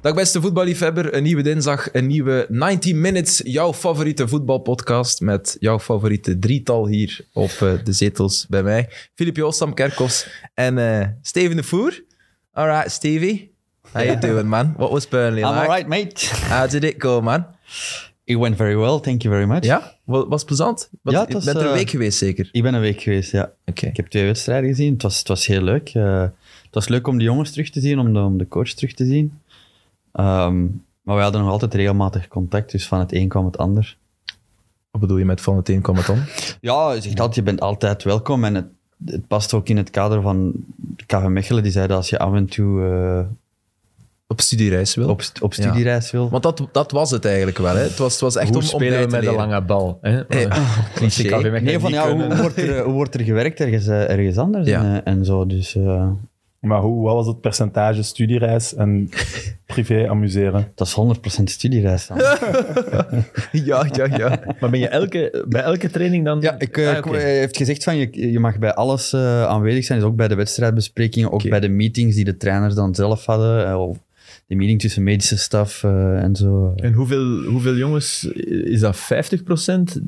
Dag beste voetballiefhebber, een nieuwe dinsdag, een nieuwe 90 Minutes, jouw favoriete voetbalpodcast met jouw favoriete drietal hier op eh, de zetels bij mij. Filip Joostam Kerkhoffs en eh, Steven de Voer. Alright, Stevie, how you doing man? What was Burnley I'm like? alright, mate. How did it go man? It went very well, thank you very much. Ja, wa- was het plezant? Want Ja, het je was, bent er een eh, week geweest zeker? Ik ben een week geweest, ja. Oké. Ik heb twee wedstrijden gezien. Het was, het was heel leuk. Eh, het was leuk om de jongens terug te zien, om de, om de coach terug te zien. Ehm, maar wij hadden nog altijd regelmatig contact, dus van het een kwam het ander. Wat bedoel je met van het een kwam het om? Ja, je zegt altijd, je bent altijd welkom. En het, het past ook in het kader van KV Mechelen. Die zei dat als je af en toe eh, Op studiereis wil? op, st- op studiereis wil... Want dat, dat was het eigenlijk wel. Hè? Het, was, het was echt Hoe om, om spelen bij we te met de leren. lange bal? Hè? Eh, cliché. Eh, Nee, van ja, hoe wordt, er, eh, hoe wordt er gewerkt ergens, eh, ergens anders Ja. en, eh, en zo. Dus eh, Maar hoe, wat was het percentage studiereis en privé amuseren? dat is 100% studiereis dan. Ja, ja, ja. Maar ben je elke, bij elke training dan... Ja, ik, eh, Ah, ik- oké. hij heeft gezegd van je, je mag bij alles eh, aanwezig zijn, dus ook bij de wedstrijdbesprekingen, ook Oké. bij de meetings die de trainers dan zelf hadden, eh, of de meeting tussen medische staf eh, en zo. En hoeveel, hoeveel jongens, is dat 50%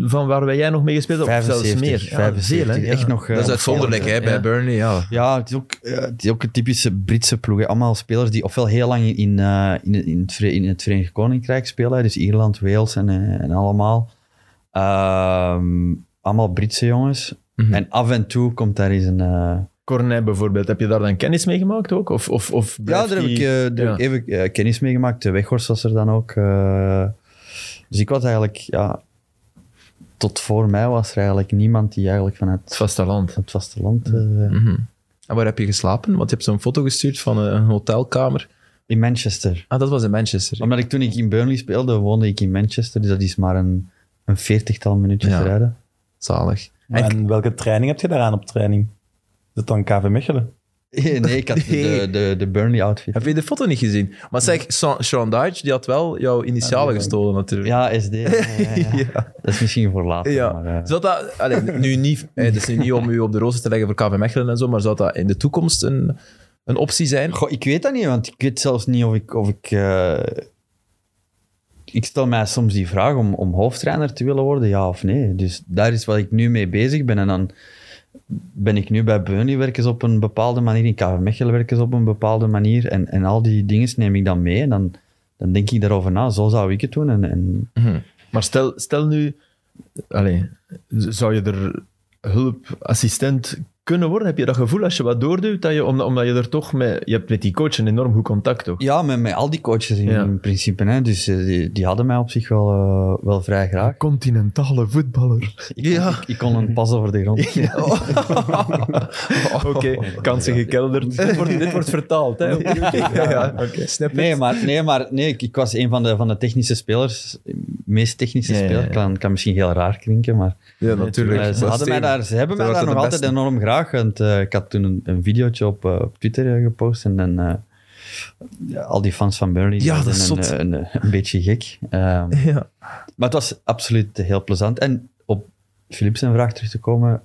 van waar wij jij nog mee gespeeld hebt? Of zelfs meer? Ja, 75, veel, hè? echt Ja. nog. eh, Dat is nog uitzonderlijk veel. hè, bij Ja. Burnley. Ja. Ja, het is, ook, eh, het is ook een typische Britse ploeg. hè. Allemaal spelers die ofwel heel lang in, in, eh, in, het- in, het, Vere- in het Verenigd Koninkrijk spelen. hè. Dus Ierland, Wales en, eh, en allemaal. Ehm, allemaal Britse jongens. Mhm. En af en toe komt daar eens een... eh, Cornet bijvoorbeeld, heb je daar dan kennis mee gemaakt ook? Of, of, of Ja, blijft daar heb ik, die- eh, daar heb ik even eh, kennis mee gemaakt. De Weghorst was er dan ook. eh. dus ik was eigenlijk, ja, tot voor mij was er eigenlijk niemand die eigenlijk vanuit Het vasteland. het vasteland. eh, Mhm. En waar heb je geslapen? Want je hebt zo'n foto gestuurd van een een hotelkamer. in Manchester. Ah, dat was in Manchester. Omdat ik toen ik in Burnley speelde, woonde ik in Manchester. Dus dat is maar een, een veertigtal minuutjes Ja. rijden. Zalig. En- En welke training heb je daaraan op training? Is het dan KV Mechelen? nee, ik had de, de, de Burnley outfit. Heb je de foto niet gezien? Maar zeg, Sean, Sean Dyche, die had wel jouw initialen gestolen natuurlijk. Ja, SD. ja, ja, ja. Ja. Dat is misschien voor later. Ja. Maar, eh, Zou dat, allee, nu niet, eh, het is nu niet om u op de rooster te leggen voor KV Mechelen en zo, maar zou dat in de toekomst een, een optie zijn? Goh, ik weet dat niet, want ik weet zelfs niet of ik. Of ik, eh, ik stel mij soms die vraag om, om hoofdtrainer te willen worden, ja of nee. Dus daar is wat ik nu mee bezig ben. En dan ben ik nu bij Burnley werkers op een bepaalde manier, in KV Mechelen werkers op een bepaalde manier. En, en al die dingen neem ik dan mee. En dan, dan denk ik daarover na, zo zou ik het doen. En, en Mhm. Maar stel, stel nu, allee, z- zou je er hulpassistent kunnen worden? Heb je dat gevoel als je wat doorduwt, dat je, omdat, omdat je er toch met, je hebt met die coach een enorm goed contact toch? ja, met, met al die coaches in, Ja. in principe. Hè. Dus eh, die, die hadden mij op zich wel, eh, wel vrij graag. Continentale voetballer. Ik, kon, ik, ik kon een pas over de grond. Oh, Oké, Oh, kansen gekelderd. dit, wordt, dit wordt vertaald, hè? Oké, ja, ja. Oké. Nee, maar, nee, maar nee, ik, ik was een van de, van de technische spelers, meest technische Ja, ja, ja. speler. Kan, kan misschien heel raar klinken, maar Ja, natuurlijk. eh, ze, hadden mij daar, ze hebben mij waren daar ze nog de altijd beste. enorm graag. Want, eh, ik had toen een, een videootje op, eh, op Twitter eh, gepost en dan, eh, ja, al die fans van Burnley die Ja, dat is werden zot. een, eh, een, een beetje gek. Ehm, Ja. maar het was absoluut heel plezant. En op Philips zijn vraag terug te komen,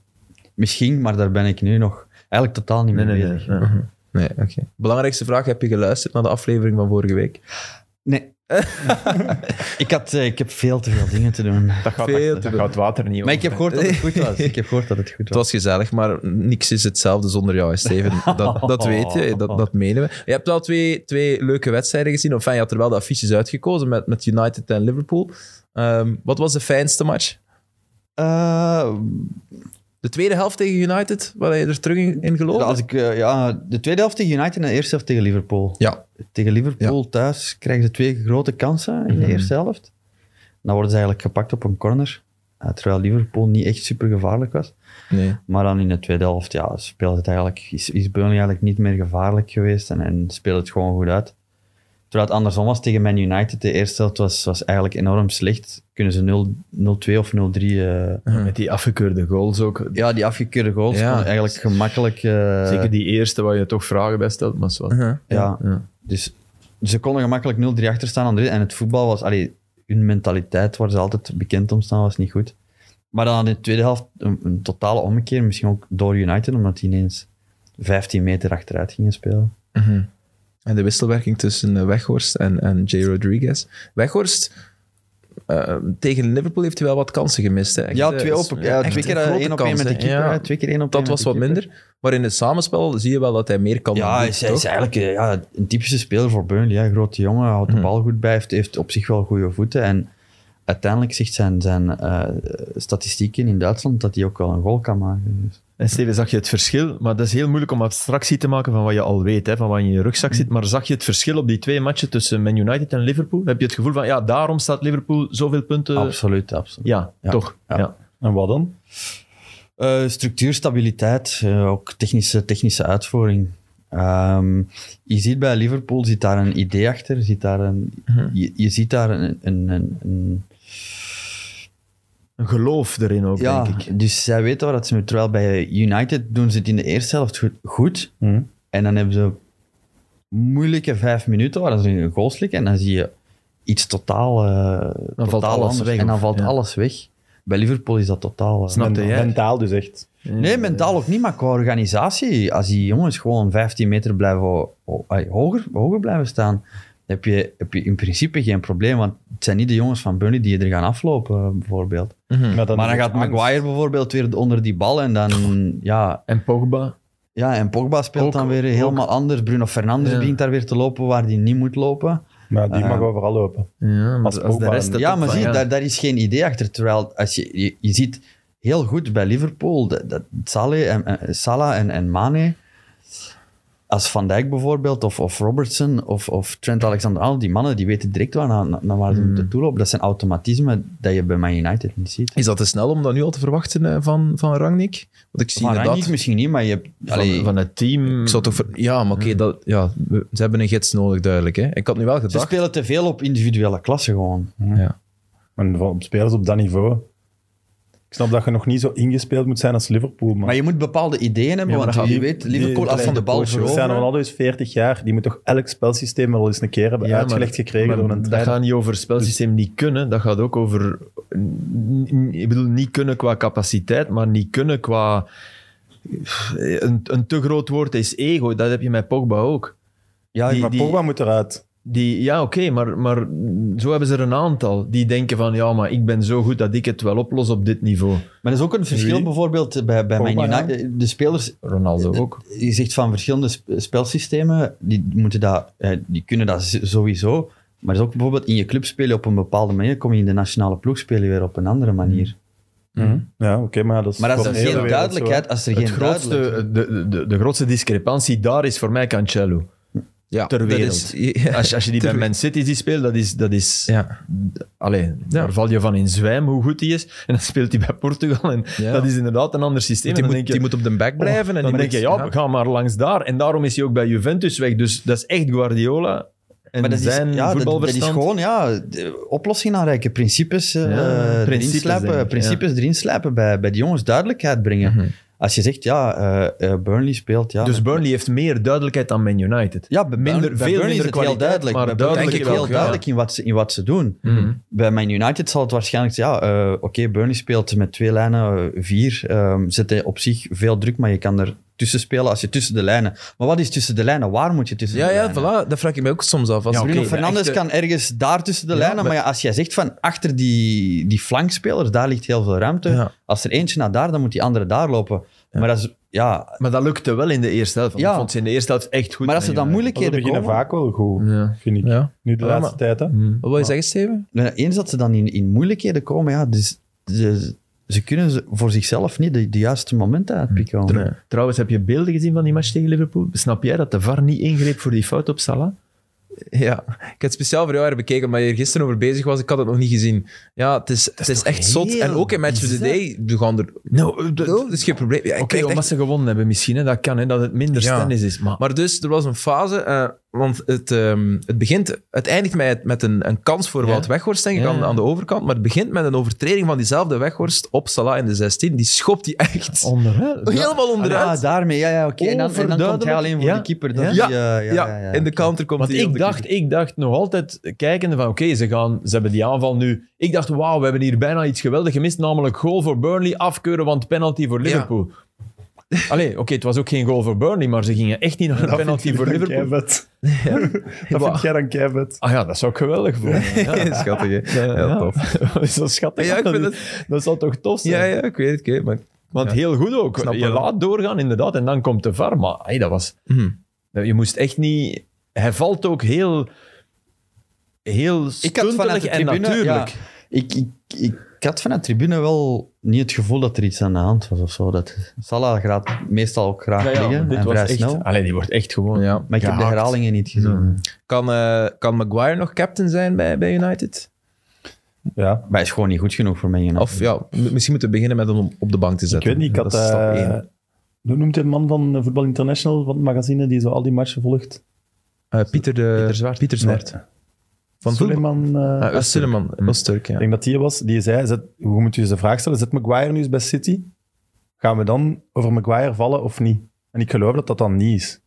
misschien, maar daar ben ik nu nog eigenlijk totaal niet Nee, mee nee, bezig. nee. ja. Nee, oké. Belangrijkste vraag, heb je geluisterd naar de aflevering van vorige week? Nee. ik, had, eh, ik heb veel te veel dingen te doen. Dat gaat, Veel dat te gaat het water niet Maar ik heb gehoord dat het goed was. Ik heb gehoord dat het goed Het was. was gezellig, maar niks is hetzelfde zonder jou, hè, Steven. Dat, dat weet je, dat, dat menen we. Je hebt wel twee, twee leuke wedstrijden gezien. Of fijn, je had er wel de affiches uitgekozen met, met United en Liverpool. Ehm, wat was de fijnste match? Eh, De tweede helft tegen United, waar je er terug in, in geloofde? als ik, eh, ja, de tweede helft tegen United en de eerste helft tegen Liverpool. Ja. Tegen Liverpool thuis krijgen ze twee grote kansen in de eerste helft. Dan worden ze eigenlijk gepakt op een corner. eh, terwijl Liverpool niet echt super gevaarlijk was. Nee. Maar dan in de tweede helft ja, speelt het eigenlijk, is, is Burnley eigenlijk niet meer gevaarlijk geweest en, en speelt het gewoon goed uit. Terwijl het andersom was tegen Man United. De eerste helft was, was eigenlijk enorm slecht. Kunnen ze 0 0-2 of 0-3... eh, Met die afgekeurde goals ook. ja, die afgekeurde goals Ja. konden eigenlijk gemakkelijk... eh, Zeker die eerste waar je toch vragen bij stelt, maar zo. Uh-huh. Ja, Ja. dus ze konden gemakkelijk 0-3 achter staan. aan de- En het voetbal was... Allee, hun mentaliteit, waar ze altijd bekend om staan, was niet goed. Maar dan aan de tweede helft een, een totale ommekeer. Misschien ook door United, omdat die ineens 15 meter achteruit gingen spelen. Mhm. En de wisselwerking tussen eh, Weghorst en, en Jay Rodriguez. Weghorst eh, tegen Liverpool heeft hij wel wat kansen gemist. Hè. Echt, ja, eh, twee, is- op, ja, echt twee keer eh, grote één op één met kansen, de keeper. ja. hè. twee keer één op Dat één met was de wat keeper. minder. Maar in het samenspel zie je wel dat hij meer kan. Ja, dan hij dit, is, hij is toch? eigenlijk eh, ja, een typische speler voor Burnley. Hè. Grote jongen, houdt Mhm. de bal goed bij, heeft, heeft op zich wel goede voeten. En uiteindelijk zegt zijn, zijn eh, statistieken in Duitsland dat hij ook wel een goal kan maken. Dus. En Steven, zag je het verschil? Maar dat is heel moeilijk om abstractie te maken van wat je al weet, hè, van wat in je rugzak zit. Maar zag je het verschil op die twee matchen tussen Man United en Liverpool? Heb je het gevoel van, ja, daarom staat Liverpool zoveel punten... absoluut, absoluut. Ja, Ja, toch. ja. Ja. Eh, En wat dan? Eh, structuurstabiliteit, eh, ook technische, technische uitvoering. Ehm, je ziet bij Liverpool zit daar een idee achter, zit daar een, Mhm. je, je ziet daar een, een, een, een- Een geloof erin ook, ja, denk ik. dus zij weten waar dat ze mee. Terwijl bij United doen ze het in de eerste helft goed, goed Mhm. Hm. en dan hebben ze moeilijke vijf minuten waar ze een goal slikken en dan zie je iets totaal, eh, totaal valt alles anders. weg, en dan of- valt ja. alles weg. Bij Liverpool is dat totaal. eh, Snap Men- je, hè? Mentaal dus echt. Nee, mentaal ook niet, maar qua organisatie. Als die jongens gewoon 15 meter blijven, ho- ho- ay, hoger, hoger blijven staan, heb je, heb je in principe geen probleem. Want het zijn niet de jongens van Burnley die je er gaan aflopen, eh, bijvoorbeeld. Mhm. Maar dan, maar dan is gaat het angst. Maguire bijvoorbeeld weer onder die bal en dan... Ja, En Pogba? ja en Pogba speelt Ook- dan weer helemaal anders. Bruno Fernandes Ja. begint daar weer te lopen waar hij niet moet lopen. Maar die mag Eh, overal lopen. Ja, maar Als als, de Pogba rest... een- dat ja, ook maar van, zie, je, ja. Daar, daar is geen idee achter. Terwijl als je, je, je ziet heel goed bij Liverpool dat, dat Saleh en, en- Salah en, en Mane, als Van Dijk bijvoorbeeld, of, of Robertson, of, of Trent Alexander-Arnold, die mannen die weten direct waar, naar, naar waar Hmm. ze naartoe lopen. Dat zijn automatismen dat je bij Man United niet ziet. Is dat te snel om dat nu al te verwachten eh, van, van Rangnick? Want ik zie Maar inderdaad... Rangnick misschien niet, maar je hebt... allee, Van, van het team... Ik zou toch ver- Ja, maar oké, dat- ja, we- ze hebben een gids nodig, duidelijk. Hè. Ik had nu wel ze gedacht... spelen te veel op individuele klassen gewoon. En van- op spelers op dat niveau. Ik snap dat je nog niet zo ingespeeld moet zijn als Liverpool. Maar, Maar je moet bepaalde ideeën hebben, want die- je weet, die- Liverpool als van de bal Cristiano veroveren- Ronaldo is 40 jaar. Die moet toch elk spelsysteem wel eens een keer hebben Ja, maar- uitgelegd gekregen maar door een Dat trainer. gaat niet over spelsysteem niet kunnen. Dat gaat ook over... n- Ik bedoel, niet kunnen qua capaciteit, maar niet kunnen qua... Een, een te groot woord is ego. Dat heb je met Pogba ook. Ja, Die- Ah, Maar die- Pogba moet eruit. Die, ja, oké, maar, maar zo hebben ze er een aantal. Die denken van, ja, maar ik ben zo goed dat ik het wel oplos op dit niveau. Maar er is ook een verschil Wie? bijvoorbeeld eh, bij, bij Man Pogba, ja. United. De spelers, Ronaldo ook. je zegt van verschillende sp- spelsystemen, die, moeten dat, eh, die kunnen dat z- sowieso. Maar er is ook bijvoorbeeld in je club spelen op een bepaalde manier, kom je in de nationale ploeg spelen weer op een andere manier. Mhm. Ja, oké, maar dat is Maar als voor er heel geen de wereld duidelijkheid, als er Het geen grootste, duidelijkheid... de, de, de grootste discrepantie daar is voor mij Cancelo. Ja, ter dat wereld. is- ja, Als, je- als je die Ter bij Man City ziet spelen, dat is... Dat is ja. Allee, daar val je van in zwijm hoe goed hij is. En dan speelt hij bij Portugal. En Ja. dat is inderdaad een ander systeem. Die, En dan moet, denk je, die moet op de back blijven. Oh, en dan die denk je, moet- ja, ga maar langs daar. En daarom is hij ook bij Juventus weg. Dus dat is echt Guardiola en Maar dat is, ja, zijn dat, dat is voetbalverstand. gewoon ja, de- oplossingen aanreiken, principes, eh, Ja, erin, principes, slijpen, denk ik, Mhm. principes erin slijpen bij, bij de jongens, duidelijkheid brengen. Als je zegt, ja, eh, eh, Burnley speelt... Ja, dus Burnley heeft meer duidelijkheid dan Man United. Ja, bij Minder- Burnley- bij veel Burnley minder is het heel kwaliteit, duidelijk. maar Maar duidelijk duidelijk denk ik wel, heel ja. duidelijk in wat ze, in wat ze doen. Mhm. Bij Man United zal het waarschijnlijk zijn, ja, eh, oké, Burnley speelt met twee lijnen, eh, vier, ehm zet hij op zich veel druk, maar je kan er tussen spelen als je tussen de lijnen... Maar wat is tussen de lijnen? Waar moet je tussen ja, de ja, lijnen? voilà, dat vraag ik mij ook soms af. Als Ja, Bruno Bruno oké, eh, de Fernandes echte- kan ergens daar tussen de lijnen, maar, ja, als jij zegt van achter die, die flankspelers, daar ligt heel veel ruimte. Ja. Als er eentje naar daar, dan moet die andere daar lopen. Maar als, ja, Maar dat lukte wel in de eerste helft. want Ja. Ik vond ze in de eerste helft echt goed. maar als er dan Ze moeilijkheden beginnen komen... vaak wel goed, Ja. vind ik. Ja. Nu de Ja, laatste tijd, hè. Wat wil je zeggen, Steven? Maar Eens dat ze dan in, in moeilijkheden komen, ja, dus, ze, ze kunnen ze voor zichzelf niet de, de juiste momenten uitpikken. Tr- Trouwens, heb je beelden gezien van die match tegen Liverpool? Snap jij dat de VAR niet ingreep voor die fout op Salah? Ja, ik heb het speciaal voor jou herbekeken, omdat je er gisteren over bezig was. Ik had het nog niet gezien. Ja, het is, het is echt zot. heel En ook in Match of the bizar. Day, we gaan er... Nou, d- Dat is geen probleem. Ja, dus ik Oké, kijk echt omdat ze gewonnen hebben misschien. Hè. Dat kan, hè, dat het minder Ja. stennis is. Maar, Maar dus, er was een fase, eh, want het, ehm, het begint, het eindigt met, met een, een kans voor Ja. Wout Weghorst, denk ik, Ja. aan, aan de overkant. Maar het begint met een overtreding van diezelfde Weghorst op Salah in de 16. Die schopt hij echt onderuit. helemaal Ja, onderuit. Ah, daarmee, ja, ja, oké. En dan, en dan komt hij Overduidelijk. alleen voor Ja. de keeper. Dat Ja. die, eh, ja, ja, ja, ja, in de oké. counter komt Want hij op ik de dacht, ik dacht nog altijd, kijkende van oké, ze gaan, ze hebben die aanval nu. Ik dacht, wauw, we hebben hier bijna iets geweldigs gemist, namelijk goal voor Burnley, afkeuren, want penalty voor Liverpool. Allee, oké, het was ook geen goal voor Burnley, maar ze gingen echt niet naar een Dat penalty vind voor ik dan Liverpool. keivet. Dat vind jij dan keivet. Ah ja, dat zou ik geweldig vinden. Ja. Schattig, hè? Ja, tof. Dat is zo schattig. Ja, ik vind Dat zou toch tof zijn? Ja, ja, ik weet het. ik weet het, maar... Want Ja. heel goed ook. Snap je wel. laat doorgaan, inderdaad, en dan komt de VAR. Maar hey, dat was, Mhm. je moest echt niet... Hij valt ook heel, heel Ik had vanuit stuntelig de en tribune, natuurlijk. ja, ik, ik, ik, ik had vanuit de tribune wel niet het gevoel dat er iets aan de hand was of zo. Dat Salah gaat meestal ook graag Ja, ja, liggen want dit en was vrij echt... snel. Allee, die wordt echt gewoon... Ja. Maar ik heb de gehakt. herhalingen niet gezien. Kan, eh, kan Maguire nog captain zijn bij, bij United? Ja. Maar hij is gewoon niet goed genoeg voor mij. United. Of ja, m- misschien moeten we beginnen met hem op de bank te Ik zetten. weet niet, ik had... Dat is stap eh, één. hoe noemt hij de man van eh, Voetbal International, van het magazine, die zo al die matchen volgt? Eh, Pieter, de, Pieter Zwart. Pieter Zwart. Van Voetbal. Suleiman... eh, Ah, Suleiman, Öztürk, ja. Ik denk dat die was, die zei, zet, hoe moet je ze de vraag stellen, zit Maguire nu eens bij City? Gaan we dan over Maguire vallen of niet? En ik geloof dat dat dan niet is.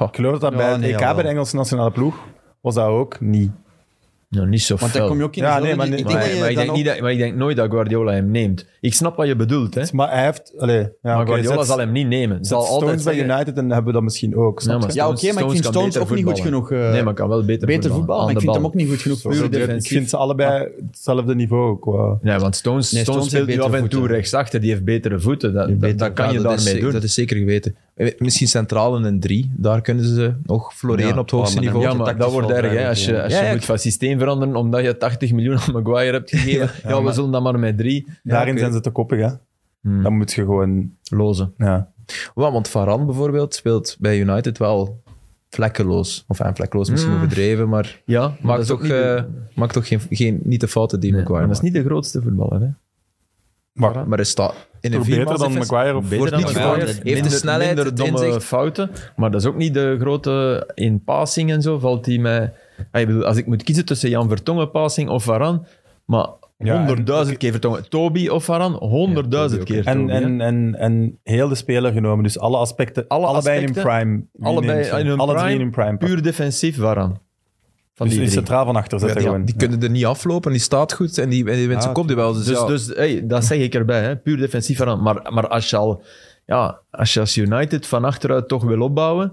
Ik geloof dat dat Ja, bij het nee, EK, jawel. bij de Engelse nationale ploeg, was dat ook niet. Nou, niet zo Want fel. dan kom je ook in Ja, de nee, zone maar die- nee, ik denk maar, dat je maar ik dan denk ook- niet dat, maar ik denk nooit dat Guardiola hem neemt. Ik snap wat je bedoelt, hè. Maar hij heeft... Allee, ja, maar oké, Guardiola zet- zal hem niet nemen. zet Zal altijd Stones bij zeggen- United en hebben we dat misschien ook. snap Ja, maar je? Ja, oké, maar ik vind kan Stones beter ook niet goed voetballen. genoeg. eh, nee, maar kan wel beter, beter voetbal, aan maar ik de vind hem bal. ook niet goed genoeg. Zo, Puur ik defensief. vind ze allebei Ah. hetzelfde niveau. Qua. Nee, want Stones, Nee, Stones Stones speelt heeft nu af en betere toe voeten. rechtsachter. Die heeft betere voeten. Dat, heeft dat- betere- dat kan Ja, je dat is daarmee ze- doen. Dat is zeker geweten. Eh, Misschien centraal in een drie. Daar kunnen ze nog floreren op Ja, het hoogste oh, maar dan- niveau. ja, maar tactisch dat wordt wel erg, hè. duidelijk, Als je, ja. als je Ja, ja, moet van systeem veranderen omdat je 80 miljoen aan Maguire hebt gegeven. ja, we zullen dat maar met drie Daarin oké. zijn ze te koppig. Hè? Hmm. Dan moet je gewoon... lozen. Ja. Ja, want Varane bijvoorbeeld speelt bij United wel vlekkeloos. Of aan vlekkeloos misschien overdreven, maar Ja, maar maakt dat is toch, ook niet de- eh, maakt toch geen, geen, niet de fouten die Nee, Maguire maar dat is maakt. niet de grootste voetballer, hè. Maar Maar hij staat in een toch viermansdefensie. beter dan Maguire of Beter Wordt dan niet Maguire. gevaarlijk. Heeft de snelheid, minder het domme inzicht. fouten. Maar dat is ook niet de grote... In passing en zo valt hij mij... Ah, ik bedoel, als ik moet kiezen tussen Jan Vertongen passing of Varane... Maar Ja, en- honderdduizend keer Vertongen. Toby of Varane, honderdduizend Ja, Toby keer ook, En, Toby, hè. en, en, en heel de speler genomen, dus alle aspecten, Alle allebei aspecten, in hun prime. allebei neemt ze? in hun alle prime, drie in hun prime. Puur defensief Varane. Van dus die in drie. centraal van achter Ja, zetten die, gewoon. die kunnen er niet aflopen, die staat goed en die, en die wint zijn Ah, kopduel. Dus, Dus, ja, dus hey, dat zeg ik erbij. Hè. Puur defensief Varane. Maar, maar als, je al, ja, als je als United van achteruit toch wil opbouwen...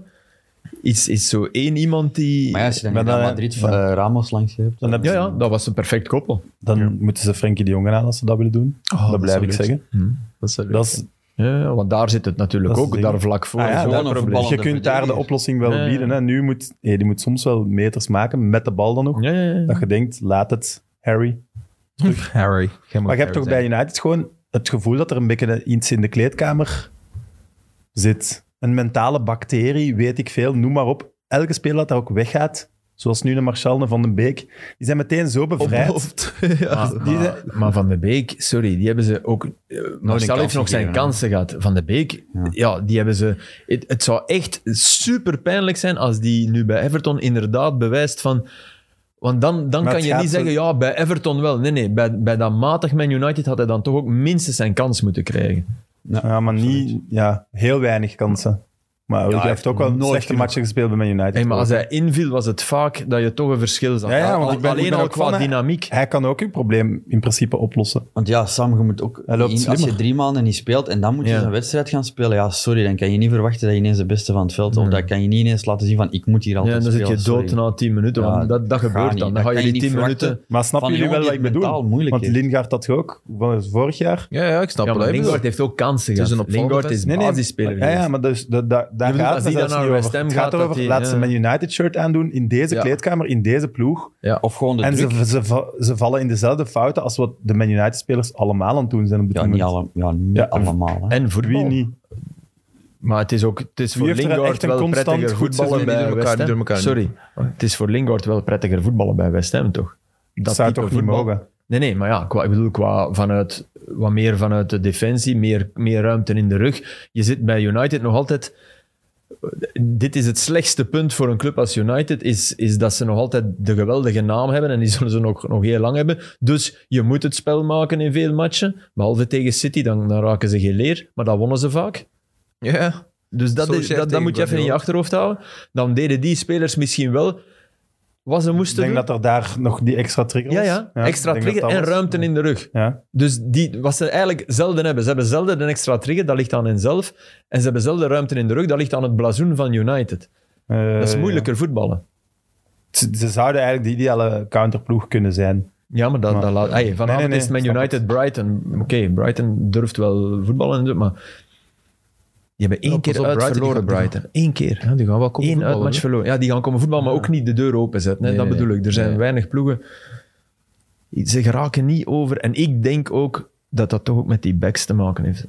Is, is zo één iemand die... Maar ja, als je dan Maar in dan- Real Madrid van eh, Ramos langs hebt. Dan, heb- ja, ja, dat was een perfect koppel. dan moeten ze Frenkie de Jong aan als ze dat willen doen. Oh, dat blijf ik absoluut. zeggen. Hmm. dat is wel leuk. Dat is, Ja, want daar zit het natuurlijk Dat is ook, het ding. daar vlak voor. Ah ja, Zo'n dat- een probleem. voetballer. je kunt daar de verdediger. oplossing wel Ja, ja. bieden. Hè. Nu moet, hey, die moet soms wel meters maken, met de bal dan nog. Ja, ja, ja. Dat je denkt, laat het, Harry. Harry. Maar je hebt toch bij United gewoon het gevoel dat er een beetje iets in de kleedkamer zit. Een mentale bacterie, weet ik veel, noem maar op. Elke speler dat daar ook weggaat, zoals nu de Marcel en Van den Beek, die zijn meteen zo bevrijd. Maar, Die Ah, maar, maar Van de Beek, sorry, die hebben ze ook... eh, Marcel kans heeft nog zijn gegeven, hè? kansen gehad. Van de Beek, ja, die hebben ze... Het, het zou echt super pijnlijk zijn als die nu bij Everton inderdaad bewijst van... Want dan, dan Maar kan het je niet gaat zeggen, ja, bij Everton wel. Nee, nee, bij, bij dat matig Man United had hij dan toch ook minstens zijn kans moeten krijgen. ja, maar niet, ja, heel weinig kansen. Maar hij heeft ook wel nooit slechte genoeg. matchen gespeeld bij Man United. Hey, maar als hij... hij inviel, was het vaak dat je toch een verschil zag. Ja, ja, Al- want ik ben- ik alleen ben al ook qua van, hè. dynamiek. kan ook uw probleem in principe oplossen. Want ja, Sam, je moet ook... Hij loopt in- als je slimmer. drie maanden niet speelt en dan moet je Ja. een wedstrijd gaan spelen, ja, sorry, dan kan je niet verwachten dat je ineens de beste van het veld Of dat kan je niet ineens laten zien van, ik moet hier Ja, altijd en dan zit spelen. je dood sorry. na 10 minuten. Ja, want dat, dat gaat gebeurt niet. dan. Dan Dat ga je kan je die 10 niet verwachten. minuten. Maar snappen Van jullie wel Leon wat die ik het mentaal bedoel? moeilijk Want heeft. Lingard had je ook, van vorig jaar. Ja, ja, ik snap Ja, het. maar wel. Lingard heeft ook kansen gehad. een opvallende Lingard is vest. Nee, nee, basisspeler. Ja, ja, maar dus, da, da, daar bedoelt, gaat als het die zelfs dan niet naar over. West Ham Het gaat, gaat dat erover, die- laat ze ja. mijn United shirt aandoen in deze Ja. kleedkamer, in deze ploeg. Of gewoon de en druk. ze, ze, va- ze vallen in dezelfde fouten als wat de Man United-spelers allemaal aan het doen zijn op dit Ja, moment. niet, alle, ja, niet Ja, allemaal. Hè. En voor Wie niet? Maar het is, ook, het is voor heeft er Lingard echt een wel constant prettiger goed voetballen seizoen? Nee, bij die door West elkaar, die Ham. door elkaar. Sorry, het is voor Lingard wel prettiger voetballen bij West Ham, toch? Dat zou type toch niet voetbal. mogen? Nee, nee, maar ja, qua, ik bedoel, qua vanuit, wat meer vanuit de defensie, meer, meer ruimte in de rug. Je zit bij United nog altijd... Dit is het slechtste punt voor een club als United, is, is dat ze nog altijd de geweldige naam hebben en die zullen ze nog, nog heel lang hebben. Dus je moet het spel maken in veel matchen, behalve tegen City, dan, dan raken ze geen leer, maar dat wonnen ze vaak. Ja, Dus dat, Solskjaer is, dat, dat tegen moet je even in je Guardiola. achterhoofd houden. Dan deden die spelers misschien wel wat ze Ik moesten denk doen. dat er daar nog die extra trigger ja, was. ja, ik extra denk dat trigger dat en was. ruimte in de rug. Ja. Dus die, wat ze eigenlijk zelden hebben. Ze hebben zelden een extra trigger, dat ligt aan henzelf. En ze hebben zelden ruimte in de rug, dat ligt aan het blazoen van United. Eh, Dat is ja. moeilijker voetballen. Ze, ze zouden eigenlijk de ideale counterploeg kunnen zijn. Ja, maar dat, Maar- dat laat... Ay, vanavond Nee, nee, nee, is het Man snap United Brighton. Oké, Brighton durft wel voetballen, en zo, maar... Die hebben één Ja, pas keer op, uit Brighton, die verloren, gaan- die Brighton. Eén keer. Ja, die gaan wel komen Eén voetballen, uitmatch hè. verloren. Ja, die gaan komen voetballen, maar ook niet de deur openzetten. Hè? Nee, dat nee, bedoel ik. Er zijn nee. weinig ploegen. Ze geraken niet over. En ik denk ook dat dat toch ook met die backs te maken heeft.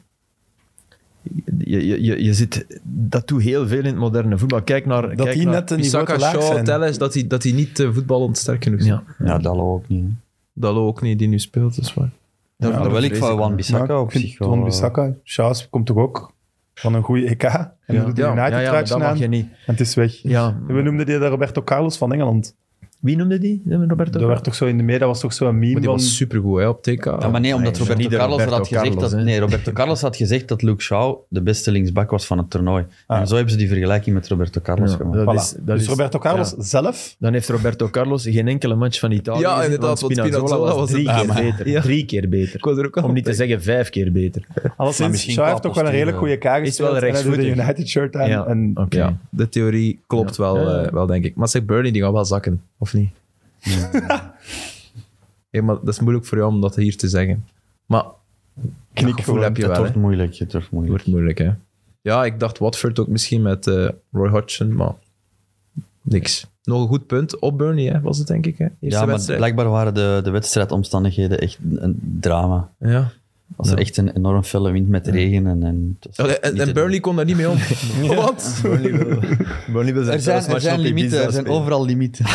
Je, je, je, je zit, dat doet heel veel in het moderne voetbal. Kijk naar... Dat kijk die naar- net een niveau Bissaka, te laag Shaw, zijn. Telles, dat die, dat die niet eh, voetballend sterk genoeg zijn. Ja. Ja, dat ook niet. Dalo ook niet, die nu speelt, dat is waar. Dat Ja, wil dat ik vrees ik van wel. Wan Bissaka Ja, op ik vind zich wel. eh. Wan Bissaka, Charles komt toch ook van een goede EK? En dan doet hij eh. Ja, een ja, ja, maar United-truitje dat mag aan je en niet. het is weg. Ja. We noemden die de Roberto Carlos van Engeland. Wie noemde die? Roberto? Dat werd toch zo in de media, was toch zo'n meme Maar die van... was supergoed hè, op TK. Ja, maar nee, omdat Nee, Roberto niet de Carlos er had Roberto gezegd Carlos, hè. dat... Nee, Roberto Carlos had gezegd dat Luke Shaw de beste linksback was van het toernooi. En zo hebben ze die vergelijking met Roberto Carlos Ah. Ja, gemaakt. dat Voilà. is, dat dus is- Roberto Carlos ja. zelf, Dan heeft Roberto Carlos geen enkele match van Italië Ja, gezien, inderdaad, want want Spinazzola was drie het- keer Ja, maar- beter. Ja. Drie keer beter. Ik was er ook al Om niet te bij. zeggen vijf keer beter. alleszins, misschien Shaw heeft toch wel een redelijk goede kapotstuur, EK gespeeld. wel en hij doet een rechtsvoetig. United-shirt aan. Ja. En Oké. Ja, de theorie klopt Ja. wel, Ja. eh, wel, denk ik. Maar zeg, Bernie, die gaat wel zakken, of niet? Ja, maar dat is moeilijk voor jou om dat hier te zeggen. Maar knik dat gevoel gewoon. heb je wel, het hè. wordt Het moeilijk, het wordt moeilijk. wordt moeilijk, hè. Ja, ik dacht Watford ook misschien met eh, Roy Hodgson, maar niks. Nog een goed punt op Bernie, hè, was het denk ik, hè? Eerste Ja, maar wedstrijd. blijkbaar waren de, de wedstrijdomstandigheden echt een, een drama. Ja. Als er echt een enorm felle wind met regen en... En, het was En, niet te en doen. Burnley kon daar niet mee om. Wat? Burnley wil Er zijn, er zijn limieten, er zijn overal limieten.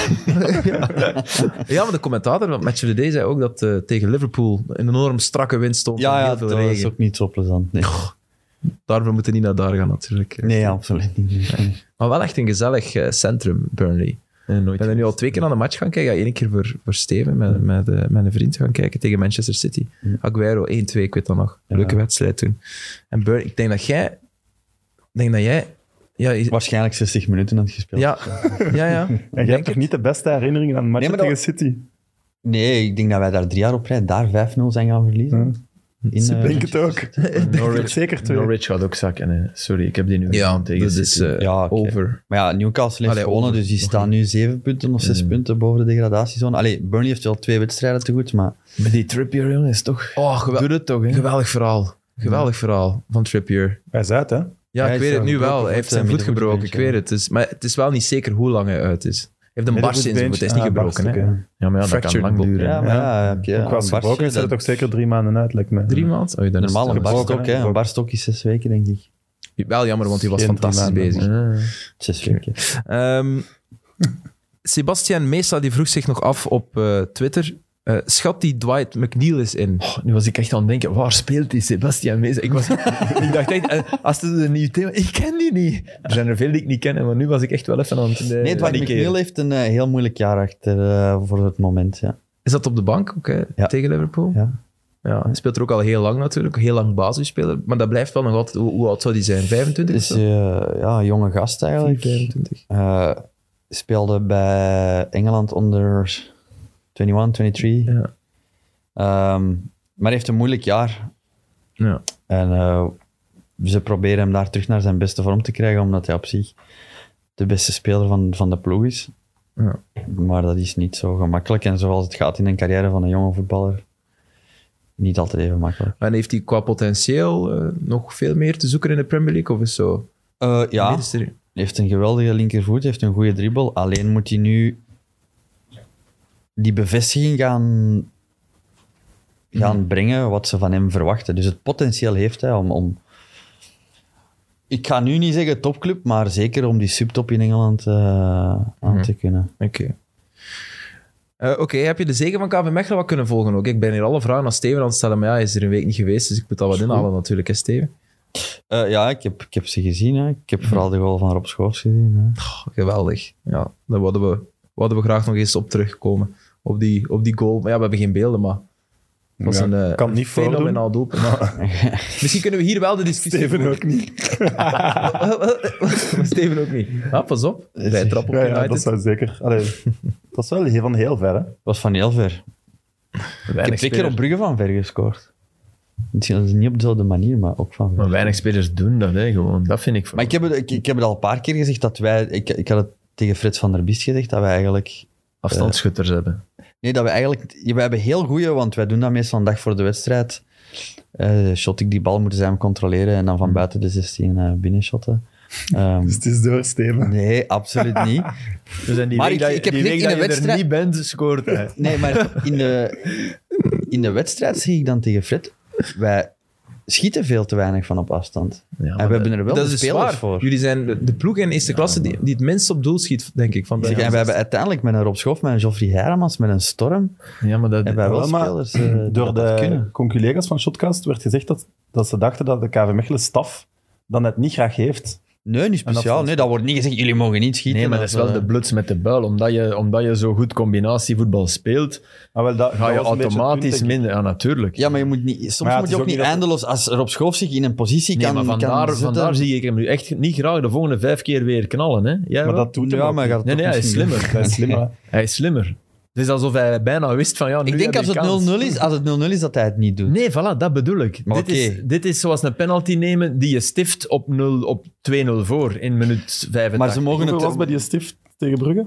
Ja, maar de commentator van Match of the Day zei ook dat eh, tegen Liverpool een enorm strakke wind stond. Ja, en ja, heel dat veel is regen. ook niet zo plezant. Nee, Daarvoor moeten we niet naar daar gaan, natuurlijk. nee absoluut niet. Maar wel echt een gezellig eh, centrum, Burnley. Ik ben er nu al twee keer aan de match gaan kijken. Ja, Eén keer voor, voor Steven, met, met, eh, met een vriend gaan kijken tegen Manchester City. Aguero, 1-2, ik weet dat nog. Leuke wedstrijd toen. En Burnley, ik denk dat jij... Ik denk dat jij... Ja, is- Waarschijnlijk 60 minuten had gespeeld. ja, ja, ja. En jij hebt toch niet de beste herinneringen aan een match Nee, maar tegen dat- City? Nee, ik denk dat wij daar drie jaar op rij daar 5-0 zijn gaan verliezen. In, eh, Ik denk het ook. Ik denk het zeker twee. Norwich gaat ook zakken. hè. Sorry, ik heb die nu Ja, gezien tegen dat is City. eh, Ja, oké. over. Maar ja, Newcastle heeft Allee, gewonnen, over. Mm. dus die staan nu zeven punten of zes punten boven de degradatiezone. Allee, Burnley heeft wel twee wedstrijden te goed, maar Maar die Trippier, jongen, is toch... Oh, gewel- Doe het toch, hè. geweldig verhaal. Geweldig verhaal van Trippier. Hij is uit, hè? Ja, Hij ik is weet het nu gebroken wel. Hij voet, heeft zijn eh, voet middenvoet gebroken, ik beentje. weet het. Dus, maar het is wel niet zeker hoe lang hij uit is. Hij heeft een barst in zijn voet, hij Ah, is niet Ah, gebroken. hè. Ja, maar ja, dat kan Fractured lang bone. duren. ja, maar ja, heb je Ook wel een barstje, gebroken is er dat- toch zeker drie maanden uit, lijkt me. Drie maanden? Oh, ja, dan is normaal het- een barstok, gebroken, hè. hè. Een barstok is zes weken, denk ik. Wel jammer, want hij was Geen drie fantastisch maanden, bezig. Ja. Zes weken. Ehm, Sebastian Mesa die vroeg zich nog af op eh, Twitter. eh, schat die Dwight McNeil eens in? Oh, nu was ik echt aan het denken, waar speelt die Sebastian Mees? Ik, was, ik dacht echt, eh, als het een nieuw thema... Ik ken die niet. Er zijn er veel die ik niet ken, maar nu was ik echt wel even aan het... Nee, Dwight McNeil heeft een eh, heel moeilijk jaar achter eh, voor het moment, ja. Is dat op de bank ook, hè, Ja. tegen Liverpool? Ja. Ja, hij speelt er ook al heel lang natuurlijk. Heel lang basisspeler. Maar dat blijft wel nog altijd... Hoe, hoe oud zou die zijn? 25 of zo? Dus eh, ja, een jonge gast eigenlijk. 25. Eh, speelde bij Engeland onder 21, 23. Ja. Ehm, maar heeft een moeilijk jaar. Ja. En eh, ze proberen hem daar terug naar zijn beste vorm te krijgen, omdat hij op zich de beste speler van, van de ploeg is. Ja. Maar dat is niet zo gemakkelijk. En zoals het gaat in een carrière van een jonge voetballer, niet altijd even makkelijk. En heeft hij qua potentieel eh, nog veel meer te zoeken in de Premier League? Of is zo? Eh, ja, Is er- heeft een geweldige linkervoet, heeft een goede dribbel. Alleen moet hij nu die bevestiging gaan, gaan brengen wat ze van hem verwachten. Dus het potentieel heeft hij om, om... Ik ga nu niet zeggen topclub, maar zeker om die subtop in Engeland eh, aan te kunnen. Oké. Eh, Oké, heb je de zegen van KV Mechelen wat kunnen volgen ook? Ik ben hier alle vragen aan Steven aan het stellen, maar ja, hij is er een week niet geweest, dus ik moet dat wat inhalen natuurlijk, hè Steven? Eh, ja, ik heb, ik heb ze gezien. Hè. Ik heb vooral de goal van Rob Schoofs gezien. Hè. Oh, geweldig. Ja, daar wilden we, wilden we graag nog eens op terugkomen, op die, op die goal. Maar ja, we hebben geen beelden, maar het was Ja, een, eh, kan het niet voordoen. fenomenaal doelpunt. Misschien kunnen we hier wel de discussie... Steven ook niet. Maar Steven ook niet. Ah, pas op, vrij trap op Ja, ja, United. dat zou zeker. Allee, Dat is wel heel- van heel ver, hè? was van heel ver. Ik heb twee keer op Brugge van ver gescoord. Misschien dat is niet op dezelfde manier, maar ook van ver. Maar weinig spelers doen dat, hè, gewoon. Dat vind ik... Maar ik heb, het, ik, ik heb het al een paar keer gezegd dat wij... Ik, ik had het tegen Frits van der Biest gezegd, dat wij eigenlijk... Afstandsschutters hebben. Nee, dat we eigenlijk... We hebben heel goede, want wij doen dat meestal een dag voor de wedstrijd. Eh shot ik die bal, moeten zij hem controleren en dan van buiten de 16 eh binnenshotten. Ehm, Dus het is door, Steven. nee, absoluut niet. Dus en die Maar week ik- dat, je- ik heb gelijk die week in dat je een wedstrijd- er niet bent, scoort hij. Nee, maar in de, in de wedstrijd zie ik dan tegen Fred, wij schieten veel te weinig van op afstand. Ja, en maar we hebben er wel dat de is spelers waar. voor. Jullie zijn de, de ploeg in eerste klasse die, die het minst op doel schiet, denk ik. Van de Zeg, en we hebben uiteindelijk met een Rob Schof, met een Geoffrey Hermans, met een Storm, Ja, maar dat... hebben wij wel Wel, maar spelers eh, die Door dat kunnen. de conculega's van Shotcast werd gezegd dat, dat ze dachten dat de KV Mechelen staf dan het niet graag heeft. Nee, niet En speciaal. afstand. Nee, dat wordt niet gezegd, jullie mogen niet schieten. Nee, maar dat is wel eh, de bluts met de buil. Omdat je, omdat je zo goed combinatievoetbal speelt, Maar wel, dat, ga dat je was een beetje het punt, automatisch denk ik. minder... Ja, natuurlijk. Ja, eh, maar je moet niet, soms Maar ja, moet het je is ook ook niet niet dat- eindeloos... Als Rob Schoof zich in een positie Nee, kan, maar kan vandaar, zetten... vandaar zie ik hem nu echt niet graag de volgende vijf keer weer knallen. Hè? Jij Maar wel? dat doet Ja, hem ook maar hij gaat het nee, toch nee, hij is misschien doen. slimmer. Dat is slimmer. hè. Hij is slimmer. Het is alsof hij bijna wist van ja, nu Ik denk heb als je kans. het 0-0 is, als het 0-0 is, dat hij het niet doet. Nee, voilà, dat bedoel ik. Maar Dit, is, oké. dit is zoals een penalty nemen die je stift op, 0 op 2-0 voor in minuut 85. maar ze mogen Hoeveel was bij het... die stift tegen Brugge?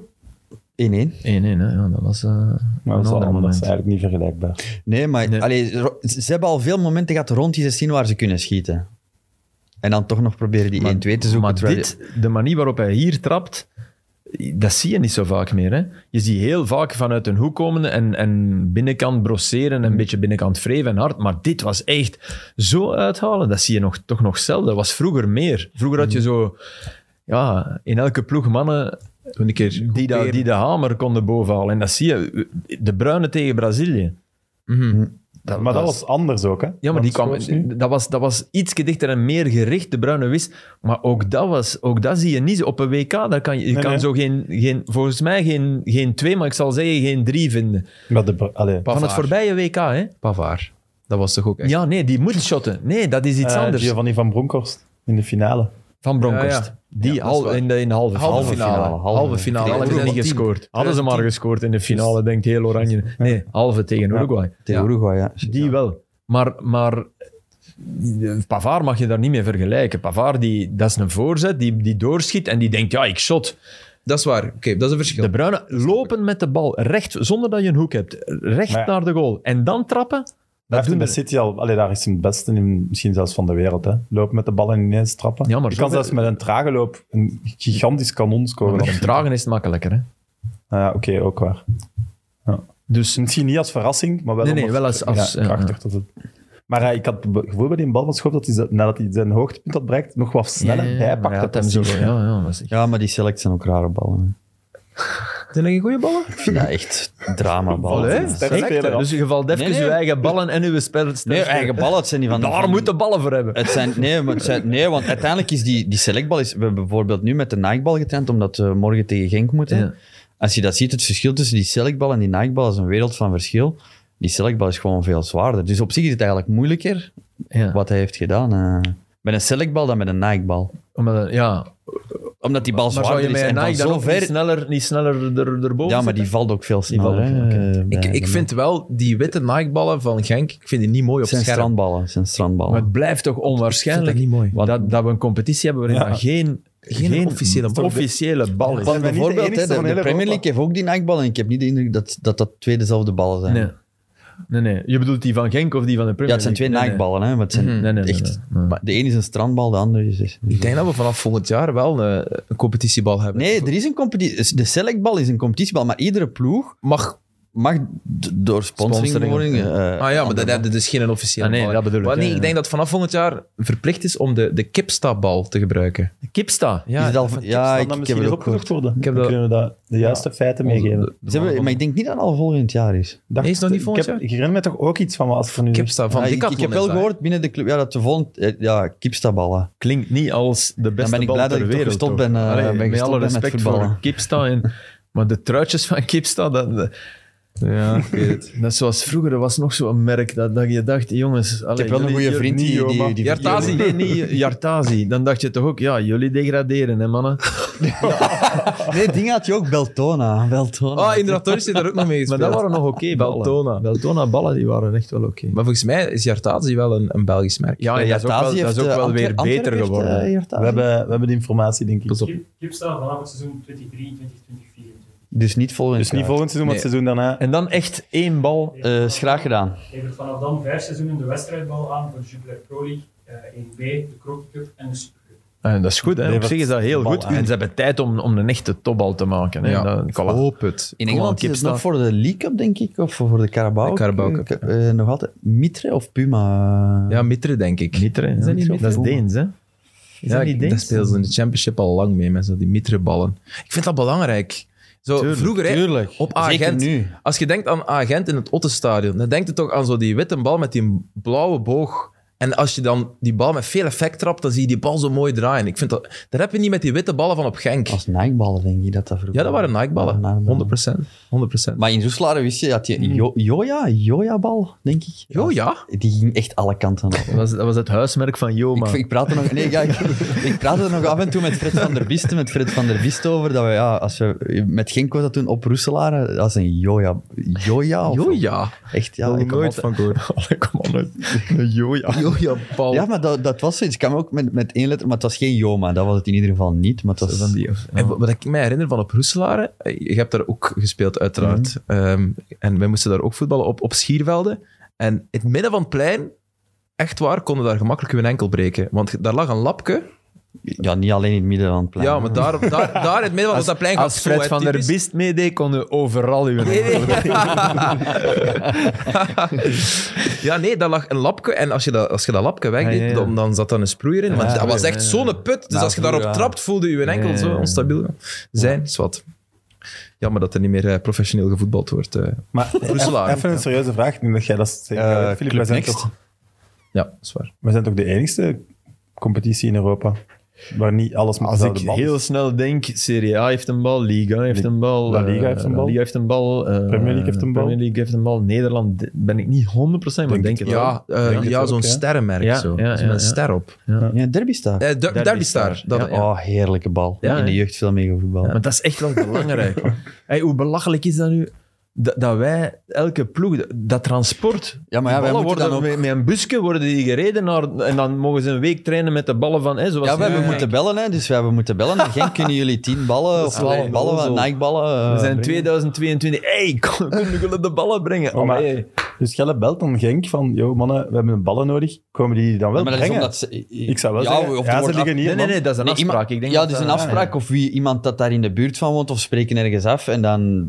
1-1. 1-1, hè. Ja, dat was... eh, Maar dat ander is allemaal dat moment. is eigenlijk niet vergelijkbaar. Nee, maar Nee. allee, ro- ze ze hebben al veel momenten gehad rond die 16 waar ze kunnen schieten. En dan toch nog proberen die 1-2 Maar- te zoeken. Maar terwijl dit, de manier waarop hij hier trapt, dat zie je niet zo vaak meer. Hè? Je ziet heel vaak vanuit een hoek komen en, en binnenkant brosseren en een beetje binnenkant wreven en hard. Maar dit was echt zo uithalen. Dat zie je nog, toch nog zelden. Dat was vroeger meer. Vroeger had je zo... Ja, in elke ploeg mannen Toen een keer die, dat- groeperen. die de hamer konden bovenhalen. En dat zie je. De bruine tegen Brazilië. Mhm. Maar dat was anders ook, hè? Ja, maar die kwam, Schoofs nu. dat, was, dat was iets dichter en meer gericht, de Bruine wist. Maar ook dat, was, ook dat zie je niet. Op een WK, daar kan je, je Nee, kan nee. zo geen, geen, volgens mij geen, geen twee, maar ik zal zeggen geen drie vinden. Maar de, Bru- allee, Pavard. Van het voorbije WK, hè? Pavard. Dat was toch ook echt... Ja, nee, die moet shotten. Nee, dat is iets eh, anders. Giovanni van Bronckhorst in de finale. Van Bronkhorst. Ja, ja. Die Ja, dat is al waar. in de, in de halve, Halve finale. finale. halve. Halve finale. Tegen Hadden ze Hadden niet ze dat gescoord. Hadden ze maar 2010. gescoord in de finale, denkt heel Oranje. Nee, halve tegen Uruguay. tegen ja. Uruguay, ja. Die wel. Maar, maar eh, Pavard mag je daar niet mee vergelijken. Pavard, die, dat is een voorzet die, die doorschiet en die denkt, ja, ik shot. Dat is waar. Oké, dat is een De verschil. Bruinen lopen met de bal recht, zonder dat je een hoek hebt. Recht Maar ja. naar de goal. En dan trappen. Daar Dat heeft doen bij we. City al... Allee, daar is hij het beste in, misschien zelfs van de wereld, hè? Loop met de bal en ineens trappen. Ja, maar je zo kan veel- zelfs met een trage loop een gigantisch kanon scoren. Met een dragen is het makkelijker. Hè? Ah, ja, Oké, ook waar. Dus Misschien niet als verrassing, maar wel, Nee, nee, omdat- wel als- als- ja, ja, krachtig. dat het- Maar eh, ik had het gevoel bij die bal van Schoof dat hij, ze- nadat hij zijn hoogtepunt had bereikt, nog wat sneller bijpakte. Ja, dat hem zo. precies. Ja, ja, was echt- Ja, maar die select zijn ook rare ballen. Zijn dat geen goede ballen? Oh, hè. Ja, echt dramaballen. Allee, ballen. sterk echt, speler, hè? ja. Dus je valt even Nee, nee. je eigen ballen en je spel. Nee, eigen ballen, het zijn die van... Daar van- moeten ballen voor hebben. Het zijn, nee, maar het zijn, nee, want uiteindelijk is die, die selectbal... Is, we hebben bijvoorbeeld nu met de Nike-bal getraind, omdat we morgen tegen Genk moeten. Ja. Als je dat ziet, het verschil tussen die selectbal en die Nike-bal is een wereld van verschil. Die selectbal is gewoon veel zwaarder. Dus op zich is het eigenlijk moeilijker Ja. wat hij heeft gedaan. eh. met een selectbal dan met een Nike-bal. Omdat- ja, Omdat die bal Maar zou je zwaarder is met een en van Nike dan zo ook niet ver... sneller, niet sneller er, erboven Ja, maar die zetten? valt ook veel sneller. valt ook, hè, oké. eh, bij Ik, ik de- vind wel die witte nike van Genk, ik vind die niet mooi op Het zijn scherm. strandballen. het zijn strandballen. Maar het blijft toch Ik onwaarschijnlijk vind dat niet mooi. dat, dat we een competitie hebben waarin Ja. dat geen, Geen geen, officiële bal is. officiële bal is. Want Zijn wij niet de bijvoorbeeld, enigste hè, de, van de heel Premier Europa? League heeft ook die Nike-bal en ik heb niet de indruk dat dat, dat twee dezelfde ballen zijn. Nee. nee, nee. Je bedoelt die van Genk of die van de Ja, Premier het zijn twee League? Nike-ballen, hè, maar het zijn Nee, nee. Nee, nee, echt... nee, nee. Maar de ene is een strandbal, de andere is... is- Ik denk dat we vanaf volgend jaar wel een, een competitiebal hebben. Nee, er is een competitie. De selectbal is een competitiebal, maar iedere ploeg Mag... mag d- door sponsoring... Sponsoring, worden, eh, Ah ja, maar dat andere- hebben dus geen officiële Ah, nee, bal. dat bedoel ik, Maar nee, ja, ik ja. denk dat vanaf volgend jaar verplicht is om de, de kipstabal te gebruiken. Kipsta. Ja, Is het al- Dus ja, Kan ik, dat ik heb misschien het eens ook gehoord. opgezocht worden? Ik heb Dan dat- kunnen we dat de juiste feiten meegeven. De- de- Ze hebben, maar ik denk niet dat het al volgend jaar is. Dacht- Nee, is het nog niet ik volgend heb- jaar? Ik herinner me toch ook iets van wat er nu... Kipsta van Ja, Ah, ik, Decathlon ik heb is wel dat, hè? gehoord binnen de club ja, dat de volgend... eh, Ja, kipstaballen. Klinkt niet als de beste Dan ben ik bal blij dat ter ik toch wereld, gestopt hoor. ben, eh, Allee, ben met gestopt alle ben met respect voor voetballen. Kipsta. En, maar de truitjes van Kipsta, dat, dat, Ja, ik weet het. dat is zoals vroeger, er was nog zo'n merk dat, dat je dacht, jongens... Ik heb wel een goede vriend die... die, die Jartazi. Nee, niet Jartazi. Dan dacht je toch ook, ja, jullie degraderen, hè, mannen. Nee, ding had je ook Beltona. Beltona. Ah, inderdaad, Torres heeft daar ook nog mee Maar gespeeld. dat waren nog oké ballen. Beltona. Beltona ballen, die waren echt wel oké. Maar volgens mij is Jartazi wel een, een Belgisch merk. eh, Ja, en dat is ook wel, dat is ook eh, wel weer beter geworden. We hebben, we hebben de informatie, denk ik. Pas op. Kip, Kip staat vanaf het seizoen 2023, 2024. Dus niet volgend Dus niet jaar. volgend seizoen, maar het seizoen daarna. En dan echt één bal. Eh, is graag gedaan. Levert vanaf dan vijf seizoenen de wedstrijdbal aan voor de Jupiler Pro League, eh 1B, de Croc Cup en de Super Cup. Ah, En dat is goed, hè. Op Levert zich is dat heel de bal goed. aan. En ze hebben tijd om, om een echte topbal te maken. Hè. Ja. Dat, Ik voilà. hoop het. In Kom aan, Engeland is het Kipsta. nog voor de League Cup, denk ik, of voor de Carabao De Carabao Cup, Eh, eh, nog altijd. Mitre of Puma? Ja, Mitre, denk ik. Mitre, hè. Is dat niet dat is Mitre? Deens, hè. Is ja, dat niet ik- dat Deens? spelen ze in de Championship al lang mee, met zo die Mitre-ballen. Ik vind dat belangrijk. Zo, Tuurlijk, vroeger, hè, tuurlijk. op Zeker Agent. nu. Als je denkt aan Agent in het Ottenstadion, dan denk je toch aan zo die witte bal met die blauwe boog. En als je dan die bal met veel effect trapt, dan zie je die bal zo mooi draaien. Ik vind dat, dat heb je niet met die witte ballen van op Genk. Als Nikeballen, denk ik dat dat vroeger Ja, dat waren Nike-ballen. 100%. 100%. Maar in Roeselare wist je dat je jo Joja, Joja-bal, denk ik. Jo, ja. Die ging echt alle kanten op. Dat was, dat was het huismerk van Joma. Ik, ik praat er nog, nee, ja, ik, ik praat er nog af en toe met Fred van der Biste, met Fred van der Biste over dat we, ja, als we met Genko dat doen op Roeselare, dat is een Joja. Joja? of- Jo, ja. Echt, ja. ik- nooit van gehoord. Ik kom al nooit. Joja. Jo, ja, bal. Ja, maar dat, dat was zoiets. Ik kwam ook met, met één letter, maar het was geen Joma. Dat was het in ieder geval niet. Maar het was, Van die, of- En wa- wat ik mij herinner van op Roeselare, eh, je hebt daar ook gespeeld uiteraard. Mhm. Ehm, en wij moesten daar ook voetballen op, op schiervelden. En in het midden van het plein, echt waar, konden daar gemakkelijk hun enkel breken. Want daar lag een lapje. ja, niet alleen in het midden van het plein. Ja, maar daar, daar, daar in het midden van dat plein gaat Als zo, Fred hè, van der typisch. Bist meedeed, konden overal uw... Ja, nee, daar lag een lapje. En als je dat, als je dat lapje wegdeed, Ah, Ja, ja, ja. Dan, dan zat daar een sproeier in. Want Ja, dat was ja, echt ja. zo'n put. Dus Ja, als je daarop ja. trapt, voelde je enkel Ja, ja, ja. zo onstabiel zijn. Zwat. Jammer dat er niet meer eh, professioneel gevoetbald wordt. eh. Maar Roeselaar. even een serieuze vraag. Ik denk dat jij dat zeker Eh, weet, Filip. Club Wij zijn, Next. toch, Ja, dat is waar. wij zijn toch de enigste competitie in Europa waar niet alles met Als ik dezelfde bal is? heel snel denk, Serie A heeft een bal, Liga heeft een bal, La eh, Liga heeft een La bal. Liga heeft een bal, eh, Premier League heeft een bal. Premier League heeft een bal, Nederland d- ben ik niet 100% maar Denk ik denk het het wel. Ja, eh, denk het ja ook, zo'n ja. sterrenmerk. Ja, zo. ja, Dus met ja, een ja. ster op. Ja, Derby staat. Eh, der- Derby Derby Star. Star, Dat, ja. Oh, heerlijke bal. Ja, in de ja. jeugd veel mee gevoetbald. Maar dat is echt wel belangrijk. hey, hoe belachelijk is dat nu? Dat, dat wij, elke ploeg, dat- dat transport. Ja, maar ja, die wij moeten ballen worden dan ook- met, met een busje worden die gereden naar, en dan mogen ze een week trainen met de ballen van. Hè, zoals Ja, we nu. eh, hebben moeten bellen, hè, dus we hebben moeten bellen. En Genk kunnen jullie tien ballen of is wel twaalf een ballen, onzin. Nikeballen. We eh, zijn 2022. hey, kom, kunnen jullie de ballen brengen? Oh, maar- Allee. Dus Gelle belt dan Genk van, yo mannen, we hebben een ballen nodig. Komen die dan wel Ja, maar dat is brengen? omdat ze, Ik zou wel ja, zeggen, of er ja, ze wordt liggen hier, Nee, nee, man. nee, dat is een Nee, afspraak. iemand- ik denk ja, dat dus een dat- afspraak. Of wie, iemand dat daar in de buurt van woont of spreken ergens af. En dan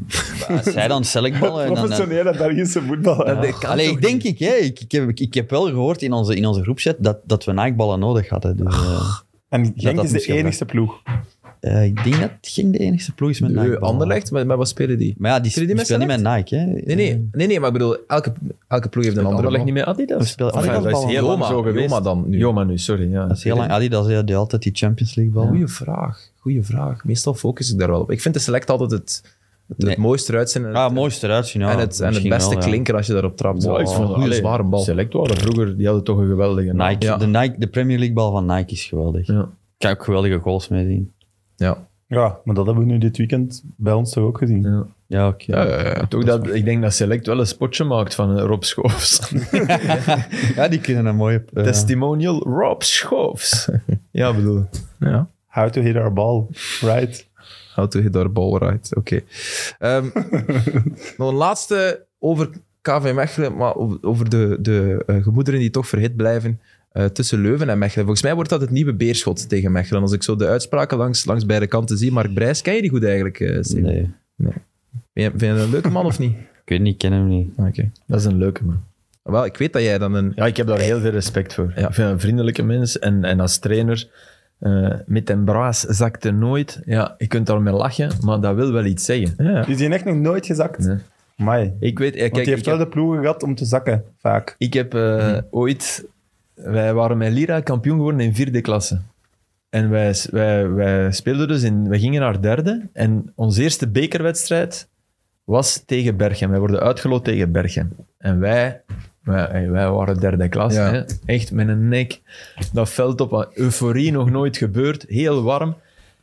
bah, zij dan selectballen. En dan, dan, Professionele Belgische voetballer. Ja. Allee, ik denk ik, hè, ik, ik, heb, ik heb wel gehoord in onze, in onze groepchat dat, dat we naakballen nodig hadden. Dus, eh, En Genk dat is de misschien wel. enigste ploeg. eh, ik denk dat geen de enige ploeg is met Nee, naakballen. Anderlecht, maar, maar wat spelen die? Maar ja, die, Spelen die die met spelen niet met Nike. Hè. Nee, nee, nee, nee maar ik bedoel, elke, elke ploeg heeft een andere Anderlecht bal. niet meer Ah, Adidas. We spelen Enfin, Adidas dat is heel ballen. lang zo Joma, geweest. Joma dan nu. Joma nu, sorry. Ja. Dat is heel lang Adidas, ja, die altijd die Champions League bal. Goeie vraag. Goeie vraag. Meestal focus ik daar wel op. Ik vind de select altijd het, het, het Nee. mooiste eruit zien en, Ja, het- mooist eruit zien. Ja, en, het, en het misschien beste wel, ja. klinken als je daarop trapt. Oh, Wow, ik Wow, vond- goeie, allee, zware bal. Select waren vroeger, die hadden toch een geweldige naam. Nike, Ja. de, Nike, de Premier League bal van Nike is geweldig. Ja. Ik kan ook geweldige goals mee zien. Ja. Ja, maar dat hebben we nu dit weekend bij ons toch ook gezien. Ja, oké. Ja, ja, ja. Toch dat, ik denk dat Select wel een spotje maakt van eh, Rob Schoofs. Ja, die kunnen een mooie... eh, Testimonial Rob Schoofs. ja, bedoel. ja. How to hit our ball, right? How to hit our ball right. Oké. Ehm, nog een laatste over KV Mechelen, maar over- over de, de eh, gemoederen die toch verhit blijven eh, tussen Leuven en Mechelen. Volgens mij wordt dat het nieuwe beerschot tegen Mechelen. Als ik zo de uitspraken langs, langs beide kanten zie. Mark Brijs, ken je die goed eigenlijk, eh, Steven? nee, Vind je, vind je dat een leuke man of niet? ik weet niet, ik ken hem niet. Oké. Dat is een leuke man. Wel, ik weet dat jij dan een... Ja, ik heb daar heel veel respect voor. Ja. Ik vind hem een vriendelijke mens en, en als trainer, eh, met een braas zakte nooit. Ja, je kunt daarmee lachen, maar dat wil wel iets zeggen. Ja. Is Dus die echt nog nooit gezakt? Nee. Amai. Want Ik weet, ja, kijk, die ik heeft wel heb- de ploegen gehad om te zakken, vaak. Ik heb eh, ooit... Wij waren met Lira kampioen geworden in vierde klasse. En wij, wij, wij speelden dus in... Wij gingen naar derde. En onze eerste bekerwedstrijd was tegen Berchem. Wij worden uitgeloot tegen Berchem. En wij... Wij, eh, wij waren derde klas. Ja. Hè? eh, Echt met een nek. Dat veld op. Euforie nog nooit gebeurd. Heel warm.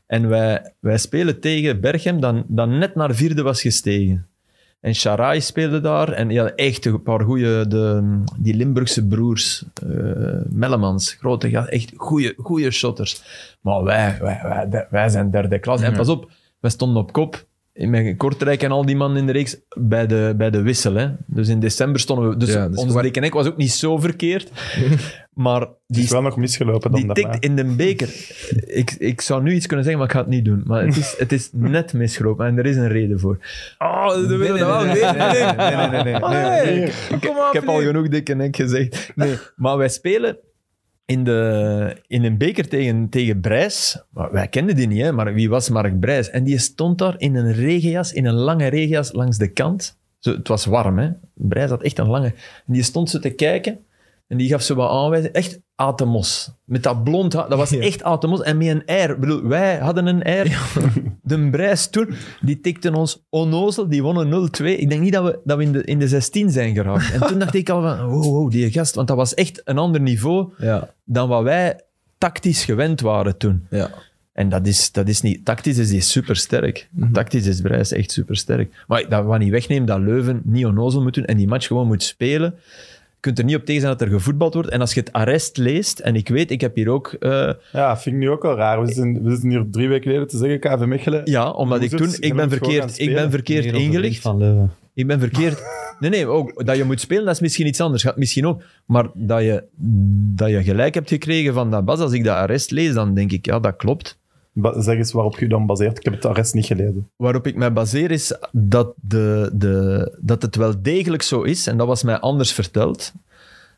En wij, wij spelen tegen Berchem, dan, dan net naar vierde was gestegen. En Sharai speelde daar. En die hadden echt een paar goede, de, die Limburgse broers, eh Mellemans, grote gasten, echt goede, goede shotters. Maar wij, wij, wij, wij zijn derde klas. En pas op, wij stonden op kop. In mijn Kortrijk en al die mannen in de reeks bij de, bij de wissel. Hè. Dus in december stonden we. Dus Ja, dus ons waar- Rick en ik was ook niet zo verkeerd. maar Het die is wel nog misgelopen dan die daarna. tikt in de beker. Ik, ik zou nu iets kunnen zeggen, maar ik ga het niet doen. Maar het is, het is net misgelopen en er is een reden voor. Oh, dat willen we wel weten. Nee, nee, nee. nee, Oh, nee. nee. Ik- Kom aan, Ik heb al Filip. genoeg dik en nek gezegd. Nee, maar wij spelen in, de, in een beker tegen, tegen Brijs. Maar wij kenden die niet, hè? maar wie was Mark Brijs? En die stond daar in een regenjas, in een lange regenjas langs de kant. Zo, het was warm, hè? Brijs had echt een lange. En die stond ze te kijken en die gaf ze wat aanwijzingen. Echt Atemos. Met dat blond haar, dat was echt Atemos. En met een air. Ik bedoel, wij hadden een air. De Brijs toen, die tikte ons onnozel, die wonnen 0-2. Ik denk niet dat we, dat we in, de, in de 16 zijn geraakt. En toen dacht ik al van, wow, wow, die gast. Want dat was echt een ander niveau Ja, dan wat wij tactisch gewend waren toen. ja. En dat is, dat is niet... Tactisch is die supersterk. Mhm. Tactisch is Brijs echt supersterk. Maar dat wat niet wegneemt dat Leuven niet onnozel moet doen en die match gewoon moet spelen. Je kunt er niet op tegen zijn dat er gevoetbald wordt. En als je het arrest leest, en ik weet, ik heb hier ook... eh, Ja, vind ik nu ook al raar. We zitten, we zitten hier drie weken geleden te zeggen, KV Mechelen. ja, omdat ik Losers, toen... je Ik ben moet gewoon gaan verkeerd, ik ben spelen. verkeerd Hier over de ingelicht. brief Van Leuven. Ik ben verkeerd. Nee, nee, ook dat je moet spelen, dat is misschien iets anders. Gaat misschien ook. Maar dat je, dat je gelijk hebt gekregen van dat Bas, als ik dat arrest lees, dan denk ik, ja, dat klopt. Ba- Zeg eens waarop je dan baseert. Ik heb het arrest niet gelezen. Waarop ik mij baseer is dat, de, de, dat het wel degelijk zo is, en dat was mij anders verteld,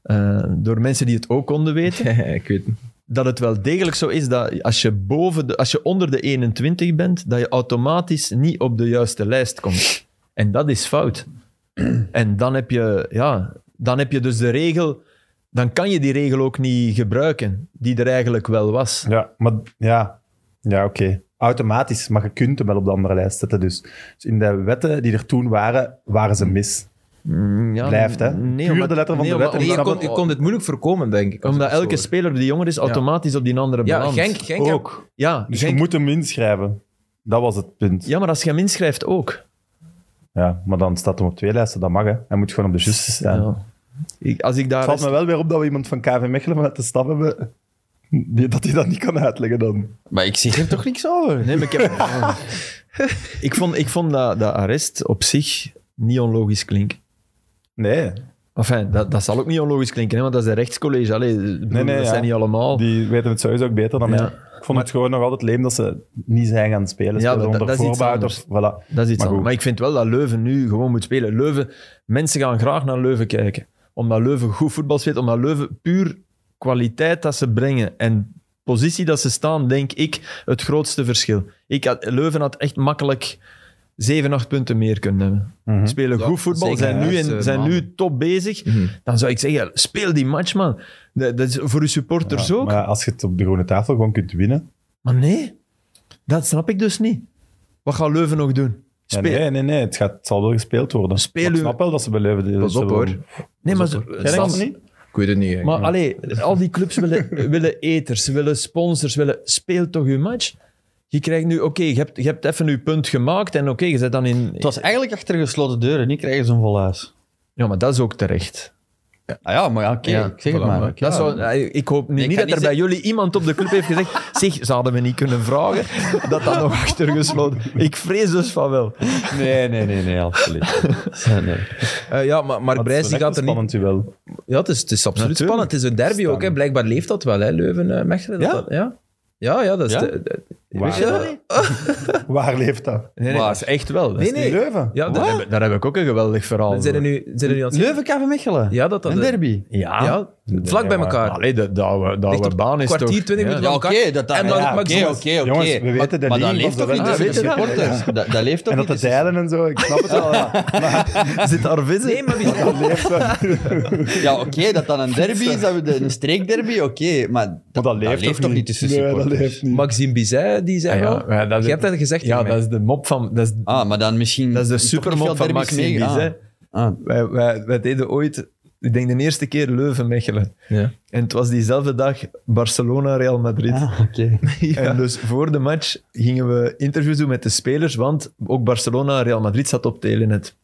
eh, door mensen die het ook konden weten, ik weet het. dat het wel degelijk zo is dat als je, boven de, als je onder de 21 bent, dat je automatisch niet op de juiste lijst komt. En dat is fout. En dan heb je, ja, dan heb je dus de regel, dan kan je die regel ook niet gebruiken, die er eigenlijk wel was. Ja, maar ja, ja oké. Automatisch, maar je kunt hem wel op de andere lijst zetten. Dus. dus in de wetten die er toen waren, waren ze mis. Mm, Ja, Blijft, hè? Nee, Puur omdat- de letter van nee, de omdat- wet en Nee, je snap kon, het. je kon dit moeilijk voorkomen, denk ik. als Omdat ik het zo elke hoor. speler die jonger is, automatisch op die andere Ja, belandt. Genk, Genk ook. Ja, Dus Genk- je moet hem inschrijven. Dat was het punt. Ja. ja, maar als je hem inschrijft ook. maar dan staat hem op twee lijsten. Dat mag, hè. Hij moet gewoon op de juiste staan. Ja. dus- Ik, als ik daar Het valt eens- me wel weer op dat we iemand van KV Mechelen vanuit de stad hebben... die- dat hij dat niet kan uitleggen dan. Maar ik zeg er toch niks over? Nee, maar ik heb... ik vond, ik vond dat, dat arrest op zich niet onlogisch klinken. Nee, Enfin, dat, dat zal ook niet onlogisch klinken, hè, want dat is een rechtscollege. Allee, nee, nee, dat ja. zijn niet allemaal... die weten het sowieso ook beter dan Ja. mij. Ik vond het gewoon nog altijd leem dat ze niet zijn gaan spelen. Ja, Spelen dat- onder dat is iets voorbehoud anders. Of, Dat voilà. is iets Maar anders. goed. Maar ik vind wel dat Leuven nu gewoon moet spelen. Leuven, mensen gaan graag naar Leuven kijken. Omdat Leuven goed voetbal speelt. Omdat Leuven puur kwaliteit dat ze brengen en positie dat ze staan, denk ik, het grootste verschil. Ik had, Leuven had echt makkelijk 7, 8 punten meer kunnen hebben. Mhm. Spelen Ja, goed voetbal, zeker zijn, de nu, laatste in, zijn nu maanden. top bezig. Mhm. Dan zou ik zeggen, speel die match, man. Dat, dat is voor uw supporters ook. Maar als je het op de groene tafel gewoon kunt winnen. Maar nee, dat snap ik dus niet. Wat gaat Leuven nog doen? Ja, Speel. nee, nee, nee. Het, gaat, het zal wel gespeeld worden. Speel Maar ik u- snap wel dat ze bij Leuven... dat Pas ze op, wel- hoor. nee maar Pas op, hè. ze- Ken ik Sam, dat niet? Ik weet het niet. Maar allee, al die clubs willen, willen eters, willen sponsors, willen... Speel toch je match? Je krijgt nu... Oké, je, hebt, je hebt even je punt gemaakt en oké, je zet dan in... Het was eigenlijk achter gesloten deuren. Nu krijgen ze een vol huis. Ja, maar dat is ook terecht. Ah ja, maar ja, oké. Ja, ik zeg het voilà, maar. maar- Oké. Dat zou, eh, ik hoop nu Nee, ik niet ga dat er niet bij jullie iemand op de club heeft gezegd... Zeg, zouden we niet kunnen vragen dat dat nog achter gesloten... Ik vrees dus van wel. Nee, nee, nee, nee, absoluut. nee. Eh, ja, maar, maar Maar Brijs die het is wel gaat er echt een niet... spannend duel. Ja, het is, het is absoluut Natuurlijk. spannend. Het is een derby ook. Hè. Spannend. Blijkbaar leeft dat wel, hè, eh, Leuven-Mechelen. Ja? ja? Ja, ja, dat is... Ja? de- de- Waar, Ja. waar leeft dat? Nee, nee, Maar- dat is echt wel. Dat is Nee, niet- nee. Leuven? Ja, dat- Daar, heb, daar heb ik ook een geweldig verhaal zijn er voor. nu, zijn er nu aan het... Leuven, KV Mechelen. Ja, dat dat... een derby. Ja. Ja, vlak bij maar- elkaar. Allee, dat, dat, we- dat Ligt we op baan is kwartier, toch... 20 ja. minuten. Ja, oké, dat dat... En dan ja, het Oké, maximum. oké, oké. Jongens, we Maar- weten de Maar dat linie leeft van toch niet de tussen de wedstrijd. Ah, weet je supporters? Dat dat leeft toch En niet dat de tussen zeilen en zo, ik snap het wel. Zit daar vis in? Nee, maar wie... Dat leeft wel. Ja, oké, dat dan een derby is, dat we de, een streekderby, oké. maar dat, Maar dat leeft, dat leeft toch niet tussen Nee, dat supporters? leeft niet. Maxime Bizet, die zei Ah Ja, wel... ja, dat is- Je hebt dat gezegd Ja, tegen mij. dat is de mop van... Dat is, Ah, maar dan misschien... dat is de toch niet veel supermop van derbies Maxime mee- Bizet. Ah. Ah. Wij, wij, wij deden ooit ik denk de eerste keer Leuven-Mechelen. Ja. En het was diezelfde dag Barcelona-Real Madrid. Ah, oké. En dus voor de match gingen we interviews doen met de spelers, want ook Barcelona Real Madrid zat op Telenet.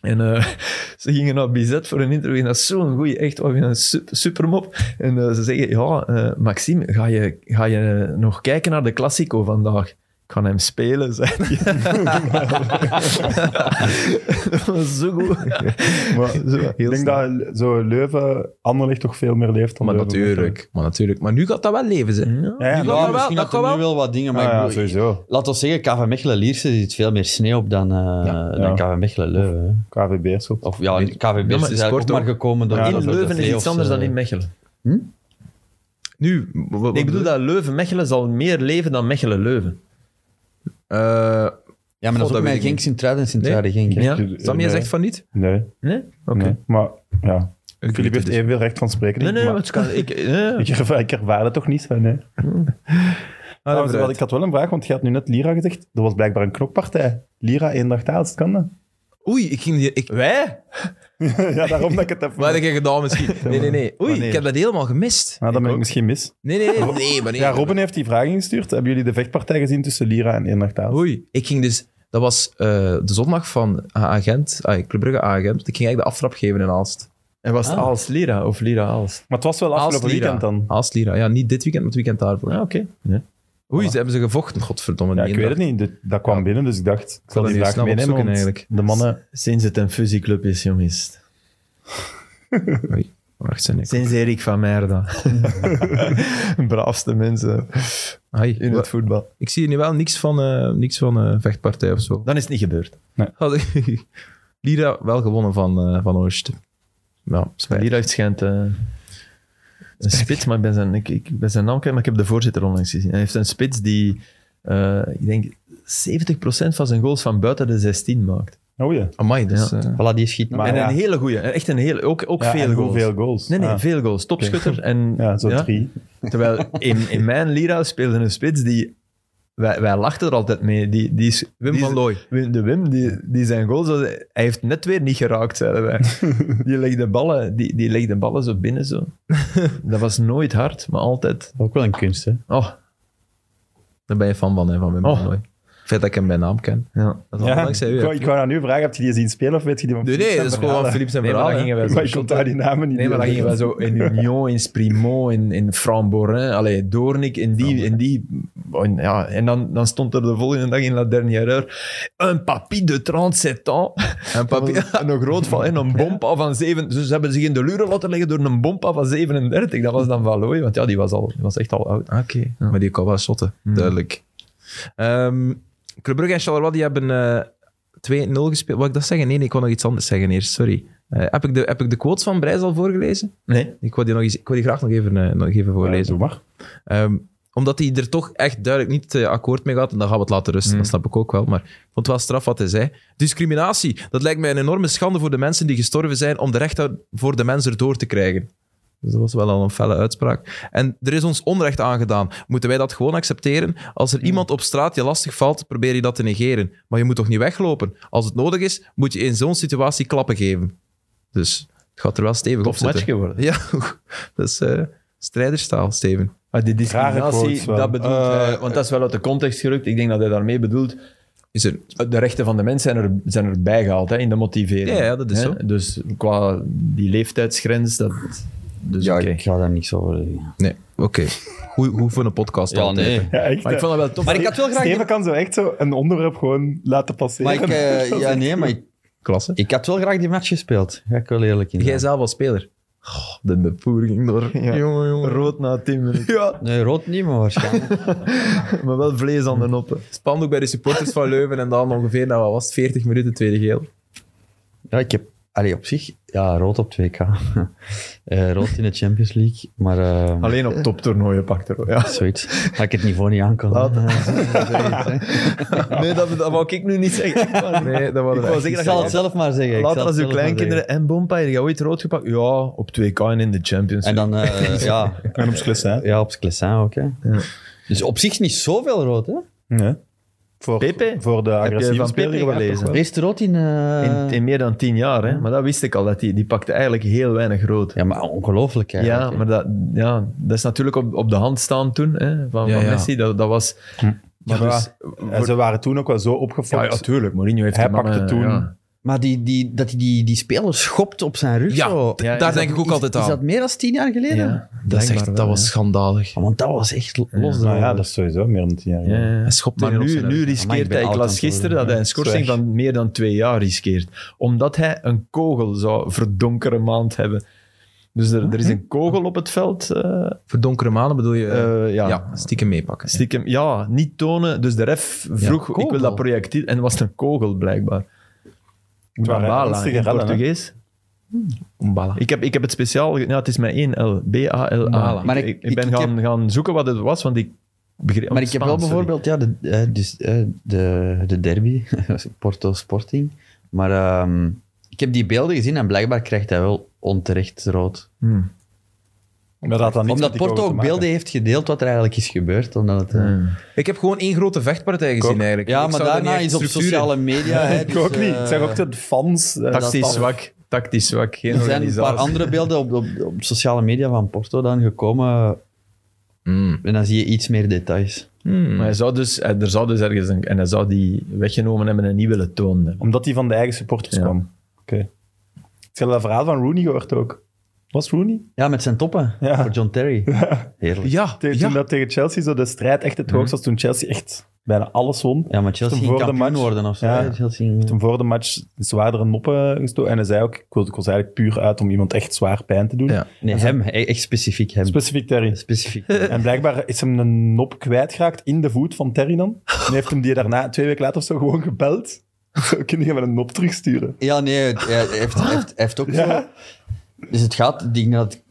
En eh, ze gingen naar Bizet voor een interview. En dat is zo'n goeie, echt, wat een sup- supermop. En eh, ze zeggen, ja, eh, Maxime, ga je, ga je nog kijken naar de Classico vandaag? Ik ga hem spelen, zei hij. dat was zo goed. Maar Zo, ik heel denk snel. dat zo Leuven, Anderlecht toch veel meer leeft dan Maar Leuven. natuurlijk, maar natuurlijk. Maar nu gaat dat wel leven Mhm. zijn. Ja, ja, Nu maar- gaat Ja, dat wel, misschien dat dat er kan nu wel. wel wat dingen, maar Ah, ik ja, bedoel, sowieso. laat ons zeggen, KV Mechelen-Lierse zit veel meer sneeuw op dan, eh dan KV Mechelen-Leuven. hè. KVB is goed. Of ja, KVB is maar eigenlijk sport ook maar ook. gekomen door... Ja, door in de Leuven is play-offs, iets anders dan eh. in Mechelen. Nu, w- w- Nee, ik bedoel dat Leuven-Mechelen zal meer leven dan Mechelen-Leuwen. Eh, Ja, maar Goh, dat is dat weet ook met ik Genk niet. Sint-Truiden en Sint-Truiden Genk. hè. Ja? Sam, jij Nee. zegt van niet? Nee, Nee? Oké. nee. Maar ja, Ik Filip weet heeft het evenveel recht van spreken. Nee, denk nee, maar ik, maar het Hmm. kan- ik, eh, ik, ervaar, ik ervaar dat toch niet. hè, Nee. Ah, vooruit. Trouwens, wat, ik had wel een vraag, want je had nu net Lira gezegd. Er was blijkbaar een knokpartij. Lira, één dag taals, kan dat? Oei, ik ging die... Ik... Wij? ja, daarom dat ik het heb. Wat heb ik gedaan misschien? Nee, nee, nee. Oei, Wanneer? ik heb dat helemaal gemist. Nou, dan ben ik misschien mis. Nee, nee, nee. nee, maar nee. Ja, Robin heeft die vraag ingestuurd. Hebben jullie de vechtpartij gezien tussen Lira en Eendracht Taals? Oei, ik ging dus... Dat was eh, de zondag van agent, ah, Club Brugge agent. Ik ging eigenlijk de aftrap geven in Aalst. En was het Aals Lira of Lira Aals? Maar het was wel afgelopen Aalst-Lira. weekend dan. Aalst-Lira. Ja, niet dit weekend, maar het weekend daarvoor. Ah, oké. Oei, ze hebben ze gevochten. Godverdomme. Ja, die ik weet dag. het niet. Dit- dat kwam binnen, dus ik dacht, ik zal dat die nu vraag snel meenemen. opzoeken, want eigenlijk. De mannen... Sinds het een fusieclub is, jongens. Wacht, zijn ik. Sinds Erik van Merda. Braafste mensen Ai, in het voetbal. Ik zie hier nu wel niks van, eh, niks van eh, vechtpartij of zo. Dan is het niet gebeurd. Had ik- Lira wel gewonnen van, eh van Oost. Ja, spijt. Lira heeft schijnt eh, een spits, maar ik ben, zijn, ik, ik ben zijn naam kwijt, maar ik heb de voorzitter onlangs gezien. Hij heeft een spits die, eh, ik denk, 70% van zijn goals van buiten de 16 maakt. Oh ja. Amai, dus... Ja. eh, Voilà, die schiet nog. Maar- Ah, en ja. een hele goeie. Echt een hele, ook, ook Ja, en veel goals. hoeveel goals? Nee, nee, Ah. veel goals. Topschutter. En, Ja, zo drie. Terwijl in, in mijn Lira speelde een spits die... Wij, wij lachten er altijd mee. Die, die is, Wim die is- van Looy. Wim- De Wim, die, die zijn goals, was- hij heeft net weer niet geraakt, zeiden wij. Die legde ballen, die, die legde ballen zo binnen zo. Dat was nooit hard, maar altijd. Ook wel een kunst, hè. Oh, Daar ben je fan van, hè, van Wim van Oh. Looy. Vet dat ik hem bij naam ken. ja. Dat is Ja, allemaal ik, dankzij u. hè. wou, ik wou aan u vragen, heb je die zien spelen of weet je die van Nee, nee, dat is gewoon van Philippe zijn Nee, maar verhaal. dan hè. gingen wij zo Maar ik onthoud die namen niet. Nee, maar dan meer. gingen wij zo in Union, in Sprimo, in, in Framborin, allee, Doornik, in die... In die en ja, en dan, dan stond er de volgende dag in La Dernière Heure een papy de 37 ans. En papi... Dat was Een groot van, en een bompa van 7. Dus ze hebben zich in de luren laten leggen door een bompa van 37. Dat was dan Valooi, want ja, die was, al, die was echt al oud. Ah, Oké, maar die kan wel shotten, duidelijk. Ehm Club Brugge en Charleroi die hebben eh 2-0 gespeeld. Wou ik dat zeggen? Nee, nee, ik wou nog iets anders zeggen eerst, sorry. Eh, heb, ik de, heb ik de quotes van Brijs al voorgelezen? Nee. Ik wou die, nog eens, ik wou die graag nog even, eh, nog even Ja, voorlezen. doe maar. Ehm, omdat hij er toch echt duidelijk niet eh, akkoord mee gaat. En dan gaan we het laten rusten, dat snap ik ook wel. Maar ik vond het wel straf wat hij zei. Discriminatie, dat lijkt mij een enorme schande voor de mensen die gestorven zijn om de rechten voor de mens erdoor te krijgen. Dus dat was wel al een felle uitspraak. En er is ons onrecht aangedaan. Moeten wij dat gewoon accepteren? Als er iemand op straat je lastig valt, probeer je dat te negeren. Maar je moet toch niet weglopen? Als het nodig is, moet je in zo'n situatie klappen geven. Dus het gaat er wel stevig op Tof match zitten. geworden. Ja, dat is eh, strijderstaal, Steven. Maar die discriminatie, quotes wel. dat bedoelt Eh, hij, want dat is wel uit de context gerukt. Ik denk dat hij daarmee bedoelt, Is er, de rechten van de mens zijn, er, zijn erbij gehaald hè, in de motivering. Ja, ja, dat is Hè? zo. Dus qua die leeftijdsgrens, dat... Dus Ja, oké. ik ga daar niks over zeggen. Nee, oké. Hoe, hoe voor een podcast Ja, altijd. nee. hè. Ja, echt. Maar ik hè. vond dat wel tof. Maar ik had wel graag... Steven kan zo echt zo een onderwerp gewoon laten Maar passeren. ik, eh, ja, nee, maar ik, Klasse. ik had wel graag die match gespeeld. Ga ik wel eerlijk in. Jij zijn. zelf als speler. Goh, de bevoering door. Ja. Jongen, jongen. rood na 10 minuten. Ja. Nee, rood niet, maar waarschijnlijk. Maar wel vlees aan de noppen. Spandoek bij de supporters van Leuven en dan ongeveer, nou, wat was het, 40 minuten tweede geel. ja, ik heb... Allee, op zich, ja, rood op 2K. Eh, rood in de Champions League, maar... eh, Alleen op toptoernooien pakt er. Ja. Zoiets. Dat ik het niveau niet aan kan. Nee, dat, dat wou ik nu niet zeggen. Nee, dat waren Ik wou we. zeggen Ik dat zal het je... zelf maar zeggen. ik Later zal het als uw zelf maar kleinkinderen zeggen. en Bompa, heb je ooit rood gepakt? Ja, op 2K en in de Champions En League. dan, eh, ja, En op Skless, hè? ja, op Sclessin ook. Hè. Dus op zich niet zoveel rood, hè? Ja. Voor, Pepe? voor de Heb je agressieve van speler Pepe wel gelezen? Er is er ook in... eh, In, in meer dan tien jaar, hè? maar dat wist ik al. Dat die, die pakte eigenlijk heel weinig rood. Ja, maar ongelooflijk Ja, eigenlijk. hè. maar dat, ja, dat is natuurlijk op, op de hand staan toen hè, van, Ja, van ja. Messi. Dat, dat was. Maar Ja, dus- En ze waren toen ook wel zo ja, opgefokt. ja, tuurlijk. Mourinho heeft Hij die mannen- pakte toen- ja. Maar die, die, dat hij die, die speler schopt op zijn rug Ja, zo. d- daar denk ik ook Is- altijd Is aan. dat meer dan tien jaar geleden? Ja, Dat, is echt, blijkbaar wel, dat was hè. schandalig. Ja, want dat was echt los Nou erover. ja, dat is sowieso meer dan tien jaar Ja, geleden. ja. Hij schopt Maar in op nu, zijn nu rug. Amai, ik riskeert ben hij, ik oud aan las het gisteren worden. dat hij een schorsing Zwaar. van meer dan twee jaar riskeert. Omdat hij een kogel zou verdonkere maand hebben. Dus er, er is een kogel op het veld. eh, Voor donkere maanden bedoel je... eh, ja. ja. stiekem meepakken. Stiekem, ja, niet tonen. Dus de ref vroeg, ik kogel. wil dat projectiel. En was het een kogel, blijkbaar. Het waren Bala, ernstige in rellen, hè. Portugees. Umbala. Ik heb, ik heb het speciaal... ge- Ja, het is met één L. B-A-L-A. Bala. Ik, Maar ik, ik- ik ben ik- ik gaan, gaan zoeken wat het was, want ik begreep... Maar ik heb wel Spaans, sorry. bijvoorbeeld ja, de, eh, dus, eh, de, de derby, Porto Sporting. Maar ehm, ik heb die beelden gezien en blijkbaar krijgt hij wel onterecht rood. Hmm. Maar dat had dan niks Omdat met die Porto goal ook te maken. beelden heeft gedeeld wat er eigenlijk is gebeurd. Omdat het, eh, Ik heb gewoon één grote vechtpartij gezien ook. eigenlijk. Ja, Ik maar zou daar daarna niet is echt op structuur in. sociale media... hè, Ik dus, ook niet. Ik zeg eh, ook dat de fans... eh, Tactisch dat- zwak. Tactisch zwak. Geen Er zijn een paar organisatie. andere beelden op, op, op sociale media van Porto dan gekomen. Mm. En dan zie je iets meer details. Mm. Maar hij zou dus, hij- er zou dus ergens een, en hij zou die weggenomen hebben en niet willen tonen. Omdat die van de eigen supporters Ja. kwam. Oké. Ik heb dat verhaal van Rooney gehoord ook. Was Rooney? Ja, met zijn toppen. Ja. Voor John Terry. Heerlijk. Ja, Mhm. Tegen, Toen ja. dat tegen Chelsea zo de strijd echt het hoogst was, toen Chelsea echt bijna alles won. Ja, maar Chelsea Toen ging voor de kampioen match- worden of zo. Ja. hè. Chelsea... Toen voor de match zwaardere noppen gestoken. En hij zei ook, ik was, ik was eigenlijk puur uit om iemand echt zwaar pijn te doen. Ja. Nee, hem. e- Echt specifiek hem. Specifiek Terry. specifiek. En blijkbaar is hem een nop kwijtgeraakt in de voet van Terry dan. En heeft hem die daarna, twee weken later of zo, gewoon gebeld. Zo, Kun je wel een nop terugsturen? ja, nee, het- hij heeft, hij heeft, hij heeft ook Ja. zo... Dus het gaat, ik denk dat,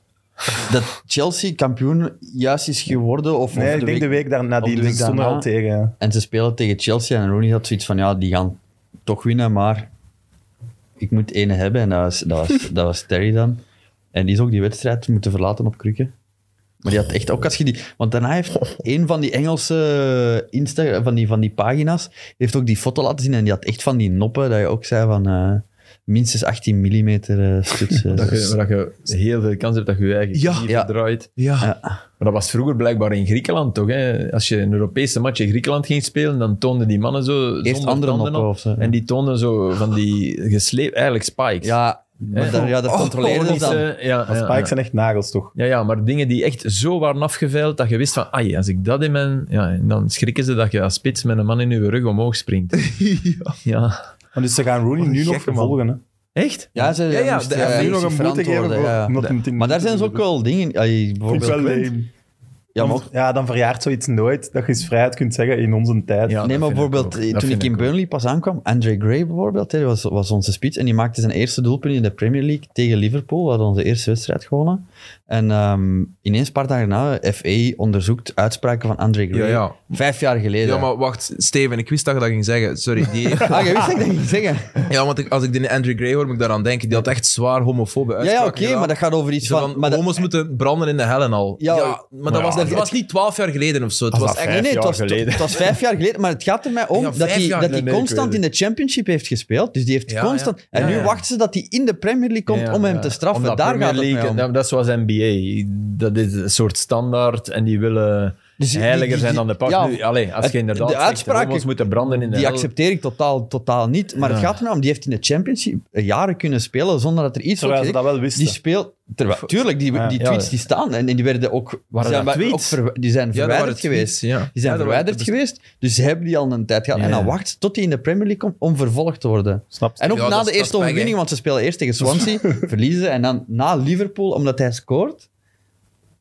dat Chelsea kampioen juist is geworden. Of, Nee, of ik denk de week daarna. of Die de week stonden er daarna. al tegen. ja. En ze spelen tegen Chelsea en Rooney had zoiets van, ja, die gaan toch winnen, maar ik moet ene hebben. En dat was, dat was, dat was Terry dan. En die is ook die wedstrijd moeten verlaten op krukken. Maar die had echt ook als je die... Want daarna heeft een van die Engelse Insta, van, die, van die pagina's, heeft ook die foto laten zien en die had echt van die noppen, dat je ook zei van eh, minstens 18 mm stuks. eh, Dat je, dat je heel veel kans hebt dat je je eigen Ja. knie Ja. verdraait. ja. Ja. Maar dat was vroeger blijkbaar in Griekenland toch. Hè? Als je een Europese match in Griekenland ging spelen, dan toonden die mannen zo Eerst zonder andere tanden noppen op. of zo. En die toonden zo van die gesleept, eigenlijk spikes. Ja, maar Ja. daar- ja, dat Oh, controleerden ze Organische- dan. ja, ja, Maar ja. Spikes zijn echt nagels, toch? Ja, ja, maar dingen die echt zo waren afgeveild dat je wist van, ai, als ik dat in mijn... Ja, en dan schrikken ze dat je als spits met een man in je rug omhoog springt. ja. Maar dus ze gaan Rooney Wat een nu nog gekke man. vervolgen. Hè? Echt? Ja, ze Ja, ja, moesten, de- ja, eh, nu Nu nog moesten een verantwoorden, boete geven. voor- ja. omdat hem tien Maar daar zijn ze ook minuten wel dingen. ay, doet. bijvoorbeeld, Vind ik wel lame. ja, maar, Want- ja, dan verjaart zoiets nooit. Dat je eens vrijheid kunt zeggen in onze tijd. Ja. nee, maar dat vind bijvoorbeeld, eh, ik ook. Dat toen vind ik in ik ook. Burnley pas aankwam, Andre Gray bijvoorbeeld, hè, die was, was onze spits en die maakte zijn eerste doelpunt in de Premier League tegen Liverpool. We hadden onze eerste wedstrijd gewonnen. En ehm, ineens een paar dagen na, FA onderzoekt uitspraken van Andre Gray. Ja, ja. Vijf jaar geleden. Ja, maar wacht, Steven, ik wist dat je dat ging zeggen. Sorry. Die... Ah, je wist dat ik dat ging zeggen. ja, want ik, als ik de Andrew Gray hoor, moet ik daaraan denken. Die had echt zwaar homofobe Ja, ja uitspraken oké, maar dat gaat over iets Zo van... van, Maar dat- homo's moeten branden in de hel en al. Ja, Ja, Ah, maar dat was, dat was niet twaalf jaar geleden of zo. Het was dat echt... vijf nee, nee, het jaar was, geleden. het was vijf jaar geleden, maar het gaat er mij om Ja, dat vijf hij jaar dat hij geleden, constant ik in weet de championship heeft gespeeld. Dus die heeft Ja, constant... ja. En Ja, nu ja. wachten ze dat hij in de Premier League komt Ja, om hem ja. te straffen. Omdat Daar Premier gaat het League, mij om. Dat, dat is zoals NBA. Dat is een soort standaard en die willen Dus die- heiliger die- die- zijn dan de pak. ja, nu, allee, als het- je inderdaad de zegt, uitspraken- homo's moeten branden in de Die hel. accepteer ik totaal, totaal niet. Maar het gaat er mij om. Die heeft in de championship jaren kunnen spelen zonder dat er iets Terwijl wordt ze gezegd. dat wel Die wisten. speelt... Terwijl, tuurlijk, die, Ja, die ja. tweets die staan. En, en die werden ook... Waren zijn dat wel- ook tweets? verwe- die zijn Ja, dat waren verwijderd tweets, geweest. Ja. Die zijn Ja, dat waren- verwijderd geweest. Dus ze hebben die al een tijd gehad. En Ja. dan wacht tot hij in de Premier League komt om vervolgd te worden. Snap je? En ook Ja, dat na is- de dat is eerste pech, hè. overwinning, want ze spelen eerst tegen Swansea, verliezen. En dan na Liverpool, omdat hij scoort,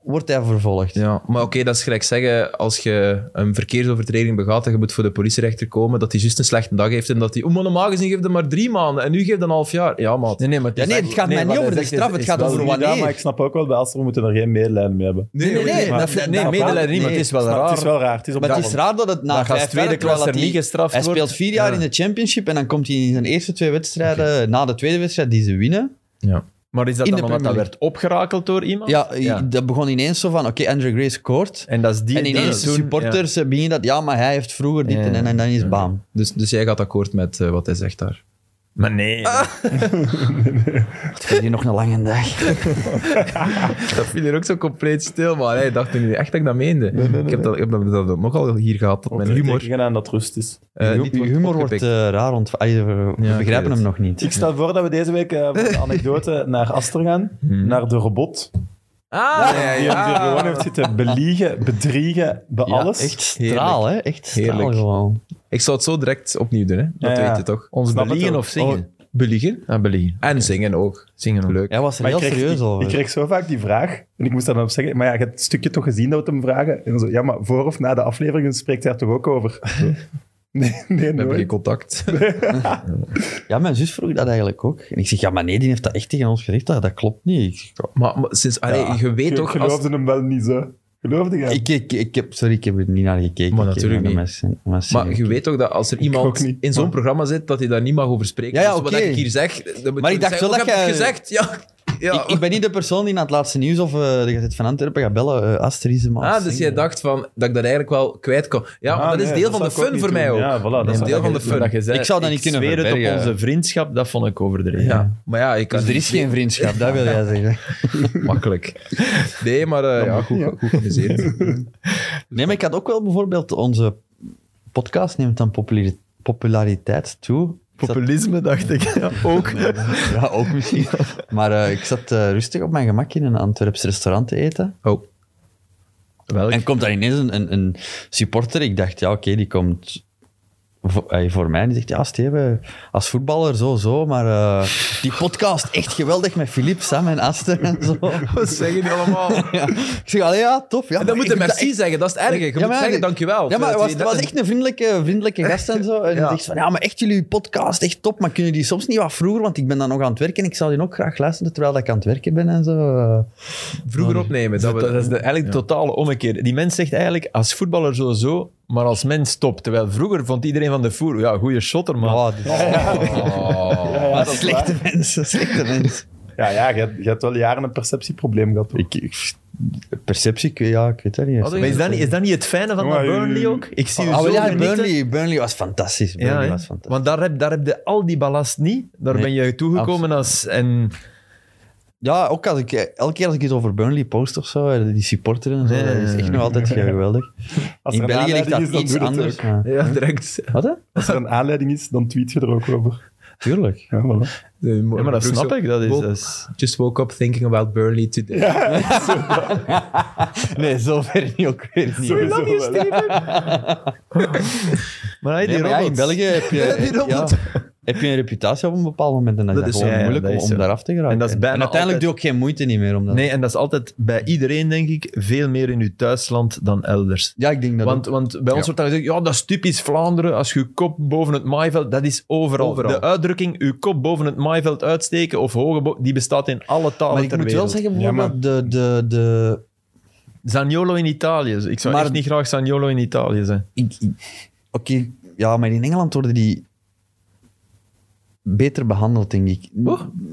wordt hij vervolgd. Ja, maar oké, dat is gelijk zeggen, als je een verkeersovertreding begaat en je moet voor de politierechter komen, dat hij juist een slechte dag heeft en dat hij... Oh, maar normaal gezien geeft hij maar drie maanden en nu geeft hij een half jaar. Ja, maat. Nee, nee, maar Ja, nee, het gaat mij niet wat over hij de zegt straf, is- het is gaat wel over Niet wanneer. dat, maar ik snap ook wel, bij Alster moeten er geen medelijden mee hebben. Nee, nee, nee, dat- dat- Nee, dat- medelijden niet, maar nee. het is wel Snap, raar. Het is wel raar. Het is op Maar dat het is raar dat het na Dan gaat vijf tweede jaar... terwijl klasse dat er hij- niet gestraft Hij wordt. speelt vier jaar Ja. in de championship en dan komt hij in zijn eerste twee wedstrijden, na de tweede wedstrijd die ze winnen, Ja. Maar is dat In dan de omdat dat Premier werd opgerakeld door iemand? Ja, dat begon ineens zo van, oké, Andrew Gray scoort. En dat is die en ineens de toen- ja. supporters eh, beginnen dat, ja, maar hij heeft vroeger dit Ja. en, en, en dan is bam. Dus, dus jij gaat akkoord met eh, wat hij zegt daar. Maar nee, Het is hier nog een lange dag. Dat viel er ook zo compleet stil, maar hij dacht niet echt dat ik dat meende. Ik heb dat, ik heb dat, dat nogal hier gehad, dat mijn humor Tegen aan dat rust is. eh, Uw niet uw humor wordt opgepikt. eh, raar ontvangen. Ah, We we Ja, ik weet begrijpen hem het. nog niet. Ik stel voor dat we deze week eh, van de anekdote naar Aster gaan. Naar de robot. Ah, ja, Die hem hier ja. gewoon heeft zitten beliegen, bedriegen, bij Ja, alles. Echt straal, hè? Echt straal Heerlijk. gewoon. Ik zou het zo direct opnieuw doen, hè. dat Ja, ja. weet je toch? Oh, ons Snap het beliegen wel. of zingen? Beliegen Ah, beliegen. en zingen ook. Zingen ook. Leuk. Hij was er Maar heel ik kreeg, serieus ik- over. Ik kreeg zo vaak die vraag, en ik moest daar dan op zeggen, maar ja, je hebt het stukje toch gezien dat we het hem vragen? En dan zo, ja, maar voor of na de aflevering spreekt hij er toch ook over? Zo. Nee, nee, We hebben geen nooit. contact. Ja, mijn zus vroeg dat eigenlijk ook. En ik zeg, ja, maar nee, die heeft dat echt tegen ons gericht. Dat, dat klopt niet. Ik, zeg, oh, ja. Maar, maar sinds, allee, Ja, je weet Ik toch... geloofde Als, hem wel niet zo. Geloofde je hem? ik, ik, ik heb, sorry, ik heb er niet naar gekeken. Maar Ik heb natuurlijk naar niet. mijn zin- mijn zin maar je gekeken. weet toch dat als er iemand ook niet, in zo'n maar- programma zit, dat hij daar niet mag over spreken. Ja, ja, Dus wat oké. ik hier zeg, dan moet Maar je ik dacht zeggen, wel "Oh, dat je hebt jij- het gezegd. Ja, ja. Ik, ik ben niet de persoon die naar het laatste nieuws of eh, de Gazet van Antwerpen gaat bellen. eh Astrid is hem aan Ah, het dus jij zingen. dacht van, dat ik dat eigenlijk wel kwijt kon. Ja, maar Ah, dat is nee, deel van de zou ik ook fun niet voor doen. mij ook. Ja, voilà, dat een zou- deel van de Maar fun. dat je zei, Ik zou dat niet kunnen zweer het verbergen. op onze vriendschap, dat vond ik overdreven. Ja, maar ja, ik kan Dus er niet is geen vriendschap, dat wil jij zeggen. makkelijk. Nee, maar eh, ja, goed, goed geamuseerd. Nee, maar ik had ook wel bijvoorbeeld onze podcast neemt aan populari- populariteit toe. Ik zat- Populisme, dacht ik. Ja, ook. ja, ook misschien. Maar eh, ik zat eh, rustig op mijn gemak in een Antwerps restaurant te eten. Oh, Welk? En komt daar ineens een, een, een supporter. Ik dacht, ja, oké, die komt voor, eh, voor mij. En die zegt, ja, Steven, als voetballer zo, zo. Maar eh, die podcast, echt geweldig met Filip, Sam en Aster en zo. wat zeggen die allemaal? Ja. Ik zeg, allee, ja, tof. Ja, En maar dan moet ik je doe dat merci zeggen, dat is het erge. Je moet maar- zeggen dankjewel. Ja, maar het was, Terwijl het was dat- echt een vriendelijke, vriendelijke gast en zo. En Ja. die zegt van, ja, maar echt jullie podcast, echt top. Maar kunnen die soms niet wat vroeger? Want ik ben dan nog aan het werken en ik zou die ook graag luisteren terwijl ik aan het werken ben en zo. Oh, vroeger opnemen. Dat Oh. Dat, we, dat is de, eigenlijk de Ja. totale ommekeer. Die mens zegt eigenlijk als voetballer sowieso, maar als mens top. Terwijl vroeger vond iedereen van de voer, ja, goede shotter, maar Oh, dit- Oh. Ja, ja, maar dat is slechte waar. mensen, slechte mensen. Ja, ja, je hebt, je hebt wel jaren een perceptieprobleem gehad. hoor. Ik, ik- perceptie, ik weet- ja, ik weet dat niet. Hadden Maar is dat, niet, is dat niet het fijne van dat Jongen, Burnley je- ook? Ik zie u Ah, zo wel, ja, genieten. Burnley, Burnley was fantastisch. Ja, Burnley hè. was fantastisch. Want daar heb, daar heb je al die ballast niet. Daar Nee, ben je toegekomen als... En, Ja, ook als ik, eh, elke keer als ik iets over Burnley post of zo, eh, die supporteren en zo, Nee, dat is echt nee, nog altijd geweldig. Als er In een België ligt aanleiding dat is, dan iets doe je het anders. ook. ja. Ja, direct. Wat, hè? Als er een aanleiding is, dan tweet je er ook over. Tuurlijk. Ja, voilà. Ja, ja, maar dat snap ik. Dat is, Wo- dat is- Just woke up thinking about Burnley today. Nee, zover niet ook weer niet. Sowieso wel, hè. Maar hey, die Nee, maar ja, in robots. België heb je, die robots. ja, heb je een reputatie op een bepaald moment en dan is Dat dat is- gewoon ja, ja, moeilijk dat om, is om zo. daar af te geraken. En dat is bijna En uiteindelijk doe ik geen moeite niet meer om dat. Nee, en dat is altijd bij iedereen, denk ik, veel meer in uw thuisland dan elders. Ja, ik denk dat Want, ook. want bij ons Ja. wordt dan gezegd, ja, dat is typisch Vlaanderen. Als je je kop boven het maaiveld... Dat is overal. Overal. De uitdrukking, je kop boven het maaiveld uitsteken of hoge bo- die bestaat in alle talen Maar ik ter moet wel wereld. zeggen, Ja, maar- bijvoorbeeld de, de, de, Zaniolo in Italië. Ik zou Maar- echt niet graag Zaniolo in Italië zijn. ik- ik- Oké, ja, maar in Engeland worden die beter behandeld, denk ik.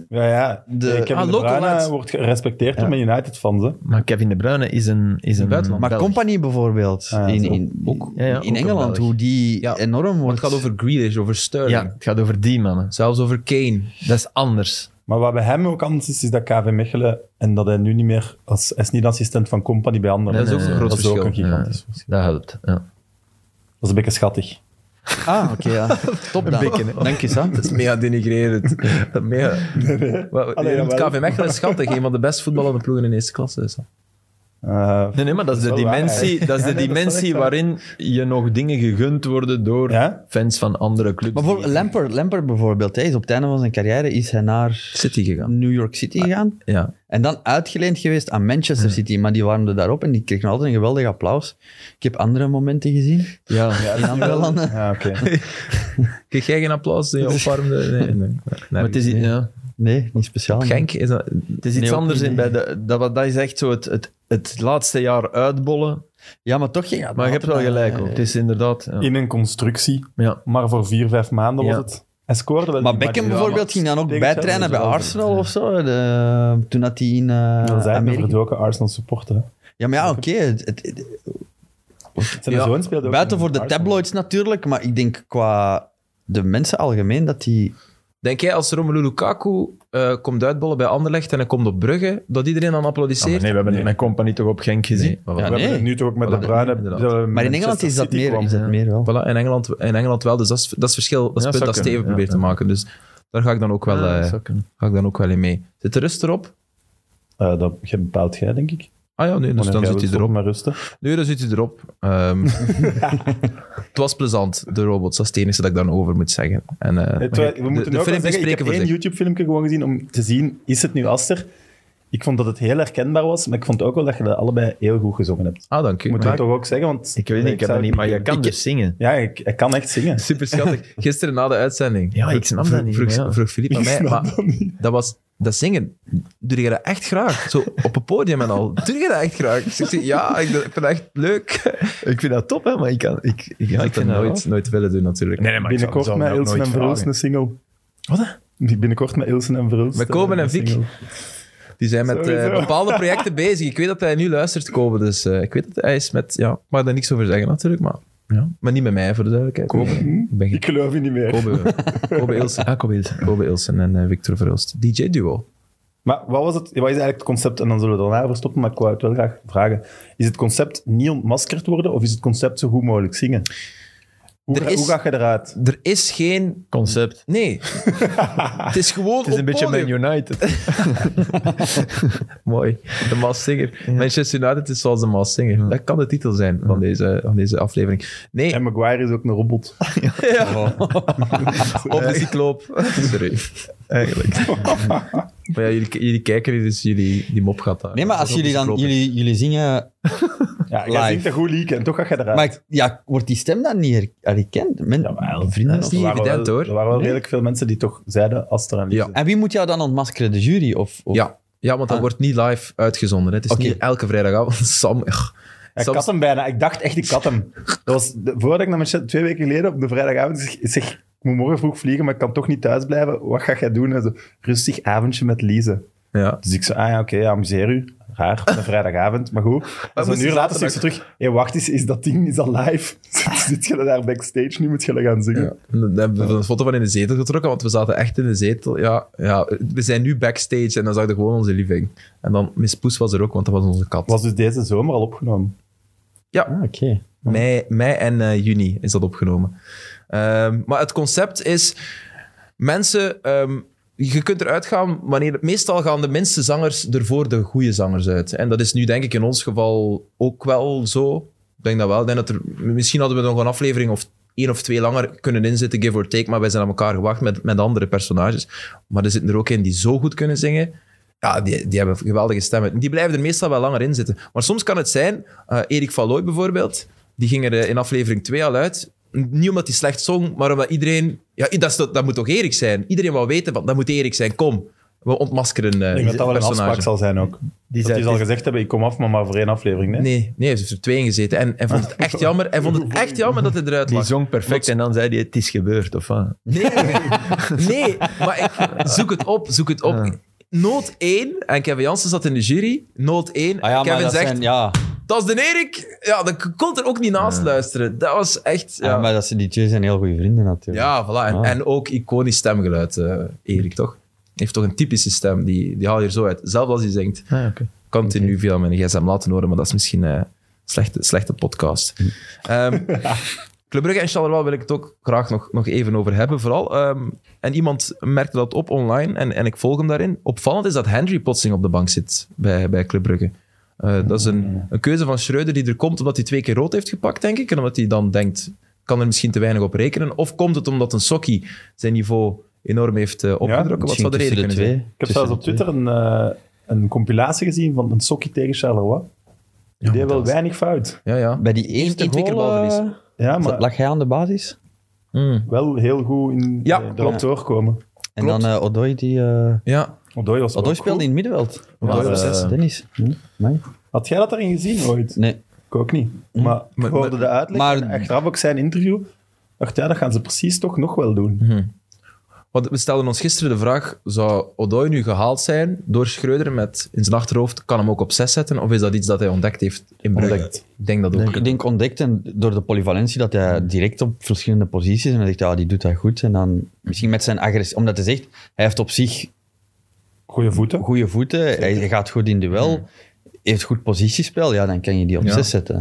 Ja, ja. De- ik heb Ah, de local Bruyne lads. wordt gerespecteerd door mijn United-fans. hè. Maar Kevin De Bruyne is een... Is een buitenland. Maar Belg. Company bijvoorbeeld, Ah, ja, in, zo. in, Ook- ja, ja, ook in een Engeland, Belg. hoe die Ja, enorm Maar wordt. het gaat over Grealish, over Sterling. Ja, het gaat over die mannen. Zelfs over Kane. Dat is anders. Maar wat bij hem ook anders is, is dat KV Mechelen en dat hij nu niet meer als hij is niet assistent van company bij anderen. Dat is ook een groot dat is ook verschil. een gigantisch. Dat helpt. Ja. Dat is een beetje schattig. Ah, oké, ja. Top dan. Dank je, Sam. Dat is mega denigrerend. mega... Wel, Allee, je noemt jawel. KV Mechelen schattig, een van de best voetballende ploegen in eerste klasse. Is dat. Eh, Nee, nee, maar dat is de Dat is wel waar, dimensie, dat is de Ja, nee, dat is wel dimensie echt waar. waarin je nog dingen gegund worden door Ja? fans van andere clubs. Maar bijvoorbeeld Lampert, Lampert bijvoorbeeld, hij is op het einde van zijn carrière is hij naar City gegaan. Ah, New York City gegaan. Ja. En dan uitgeleend geweest aan Manchester City. Maar die warmde daarop en die kreeg nog altijd een geweldig applaus. Ik heb andere momenten gezien Ja. in andere landen. ja, oké. Kreeg jij geen applaus toen je opwarmde? Nee, nee. nee. Maar het is, ja, Nee, niet speciaal. Op Genk is dat... het is iets Nee, ook anders. niet, In bij de, dat, wat- dat is echt zo het, het, het laatste jaar uitbollen. Ja, maar toch ging dat Maar je hebt wel altijd gelijk. bij- ook. Het is inderdaad... Ja. In een constructie, Ja. maar voor vier, vijf maanden Ja. was het. Hij scoorde wel. Maar die Beckham match. bijvoorbeeld ging dan ook tegen bijtrainen bij Chelsea was Arsenal of zo. de- toen had hij in eh, Dan zijn we Amerika... verdoken Arsenal supporter. hè. Ja, maar ja, oké. het- het- het- Zijn Ja, zoon speelde ook Buiten in voor de Arsenal. tabloids natuurlijk, maar ik denk qua de mensen algemeen dat die... Denk jij als Romelu Lukaku eh, komt uitbollen bij Anderlecht en hij komt op Brugge, dat iedereen dan Ah, maar applaudisseert? nee, we hebben mijn compagnie toch op Genk gezien. Nee, maar Ja, wat- We nee. hebben het nu toch ook met Voilà, de Bruine. inderdaad. dat we Maar in Manchester Engeland is dat City meer, kwam. is dat meer wel. Voilà, in Engeland, in Engeland wel. Dus dat is, dat is het verschil. Dat is Ja, het punt dat zou Steven kunnen, ja, probeert te maken. ja. Dus daar ga ik dan ook wel, Ah, eh, zou kunnen. ga ik dan ook wel in mee. Zit de rust erop? Eh, dat bepaalt jij, denk ik. Ah ja, nee, Oh, dus Maar dan jij zit hij wilt erop. Maar rustig. Nee, dan zit hij erop. Ehm, het was plezant, de robots. Dat is het enige dat ik daarover moet zeggen. En, eh, Eh, terwijl- we de- moeten de ook wel filmpjes zeggen, ik spreken heb voor één zich. YouTube-filmpje gewoon gezien om te zien, is het nu Aster? Ik vond dat het heel herkenbaar was, maar ik vond ook wel dat je dat allebei heel goed gezongen hebt. Ah, dank u. Moet Maar- je toch ook zeggen, want... Ik weet niet, ik heb zou- dat niet, maar je kan ik- dus zingen. Ja, ik, ik kan echt zingen. Super schattig. Gisteren na de uitzending. Ja, ik snap dat niet, Vroeg, maar ja. vroeg Filip aan Ik mij. snap Maar dat niet. dat was dat zingen. Doe je dat echt graag? Zo op een podium en al. Doe je dat echt graag? Dus ik zeg, ja, ik vind dat echt leuk. Ik vind dat top, hè, maar ik kan... Ik, Ja, ik ik, vind heb dat nooit, nooit willen doen natuurlijk. Nee, nee, maar ik zou- Binnenkort zou met dat Ilsen en nooit Verhulst vragen. een single. Wat? Binnenkort met Ilsen en Verhulst. Met eh, Koben en een Vic. single. Die zijn met eh, Sowieso. bepaalde projecten bezig. Ik weet dat hij nu luistert komen, dus eh, ik weet dat hij is met... Ja, ik mag daar niks over zeggen natuurlijk, maar, ja. maar niet met mij voor de duidelijkheid. Kobe. Ik ben geen Ik geloof je niet meer. Kobe, Kobe Ilsen. Ah, Kobe Ilsen. Kobe Ilsen en eh, Victor Verhulst. DJ-duo. Maar wat, was het, wat is eigenlijk het concept, en dan zullen we daarna over stoppen, maar ik wou het wel graag vragen. Is het concept niet ontmaskerd worden, of is het concept zo goed mogelijk zingen? Hoe, Er ga, is- hoe ga je eruit? Er is geen Concept. Nee. het is gewoon Het is een beetje Man podium. United. Mooi. De Maas Singer. Manchester United is zoals de Maas Singer. Dat kan de titel zijn van deze, van deze aflevering. Nee, En Maguire is ook een robot. op de cycloop. Sorry. Eigenlijk. maar ja, jullie, jullie kijken hier, dus jullie, die mop gaat daar. Nee, maar als jullie dan... Jullie, jullie zingen... Ja, Live. jij zingt een goed liedje en toch ga je eruit. Maar ik- ja, wordt die stem dan niet her- herkend? Men, Jawel. vrienden Dat of is niet zo? Er waren evident, wel- hoor. Er waren wel Nee? redelijk veel mensen die toch zeiden Aster en Lise. Ja. En wie moet jou dan ontmaskeren? De jury? Of, of- Ja. ja, want dat Ah. wordt niet live uitgezonden. hè. Het is Oké. niet elke vrijdagavond. Sam, ugh. Ik Sam- had hem bijna. Ik dacht echt, ik had hem. Dat was de- voordat ik naar Manchester... Twee weken geleden op de vrijdagavond zeg, ik zeg, ik moet morgen vroeg vliegen, maar ik kan toch niet thuis blijven. Wat ga jij doen? En zo, rustig avondje met Lise. ja. Dus ik zei, ah ja, oké, ja, amuseer u. Raar, op een vrijdagavond, maar goed. En moest een je uur later zaterdag- stuur ik ze terug. Hé, wacht eens, is dat ding is al live? Zit- Zit je daar backstage? Nu moet je dat gaan zingen. Ja. En Dan hebben we een foto van in de zetel getrokken, want we zaten echt in de zetel. Ja, ja. We zijn nu backstage en dan zag je gewoon onze living. En dan, Miss Poes was er ook, want dat was onze kat. Was dus deze zomer al opgenomen. Ah, oké. Mei, mei en eh, juni is dat opgenomen. Ehm, maar het concept is: mensen, ehm, je kunt eruit gaan wanneer. Meestal gaan de minste zangers er voor de goede zangers uit. En dat is nu, denk ik, in ons geval ook wel zo. Ik denk dat wel. Ik denk dat er, misschien hadden we nog een aflevering of één of twee langer kunnen inzitten, give or take. Maar wij zijn aan elkaar gewacht met, met andere personages. Maar er zitten er ook in die zo goed kunnen zingen. Ja, die, die hebben geweldige stemmen. Die blijven er meestal wel langer in zitten. Maar soms kan het zijn, eh Erik van Looy bijvoorbeeld, die ging er eh, in aflevering 2 al uit. Niet omdat hij slecht zong, maar omdat iedereen... Ja, dat, is toch- dat moet toch Erik zijn? Iedereen wil weten, van, dat moet Erik zijn, kom. We ontmaskeren eh Ik denk dat dat wel een personage. afspraak zal zijn ook. Die dat zei- die zal gezegd hebben, ik kom af, maar maar voor één aflevering. Nee. Nee, nee, hij heeft er twee in gezeten. En hij vond het echt jammer, hij vond het echt jammer dat hij eruit Die lag. zong perfect en dan zei hij, het is gebeurd, of wat? Nee, nee, maar ik, zoek het op, zoek het op. Nood 1, en Kevin Jansen zat in de jury, nood 1. Ah ja, maar Kevin dat zegt, zijn- ja. dat is de Erik. Ja, dat kon er ook niet naast luisteren. Dat was echt... Ja, Ja, Ah, maar dat zijn, die twee zijn heel goede vrienden natuurlijk. ja voilà. En, Ah. en ook iconisch stemgeluid, eh, Erik, toch? Heeft toch een typische stem, die, die haal je er zo uit. Zelfs als hij zingt. Ah, oké. kan het nu via mijn gsm laten horen, maar dat is misschien eh, een slechte, slechte podcast. Ehm Club Brugge en Charleroi wil ik het ook graag nog, nog even over hebben, vooral. ehm, en iemand merkte dat op online en, en ik volg hem daarin. Opvallend is dat Henry plotseling op de bank zit bij, bij Club Brugge. Eh, dat is een, een keuze van Schreuder die er komt omdat hij twee keer rood heeft gepakt, denk ik. En omdat hij dan denkt, kan er misschien te weinig op rekenen. Of komt het omdat een sokkie zijn niveau enorm heeft eh, opgedrokken? Wat Misschien zou de reden tussen kunnen zijn? twee. Ik heb zelfs op Twitter een, eh, een compilatie gezien van een sokkie tegen Charleroi. Die deed wel weinig fout. Ja, ja. Bij die eerste Eén- één, twee keer goal, eh, balverlies. Ja, maar lag hij aan de basis? Mm. wel heel goed in Ja, ja, klopt. doorkomen. En Klopt. dan eh Odoi, die... eh Ja, Odoi was Odoi ook speelde goed. in het middenveld. Odoi Maar, was eh, zes. Dennis. Hm? Amai. Had jij dat erin gezien ooit? Nee. Ik ook niet. Maar ik Maar- hoorde maar- de uitleg maar- en achteraf ook zijn interview. dacht, ja, dat gaan ze precies toch nog wel doen. Want we stelden ons gisteren de vraag, zou Odoi nu gehaald zijn door Schreuder met in zijn achterhoofd, kan hem ook op 6 zetten? Of is dat iets dat hij ontdekt heeft in Brugge? Ontdekt. Ik denk dat ook. Ik denk ontdekt en door de polyvalentie dat hij Hmm. direct op verschillende posities en hij zegt, ja, die doet dat goed. En dan misschien met zijn agressie, omdat hij zegt, hij heeft op zich Goeie voeten. goede voeten, hij, hij gaat goed in duel, Hmm. heeft goed positiespel, ja, dan kan je die op Ja. zes zetten.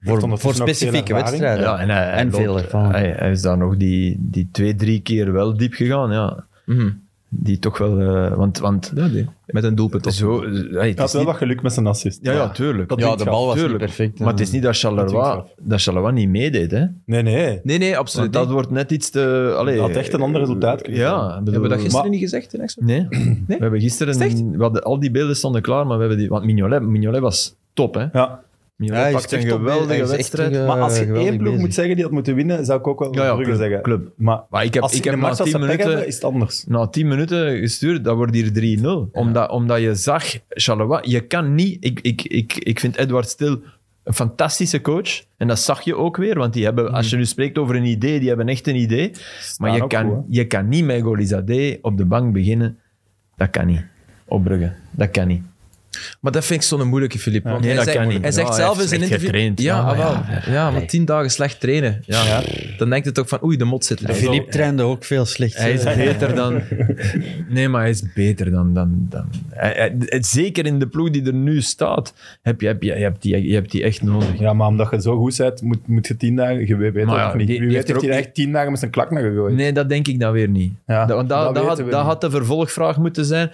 Voor, voor ondertussen ook specifieke veel ervaring. wedstrijden. Ja, en hij, hij En loopt- veel ervaring. Hij, hij is daar nog die, die twee, drie keer wel diep gegaan. Ja. Mhm. Die toch wel... eh, want want Ja, die. Met een doelpunt. op. zo... eh, hey, het Hij had is wel niet- wat geluk met zijn assist. ja, ja, tuurlijk. Dat Ja, denk de ik bal was niet Tuurlijk. perfect. maar het is niet dat Dat Charleroi, denk dat Charleroi niet meedeed. Hè? Nee, nee. Nee, nee, Want absoluut dat niet. wordt net iets te... Allee, Dat had echt een ander resultaat kunnen zijn. Ja, ik bedoel, Hebben we dat gisteren Maar- niet gezegd in Extra? Nee. We hebben Is het echt? gisteren... We hadden, al die beelden stonden klaar, maar we hebben die... Want Mignolet, Mignolet was top, hè? Ja. Mignolet pakt een geweldige wedstrijd. Maar als je één ploeg moet zeggen die had moeten winnen, zou ik ook wel Ja, ja, Brugge club, zeggen. club. Maar Maar ik heb, als ik je heb een na match als ze 10 pech hebben, minuten... is het anders. Na 10 minuten gestuurd, dat wordt hier 3-0. Omdat, omdat je zag, Charleroi, je kan niet... Ik, ik, ik, ik vind Edward Stil een fantastische coach. En dat zag je ook weer. Want die hebben, als je nu spreekt over een idee, die hebben echt een idee. Maar je Mhm. ook kan, goed, hè? je kan niet met Golizade op de bank beginnen. Dat kan niet. Op Brugge. Dat kan niet. Maar dat vind ik zo'n moeilijke, Filip. Want Nee, hij dat zegt, kan niet. Hij zegt Ja, hij zelf heeft in zijn slecht interview... getraind. Ja, Ja, ah, wel. ja, maar tien dagen slecht trainen. Ja. Dan denkt het ook van, oei, de mot zit er. Filip trainde ook veel slecht. Hij is beter dan... Nee, maar hij is beter dan... dan, dan hij- hij- het- zeker in de ploeg die er nu staat, heb je, heb je, je, hebt, die, je hebt die echt nodig. Ja, maar omdat je zo goed bent, moet, moet je tien dagen... Je weet het Maar ja, ook die- niet. Wie die weet heeft er heeft hij ook- echt tien dagen met zijn klak naar gegooid. Nee, dat denk ik dan weer niet. Ja, Dat- want dat, dat dat, had, weten we dat niet. Hmm. had de vervolgvraag moeten zijn.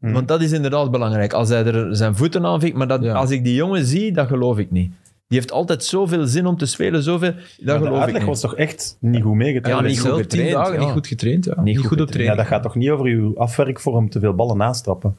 Want dat is inderdaad belangrijk. Als hij er zijn voeten aan vindt, maar dat, Ja. als ik die jongen zie, dat geloof ik niet. Die heeft altijd zoveel zin om te spelen, zoveel. Dat Maar de geloof ik uitleg niet. was toch echt niet goed meegetraind? Ja, Ja, niet niet goed goed Tien getraind, dagen ja. niet goed getraind, ja. Niet goed goed op getraind. Ja, training. dat gaat toch niet over je afwerkvorm te veel ballen nastrappen?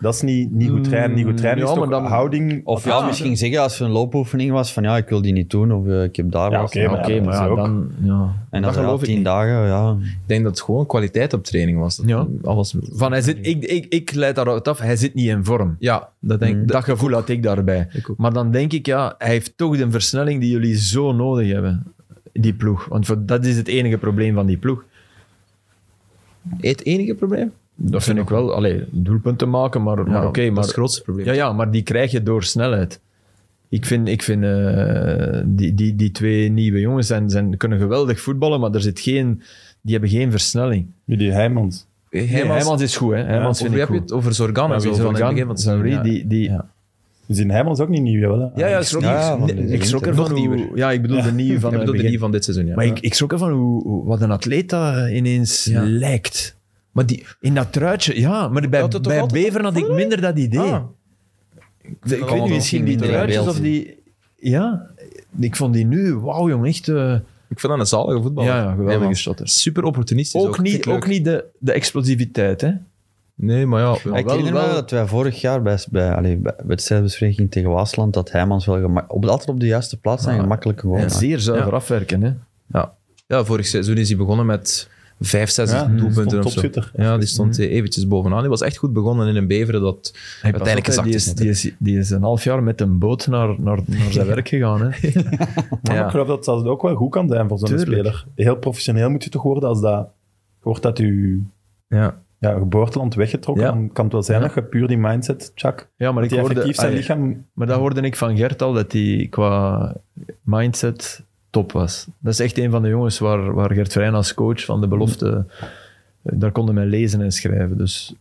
Dat is niet, niet goed trainen. Niet goed trainen Mm, Ja, is toch maar dan- houding... Of ja, misschien zeggen als er een loopoefening was van ja, ik wil die niet doen of eh, ik heb daar Ja, wat. oké, Oké, maar ja, dat maar is ja, ook- dan... Ja. En dat dan ja, geloof ik tien niet. dagen, ja. Ik denk dat het gewoon kwaliteit op training was. Dat Ja. Alles... Van, hij zit, ik, ik, ik leid daaruit af, hij zit niet in vorm. Ja, dat denk ik. Dat gevoel had ik daarbij. Ik ook. Maar dan denk ik, ja, hij heeft toch de versnelling die jullie zo nodig hebben. Die ploeg. Want voor- dat is het enige probleem van die ploeg. Het enige probleem? Dat vind ik wel. Allee, doelpunten maken, maar, maar oké. dat maar, is het grootste probleem. ja, ja, maar die krijg je door snelheid. Ik vind, ik vind eh, die, die, die twee nieuwe jongens zijn, zijn, kunnen geweldig voetballen, maar er zit geen, die hebben geen versnelling. Jullie Heijmans. Nee, Heijmans, Heijmans is goed, hè. Heijmans of vind wie ik heb je goed. het over Zorgan en Maar zo? wie van Zorgan, in het begin van het seizoen, ja. Zauri, die, die, Ja. We zien Heijmans ook niet nieuw, jawel, hè? Ja, ja, ik schrok, Ja, van Ah, nee, de ik schrok winter. ervan Nog nieuwer. hoe- Ja, ik bedoel de nieuwe ik van het bedoel de begin. nieuwe van dit seizoen, ja. Maar ik, ik schrok ervan hoe, hoe- wat een atleet dat ineens Ja. lijkt. Maar die... In dat truitje, ja. Maar bij, Had het toch bij altijd Beveren had ik minder dat idee. Ah. De- ik kan weet wel niet, misschien die minder in truitjes beeld of die... Ja, ik vond die nu, wauw jong, echt... eh, Ik vind dat een zalige voetbal. Ja, ja, geweldige shotter. Super opportunistisch ook. ook, niet, Vind ik ook leuk. niet de, de explosiviteit, hè. Nee, maar ja. ja, ik wel- herinner me wel- dat wij vorig jaar bij, bij, allee, bij wedstrijdbespreking tegen Waasland dat Heijmans wel gema- op, altijd op de juiste plaats Ah, zijn gemakkelijk gewoon. En zeer zuiver afwerken, hè. Ja. ja, vorig seizoen is hij begonnen met vijf, zes Ja, doelpunten stond of zo. topschutter. Ja, die stond eh, eventjes bovenaan. Hij was echt goed begonnen in een beveren dat uiteindelijk Pas op, hè, gezakt die is. is, die, is, die is een half jaar met een boot naar, naar, naar zijn werk gegaan, hè. Maar Ja. ik geloof dat dat ook wel goed kan zijn voor zo'n Tuurlijk. speler. Heel professioneel moet je toch worden als dat... je Wordt dat je Ja. ja, geboorteland weggetrokken? Ja. Dan kan het wel zijn dat je puur die mindset, Chuck. Ja, maar Dat ik hij hoorde... effectief zijn ah, ja. lichaam... Maar dat hoorde ik van Gert al, dat hij qua mindset top was. Dat is echt een van de jongens waar, waar Gert Vrijn als coach van de belofte... Daar konden men lezen en schrijven, dus...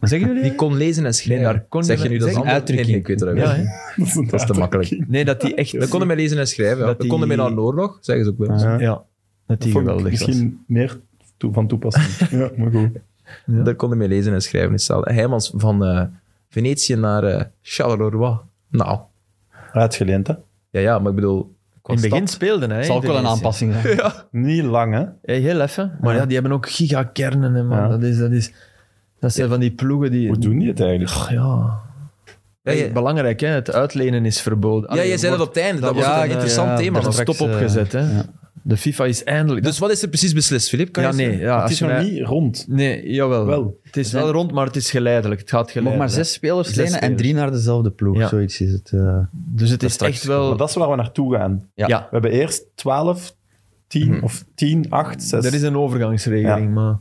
Zeggen jullie Die dat? kon lezen en schrijven. Nee, daar kon je zeg je wel- nu dat zeg- is anders? uitdrukking. Nee, nee, ik weet het ook Ja, niet. hè. Dat is, Dat is te makkelijk. Nee, dat hij echt... We konden mee lezen en schrijven. Ja. Dat We konden mee die- naar de oorlog, zeggen ze ook wel. eens. Ja. Ja, dat hij Vond ik geweldig was. Misschien meer toe- van toepassing. ja, maar goed. Ja. Daar konden mee lezen en schrijven. Is hetzelfde. Heijmans van eh, Venetië naar eh, Charleroi. Nou, Uitgeleend, hè? ja, ja, maar ik bedoel... qua In het begin stad- speelden hij. Het zal ook wel een Indonesië. aanpassing zijn. Niet lang, hè? Hey, heel even. Maar ja. die hebben ook gigakernen, hè, man. Ja. Dat, is, dat, is, dat zijn van die ploegen die... Hoe doen die het eigenlijk? Ach, ja. Ja, Hey, je- Belangrijk, hè. Het uitlenen is verboden. Ja, Allee, jij er zei dat wordt- op het einde. Dat was Ja, een ja, interessant ja, thema. dat nog. Er was- is straks, stop eh, opgezet, hè. ja. De FIFA is eindelijk... Dus wat is er precies beslist, Filip? Kan ja, je eh, nee. zeggen? Ja, het als is je nog mij- niet rond. Nee, jawel. Wel. Het is wel rond, maar het is geleidelijk. Het gaat Nog geleidelijk. maar zes spelers Zes lenen en spelers. drie naar dezelfde ploeg, Ja. zoiets is het. eh. Dus het is straks- echt wel... Maar dat is waar we naartoe gaan. ja. We hebben eerst 12, 10 of 10, 8, 6. Dat Mhm. is een overgangsregeling, Ja. maar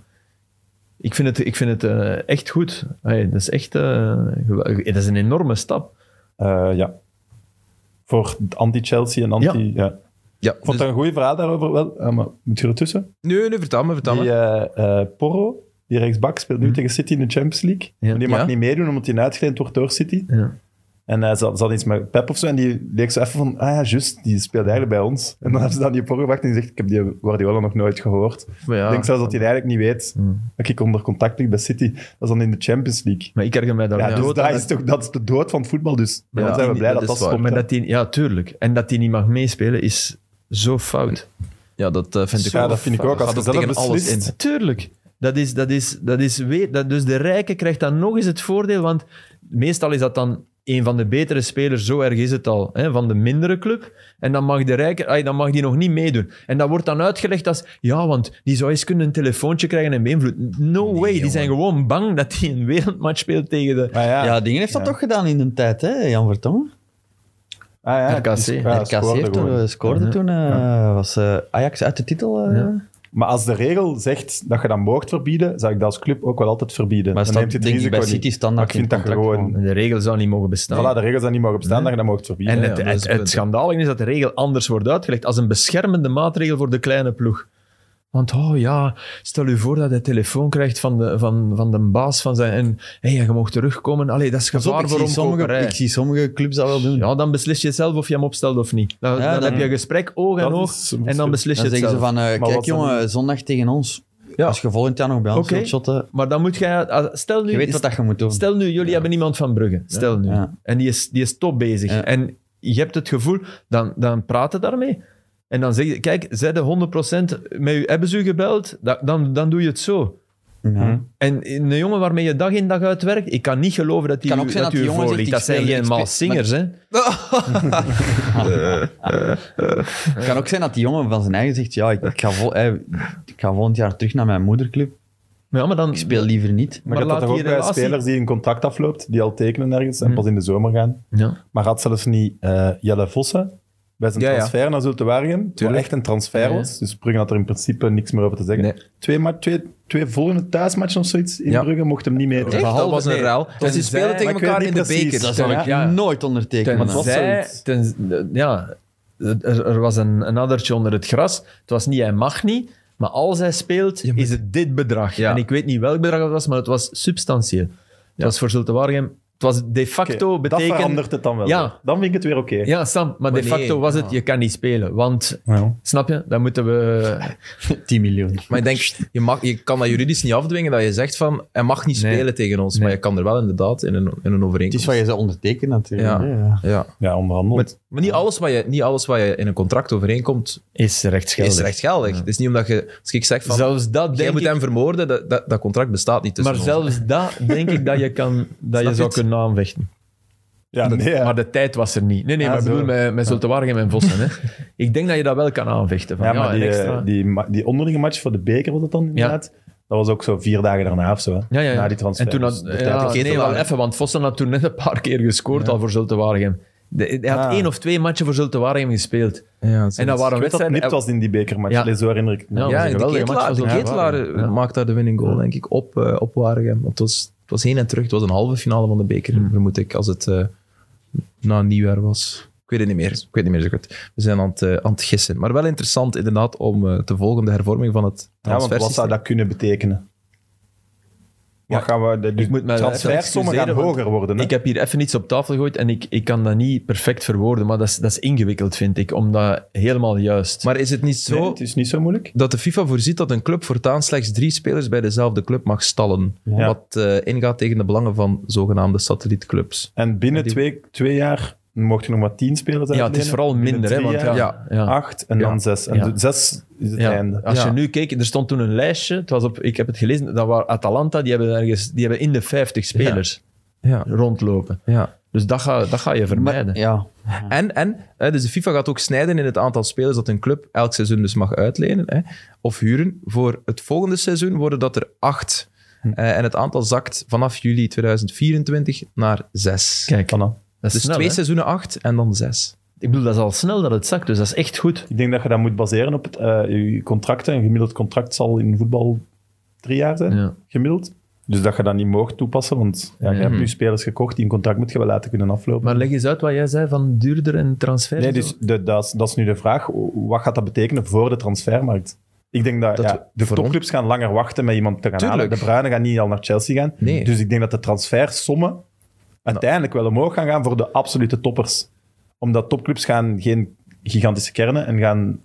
ik vind het, ik vind het eh, echt goed. Hey, dat is echt eh, gewel- dat is een enorme stap. Eh, ja. Voor anti-Chelsea en anti... Ja. Ja, Ik vond dus- dat een goede vraag daarover wel. Eh, maar moet je ertussen? nee, nee, vertel me, vertel Die me. eh, eh, Porro, die rechtsbak, speelt nu tegen City in de Champions League. Mhm. Ja. Maar die mag Ja. niet meedoen, omdat hij uitgeleend wordt door City. Ja. En eh, hij zat, zat iets met Pep of zo. En die leek zo even van, ah ja, juist, die speelt eigenlijk bij ons. En dan Mhm. hebben ze dan die Porro gepakt en die zegt, ik heb die Guardiola nog nooit gehoord. Maar, ja, Mhm. ik denk zelfs dat hij eigenlijk niet weet dat ik onder contact lig bij City. Dat is dan in de Champions League. maar ik erger mij daar Ja, dood dus aan dat dat- is, toch, dat is de dood van het voetbal. Dus Ja, dan zijn we blij dat dat, dat is waar. stopt. Maar hè. dat die, ja, tuurlijk. En dat hij niet mag meespelen is zo fout. Ja, dat eh, vind ik Ja, ook. dat vind ik ook. Als Gaat je ook zelf tegen alles in. beslist, Tuurlijk. Dat is, dat is, dat is weer, dat, dus de rijke krijgt dan nog eens het voordeel, want meestal is dat dan een van de betere spelers, zo erg is het al, hè, van de mindere club. En dan mag, de rijke, ay, dan mag die nog niet meedoen. En dat wordt dan uitgelegd als, ja, want die zou eens kunnen een telefoontje krijgen en beïnvloed. No way, die zijn gewoon bang dat hij een wereldmatch speelt tegen de... Maar Ah, ja, Ja, Dingen heeft dat Ja. toch gedaan in de tijd, hè, Jan Vertongen? Ah, ja, RKC. die sc- RKC scoorde heeft toen, gewoon. eh, scoorde toen, eh, was eh, Ajax uit de titel. eh. Ja. Maar als de regel zegt dat je dat mocht verbieden, zou ik dat als club ook wel altijd verbieden. Maar dan staat, neemt je het denk ik, risico bij City niet. standaard Maar ik vind in dat het je contract gewoon... De regel zou niet mogen bestaan. Voilà, de regels zijn niet mogen bestaan, dat je dat mocht verbieden. dus- En Ja, het, ja, dat is het, het het punt, schandalige is dat de regel anders wordt uitgelegd als een beschermende maatregel voor de kleine ploeg. Want oh ja, stel u voor dat hij telefoon krijgt van de, van, van de baas van zijn... En hé, hey, je mag terugkomen. Allee, dat is Pas op, gevaar ik voor zie, sommige, omkoperij. ik zie sommige clubs dat wel doen. Ja, dan beslis je zelf of je hem opstelt of niet. Dan, Ja, dan dan- heb je een gesprek oog Dat en oog is- en dan beslis je Dan het zeggen zelf. ze van, eh, kijk wat dan- jongen, zondag tegen ons. Ja. Als je volgend jaar nog bij ons Oké. wilt shotten, Maar dan moet jij... ah, Stel nu, je weet wat dat je moet doen. Stel nu, jullie hebben iemand van Brugge. Stel nu. Ja. En die is, die is top bezig. Ja. En je hebt het gevoel, dan, dan praat je daarmee. En dan zeg je, kijk, zij de 100% met u, hebben ze u gebeld? Da- dan, dan doe je het zo. Hm. Ja. En een jongen waarmee je dag in dag uit werkt, ik kan niet geloven dat die kan u, ook zijn dat dat u die jongen voorliegt. zegt, Dat ik zijn speel- geen ik speel- malsingers, hè. Het kan ook zijn dat die jongen van zijn eigen zegt, ja, ik, ik ga, vol, eh, ik ga volgend jaar terug naar mijn moederclub. Ja, maar dan... Ik speel liever niet. Maar, Maar je hebt laat dat toch die ook bij relatie- spelers die een contract afloopt, die al tekenen ergens en pas in de zomer gaan. Hmm. Ja. Maar had zelfs niet eh, Jelle Vossen bij zijn Ja, ja. transfer naar Zulte Waregem, wat echt een transfer Ja. was. Dus Brugge had er in principe niks meer over te zeggen. Nee. Twee, ma- twee, twee volgende thuismatchen of zoiets in Ja. Brugge mocht hem niet meedoen. Echt? Dat Behalve- was een nee. ruil. En En ze zij- Dus spelen tegen maar ik weet elkaar in niet de precies. beker. Dat zou ik ja. nooit ondertekenen. was Tenzij, zoiets. tenzij, ja, er, er was een, een addertje onder het gras. Het was niet, hij mag niet. Maar als hij speelt, is het dit bedrag. Ja. En ik weet niet welk bedrag het was, maar het was substantieel. Het was voor Zulte Waregem... Het was de Oké, facto betekend... Dat verandert het dan wel. Ja. weer. Dan vind ik het weer oké. Ja, Sam, maar, Maar de Oh, nee, facto was het, ja. je kan niet spelen. Want, Ja. snap je, dan moeten we... 10 miljoen. Maar ik denk, je, mag, je kan dat juridisch niet afdwingen dat je zegt van, hij mag niet Nee. spelen tegen ons. Nee. Maar je kan er wel inderdaad in een, in een Het is overeenkomst. wat je zou ondertekenen natuurlijk. Ja. hè, Ja. Ja, onderhandeld. Maar, maar niet, alles wat je, niet alles wat je in een contract overeenkomt, Is rechtsgeldig. is rechtsgeldig. Het is niet omdat je... Als ik zeg van, Zelfs dat jij denk moet ik... hem vermoorden, dat, dat, dat contract bestaat niet tussen Maar ons. zelfs dat denk ik dat je, kan, dat je Snap zou je? kunnen aanvechten. ja, nee, ja. Maar de tijd was er niet. Nee, nee, Ah, maar ik zo. bedoel, met, met Zulte Waregem en Vossen. Hè. Ik denk dat je dat wel kan aanvechten. Van, Ja, ja, maar die, een eh, extra. die, ma- die onderlinge match voor de beker was het dan inderdaad. Dat was ook zo vier dagen daarna of zo. hè. ja, ja, ja. Na die transfer. En toen had, Dus de ja, tijd was nee, te wel lang. even, want Vossen had toen net een paar keer gescoord al voor Zulte Waregem. De- hij had Ah. één of twee matchen voor Zulte Waregem gespeeld. Ja, En dat Ik waren weet dat het wedstrijden... nipt was in die bekermatch. eh, Ja. Nee, Zo herinner ik het me. Ja, Ja, was een en de geweldige match Ketelaar, van de Zulte Ketelaar Waregem. Ja. eh, maakt daar de winning goal, denk ik, op, eh, op Waregem. Want het was, het was heen en terug. Het was een halve finale van de beker, Hmm. vermoed ik, als het eh, na nieuwjaar was. Ik weet het niet meer. Ik weet het niet meer zo goed. We zijn aan het, eh, aan het gissen. Maar wel interessant inderdaad om eh, te volgen de hervorming van het Ja, want wat zou transfersysteem. dat kunnen betekenen? Wat Ja, gaan we... De, de ik moet mij transfersommen gaan excuseren, want hoger worden. Hè? Ik heb hier even iets op tafel gegooid en ik, ik kan dat niet perfect verwoorden, maar dat is, dat is ingewikkeld, vind ik, om dat helemaal juist... Maar is het niet Nee, zo het is niet zo moeilijk. dat de FIFA voorziet dat een club voortaan slechts drie spelers bij dezelfde club mag stallen? Ja. Wat eh, ingaat tegen de belangen van zogenaamde satellietclubs. En binnen Ja, die- twee, twee jaar mocht je nog maar tien spelers ja, het is uitlenen. vooral Binnen minder, hè, drie want ja... jaar ja, ja. Acht en Ja. dan zes. En Ja. de- zes is het Ja, einde. Als Ja. je nu keek, er stond toen een lijstje. Het was op, ik heb het gelezen, dat waren Atalanta, die hebben, ergens, die hebben in de 50 spelers Ja, rondlopen. ja. Dus dat ga, dat ga je ja. Maar- vermijden. ja. En, en hè, dus de FIFA gaat ook snijden in het aantal spelers dat een club elk seizoen dus mag uitlenen hè, of huren. Voor het volgende seizoen worden dat er acht. Eh, en het aantal zakt vanaf juli 2024 naar zes. Kijk, Voilà. dat is dus snel, twee hè? seizoenen acht en dan zes. Ik bedoel, dat is al snel dat het zakt, dus dat is echt goed. Ik denk dat je dat moet baseren op het, eh, je contracten. Een gemiddeld contract zal in voetbal drie jaar zijn, Ja. gemiddeld. Dus dat je dat niet mag toepassen, want ja, je Mhm. hebt nu spelers gekocht die een contract moet je wel laten kunnen aflopen. Maar leg eens uit wat jij zei van duurder en transfer. nee, en zo. dus de, dat, is, dat is nu de vraag. Wat gaat dat betekenen voor de transfermarkt? Ik denk dat, Dat ja, de voor topclubs gaan langer wachten met iemand te gaan halen. Tuurlijk. De Bruinen gaan niet al naar Chelsea gaan. Nee. Dus ik denk dat de transfersommen uiteindelijk wel omhoog gaan gaan voor de absolute toppers. Omdat topclubs gaan geen gigantische kernen en gaan...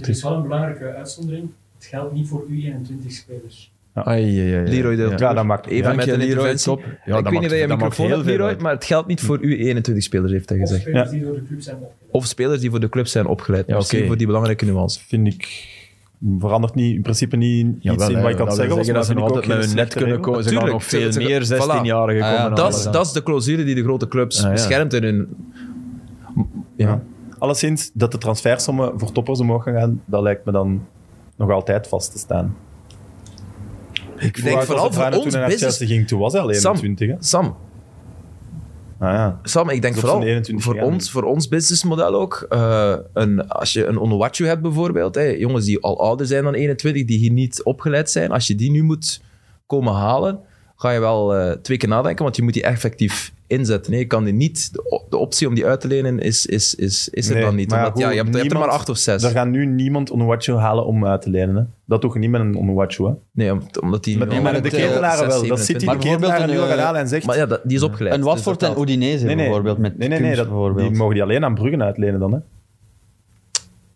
Er is wel een belangrijke uitzondering. Het geldt niet voor U21-spelers. Ai, ai, ai, ai. Leroy deelt Ja. Ja, dat maakt Even Dank met je, een Leroy. interventie. Top. Ja, dat ik weet maakt- niet dat je dat een maakt microfoon heel hebt, veel Leroy, uit. maar het geldt niet voor U21-spelers, heeft hij Of gezegd. spelers Ja. die door de club zijn opgeleid. Of spelers die voor de club zijn opgeleid. Ja, Misschien oké. voor die belangrijke nuance. vind ik verandert niet, in principe niet iets Jawel, in hè, wat ik aan dat het wil zeggen was, maar dat ze vind nog ik ook altijd met geen hun net slechte kunnen regel. komen. Ze gaan Tuurlijk, nog veel tuurlijk. meer Voilà. Eh, 16-jarigen Ah, ja, komen. Dat is, halen. dat is de clausule die de grote clubs Ah, ja. beschermt in hun... Ja. Alleszins, dat de transfersommen voor toppers omhoog gaan gaan, dat lijkt me dan nog altijd vast te staan. Ik denk vooral voor ons toen hij naar business... Chelsea ging, toen was hij al Sam. 21. hè? Sam, Ah, ja. Sam, ik denk Tot vooral zijn 21 voor jaar. ons, voor ons businessmodel ook. eh, een, als je een Onuwatju hebt bijvoorbeeld, hè, jongens die al ouder zijn dan 21, die hier niet opgeleid zijn, als je die nu moet komen halen, ga je wel eh, twee keer nadenken, want je moet die effectief inzetten. Nee, je kan die niet. De, o- de optie om die uit te lenen is, is, is, is er Nee, dan niet. maar Omdat, ja, goed, je, hebt, je hebt er niemand- maar acht of zes. Er gaan nu niemand Onuwachu halen om uit te lenen. Hè. Dat doe je niet met een Onuwachu. hè. Nee, om- omdat die. Met nu al- nee, maar de het, eh, ketelaren wel. Dat zes, zit die de Maar bijvoorbeeld ketelaren nu al een, gaan eh, halen en zegt... maar ja, dat- die is opgeleid. Een dus dat Watford en telt. Udinese bijvoorbeeld. Met nee, nee, nee Kunst dat, bijvoorbeeld. die mogen die alleen aan Bruggen uitlenen dan. Hè.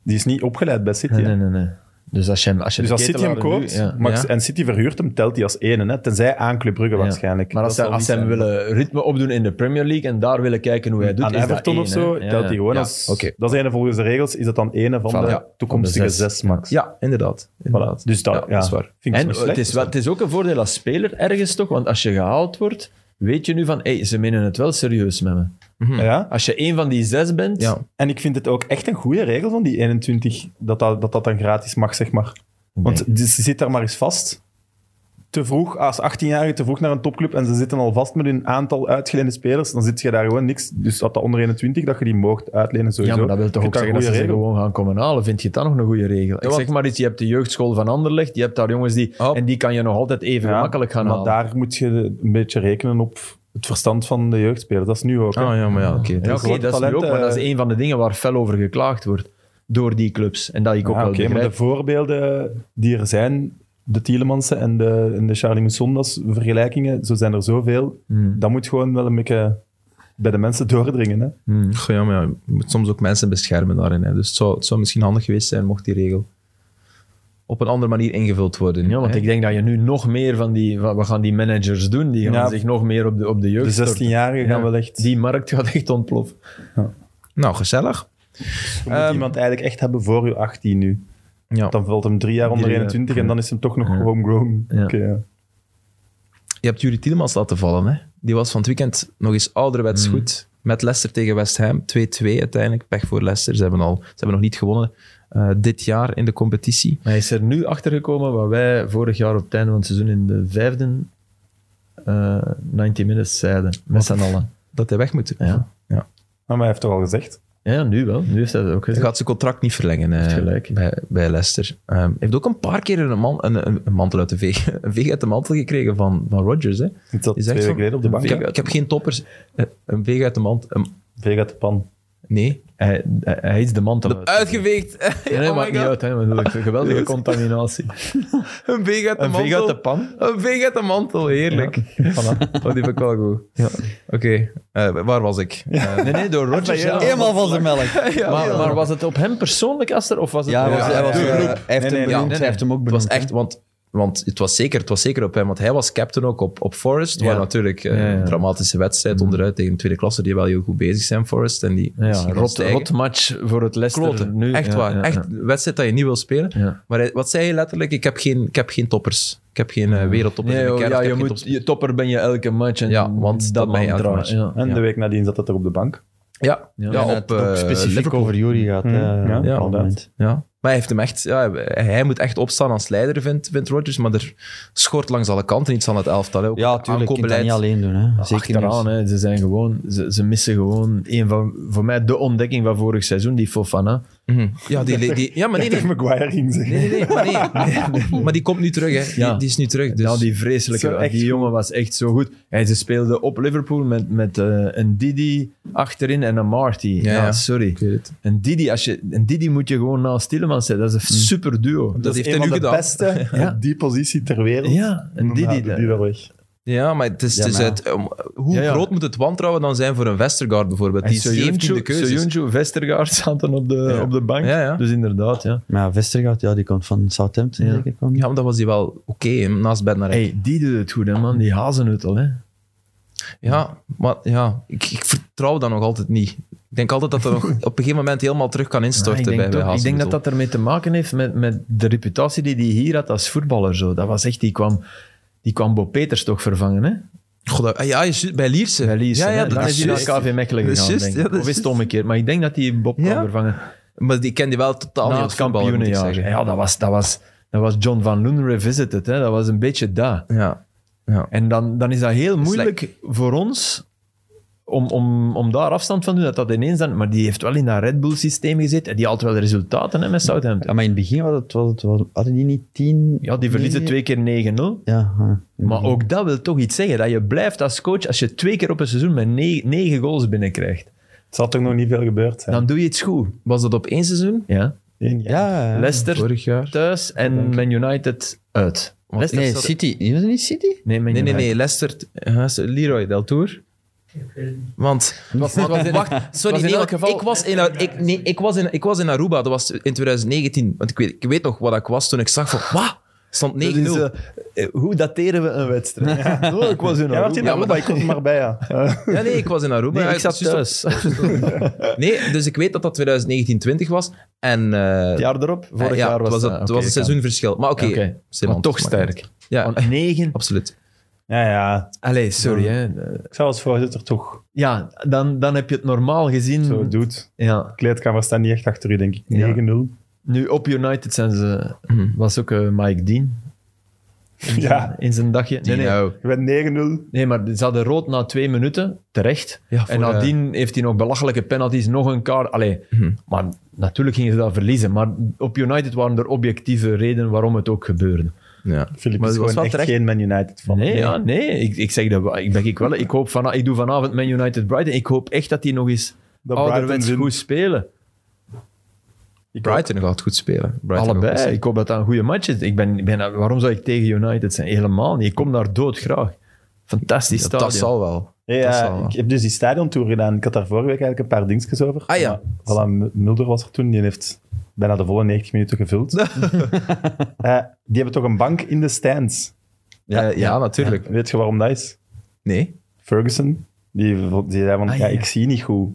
Die is niet opgeleid bij City. Nee, hè. nee, nee, nee. Dus als je hem als je Dus de als City hem ketelaar nu- koopt ja. maar- Ja. en City verhuurt hem, telt hij als ene. Hè? Tenzij aan Club Brugge Ja. waarschijnlijk. Maar als, Dat ze- zal als ze niet hem zijn. willen ritme opdoen in de Premier League en daar willen kijken hoe hij doet, aan is Everton dat of één, hè. zo, Ja, telt ja. hij gewoon Ja, als... oké. Dat is ene volgens de regels, is dat dan ene van Voilà. de Ja, van de toekomstige zes. zes max. Ja, inderdaad. inderdaad. Dus dat, Ja, ja, dat is waar. Vind ik En niet slecht. het is, wel, het is ook een voordeel als speler ergens toch, want als je gehaald wordt, weet je nu van, hey, ze menen het wel serieus met me. Ja. Als je één van die zes bent, Ja. En ik vind het ook echt een goede regel van die 21, dat dat, dat, dat dan gratis mag, zeg maar. Want die- ze zit daar maar eens vast. Te vroeg, als 18-jarige te vroeg naar een topclub en ze zitten al vast met hun aantal uitgeleende spelers, dan zit je daar gewoon niks. Dus dat dat onder 21, dat je die moogt uitlenen sowieso. ja, maar dat wil toch Vind ook ik zeggen een dat ze goede ze regel. gewoon gaan komen halen. Vind je het dan nog een goede regel? Ik want- zeg maar iets, je hebt de jeugdschool van Anderlecht, je hebt daar jongens die... Oh. En die kan je nog altijd even Ja, makkelijk gaan maar halen. daar moet je een beetje rekenen op het verstand van de jeugdspelers. Dat is nu ook. hè. Ah ja, maar ja, oké. Ja, dat- oké, grote dat is nu talent, ook, maar dat eh, is een van de dingen waar fel over geklaagd wordt. Door die clubs. En dat ik ook Ja, wel oké, maar de begrijp. voorbeelden die er zijn, de Tielemansen en de, en de Charlie Moussondas vergelijkingen, zo zijn er zoveel. Hmm. Dat moet gewoon wel een beetje bij de mensen doordringen. Hè? Hmm. Goh, Ja, maar ja, je moet soms ook mensen beschermen daarin. Hè. Dus het zou, het zou misschien handig geweest zijn mocht die regel op een andere manier ingevuld worden. Ja, want hè. ik denk dat je nu nog meer van die... van- Wat gaan die managers doen? Die gaan Ja. zich nog meer op de, op de jeugd De storten. 16-jarigen gaan Ja. wel echt. Die markt gaat echt ontploffen. Nou, gezellig. Je moet Ehm, iemand eigenlijk echt hebben voor je 18 nu. Ja. Dan valt hem drie jaar onder Drie jaar. 21 en dan is hem toch nog homegrown. eh, Ja. Oké, ja. Je hebt Jurie Tielemans laten vallen. Hè. Die was van het weekend nog eens ouderwets Hmm. goed. Met Leicester tegen West Ham. 2-2 uiteindelijk. Pech voor Leicester. Ze hebben, al, ze hebben nog niet gewonnen eh, dit jaar in de competitie. Maar hij is er nu achtergekomen wat wij vorig jaar op het einde van het seizoen in de vijfde eh 90 minutes zeiden. Met z'n allen. Dat hij weg moet. Ja. Ah, Maar hij heeft toch al gezegd. Ja, nu wel. Nu heeft hij dat ook Hij gezegd. gaat zijn contract niet verlengen eh, Heeft gelijk. Bij, bij Leicester. Ehm, Hij heeft ook een paar keer een, man, een, een- een mantel uit de veeg, een veeg uit de mantel gekregen van, van Rodgers. Hè. Niet dat Die twee zegt weken van, geleden op de bank. ik, heb, hè? ik heb geen toppers. Eh, Een veeg uit de mand. Een- Veeg uit de pan. nee. Hij, hij, hij is de man dan uit. Uitgeveegd. Nee, nee, oh maakt my niet God. uit. Hè, maar dat is een geweldige contaminatie. Een veeg uit de Een mantel. veeg uit de pan. Een veeg uit de mantel, heerlijk. Oh, die vind ik wel goed. Oké, eh, waar was ik? Eh, Nee, nee, door Rodgers zelf. Helemaal van zijn melk. maar, maar was het op hem persoonlijk, Aster? Of was het Ja, hij was- hij was, de eh, groep. hij heeft hem nee, benoemd, nee. hij heeft hem ook Het was benoemd. echt, want, want het, was zeker, het was zeker op hem, want hij was captain ook op, op Forest, waar Ja. natuurlijk eh, Ja, ja. Mm. een dramatische wedstrijd onderuit tegen de tweede klasse, die wel heel goed bezig zijn, Forest. En die ja, misschien gaan rot, stijgen. rot match voor het Leicester Kloten, nu. echt Ja, waar. ja, ja. echt een wedstrijd dat je niet wil spelen. Ja. Maar hij- wat zei je letterlijk? Ik heb geen, ik heb geen toppers. Ik heb geen eh, wereldtoppers Nee, in joh, de kern. ja, ik heb je, geen moet, toppers. je topper ben je elke match. En Ja, want dat ben je elke mantra, match. Ja. En de week nadien zat dat er op de bank. Ja, ja, Ja. En op dat het ook eh, specifiek Liverpool. over Jury gaat. Hmm, hè, ja, op een bepaald inderdaad. moment. Ja, Maar hij, heeft hem echt, ja, hij moet echt opstaan als leider, vindt, vindt Rodgers. Maar er schort langs alle kanten iets aan het elftal. Hè. Ook Ja, tuurlijk. Je kunt dat aankoopbeleid. niet alleen doen. Hè. Zeker niet. Achteraan, hè. Ze, zijn gewoon, ze, ze missen gewoon een van, voor mij de ontdekking van vorig seizoen, die Fofana. Mhm. ja, die, die, ja, maar nee, nee. tegen Maguire ging zeggen. Nee, nee, nee, maar, nee. maar die komt nu terug, hè. Die, Ja. die is nu terug. Dus. Nou, die vreselijke, Zo echt die jongen was echt zo goed. Hij, ze speelden op Liverpool met, met eh, een Didi achterin en een Marty. Ja, ja. sorry. Ik weet het. Een Didi, als je, een Didi moet je gewoon naast Tillemans zetten. Dat is een super duo. Mm. Dat heeft een hij van nu de gedaan. beste op die positie ter wereld. Ja, En een dan Didi. haalde dat- die wel weg. Ja, maar het is, het is Ja, maar- uit, um, hoe Ja, ja. groot moet het wantrouwen dan zijn voor een Westergaard bijvoorbeeld? Die is Soyuncu- 17 de keuze. Soyuncu, Vestergaard zaten op de, op de bank. Ja, ja. Dus inderdaad, ja. Maar ja, Vestergaard, ja, die komt van Southampton. Ja. Zeker, kwam die? Ja, maar dat was hij wel oké, hè, naast Bednarek. Hey, die doet het goed, hè, man. Die hazen het al, hè. Ja, maar ja, ik, ik vertrouw dat nog altijd niet. Ik denk altijd dat dat nog op een gegeven moment helemaal terug kan Ja, ik instorten denk, bij, bij toch- ik denk dat Hazenbezel. dat ermee te maken heeft met, met de reputatie die hij hier had als voetballer. Zo. Dat was echt, die kwam, die kwam Bob Peters toch vervangen, hè? Goh, dat- ah, ja, je zit- bij Lierse. Bij Lierse, ja, ja, hè? dat Dan is is hij naar juist. KV Mechelen Dat is gegaan, juist, denk ja, ik. dat is Of is het juist. omgekeerd? Maar ik denk dat hij Bob Ja. kwam vervangen. Maar die kende wel totaal Na niet het als voetballer, moet ik kampioenenjaar. zeggen. Ja, dat was, dat, was, dat was John Van Loon revisited, hè? Dat was een beetje dat. Ja. ja. En dan, dan is dat heel is moeilijk voor ons om, om, om daar afstand van te doen. Dat dat ineens dan... Maar die heeft wel in dat Red Bull-systeem gezeten. En die haalt wel de resultaten hè, met Southampton. Ja, maar in het begin was het, was het, was- hadden die niet tien... Ja, die verliezen negen- twee keer 9-0. Ja, ah. ja. Maar ook dat wil toch iets zeggen. Dat je blijft als coach als je twee keer op een seizoen met negen, negen goals binnenkrijgt. Het zal toch nog niet veel gebeurd zijn. Dan doe je iets goed. Was dat op één seizoen? Ja. Eén jaar. ja. Leicester Vorig jaar. thuis en Man United uit. Want- nee, zat- City. Was het niet City? Nee, Man Nee, nee, United. nee. Leicester, eh, Leroy Del Tour. Ik weet het niet. Want, want- wacht, sorry, was in nee, elk want geval- ik was in, Ar- ik, nee, ik, was in, ik was in Aruba, dat was in 2019. Want ik weet, ik weet nog wat ik was toen ik zag van, wat? Stond 9-0. Dat is, eh, hoe dateren we een wedstrijd? oh, ik was in Ja, wacht Aruba. in Aruba, ik was er maar bij, ja. Eh, ja, nee, ik was in Aruba. Nee, Ja, ik zat dus- thuis. Het Nee, dus ik weet dat dat 2019-20 was. En eh, jaar erop, vorig eh, ja, jaar was het. dat. het Oké, was een kan. seizoenverschil. Maar oké, Ja, oké. Simons, Maar toch maakt niet sterk. uit. Ja, Want negen... absoluut. ja, ja. Allee, sorry. Hè. Ik zou als voorzitter toch Ja, dan, dan heb je het normaal gezien. Mhm. zo doet. Ja, De kleedkamer staat niet echt achter u, denk ik. 9-0. Ja. Nu, op United zijn ze, Mhm. was ook eh, Mike Dean Ja, in zijn dagje. Nee, nee, Dino. je bent 9-0. nee, maar ze hadden rood na twee minuten, terecht. Ja, voor, en nadien heeft hij nog belachelijke penalties, nog een kaart. Allee, Mhm. maar natuurlijk gingen ze dat verliezen. Maar op United waren er objectieve redenen waarom het ook gebeurde. eh, ja. Filip Maar is het was gewoon wel echt terecht. geen Man United van. nee, ja, nee. Ik, ik zeg dat wel. ik, ben, ik, wel, ik, hoop van, ik doe vanavond Man United Brighton. Ik hoop echt dat die nog eens Dat Brighton ouderwets wint. goed spelen. Brighton gaat goed spelen. Brighton gaat goed Allebei. spelen. Ik hoop dat dat een goede match is. Ik ben, ik ben, waarom zou ik tegen United zijn? Helemaal niet. Ik kom daar doodgraag. Fantastisch Ja, stadion. dat zal wel. Ja, Dat ja, zal wel. ik heb dus die stadiontour gedaan. Ik had daar vorige week eigenlijk een paar dingetjes over. Ah, ja. Maar, voilà, M- Mulder was er toen. Die heeft bijna de volle 90 minuten gevuld. Eh, die hebben toch een bank in de stands. Ja, ja, natuurlijk. Weet je waarom dat is? Nee. Ferguson, die, v- die zei van, Ah, ja, ja. ik zie niet goed.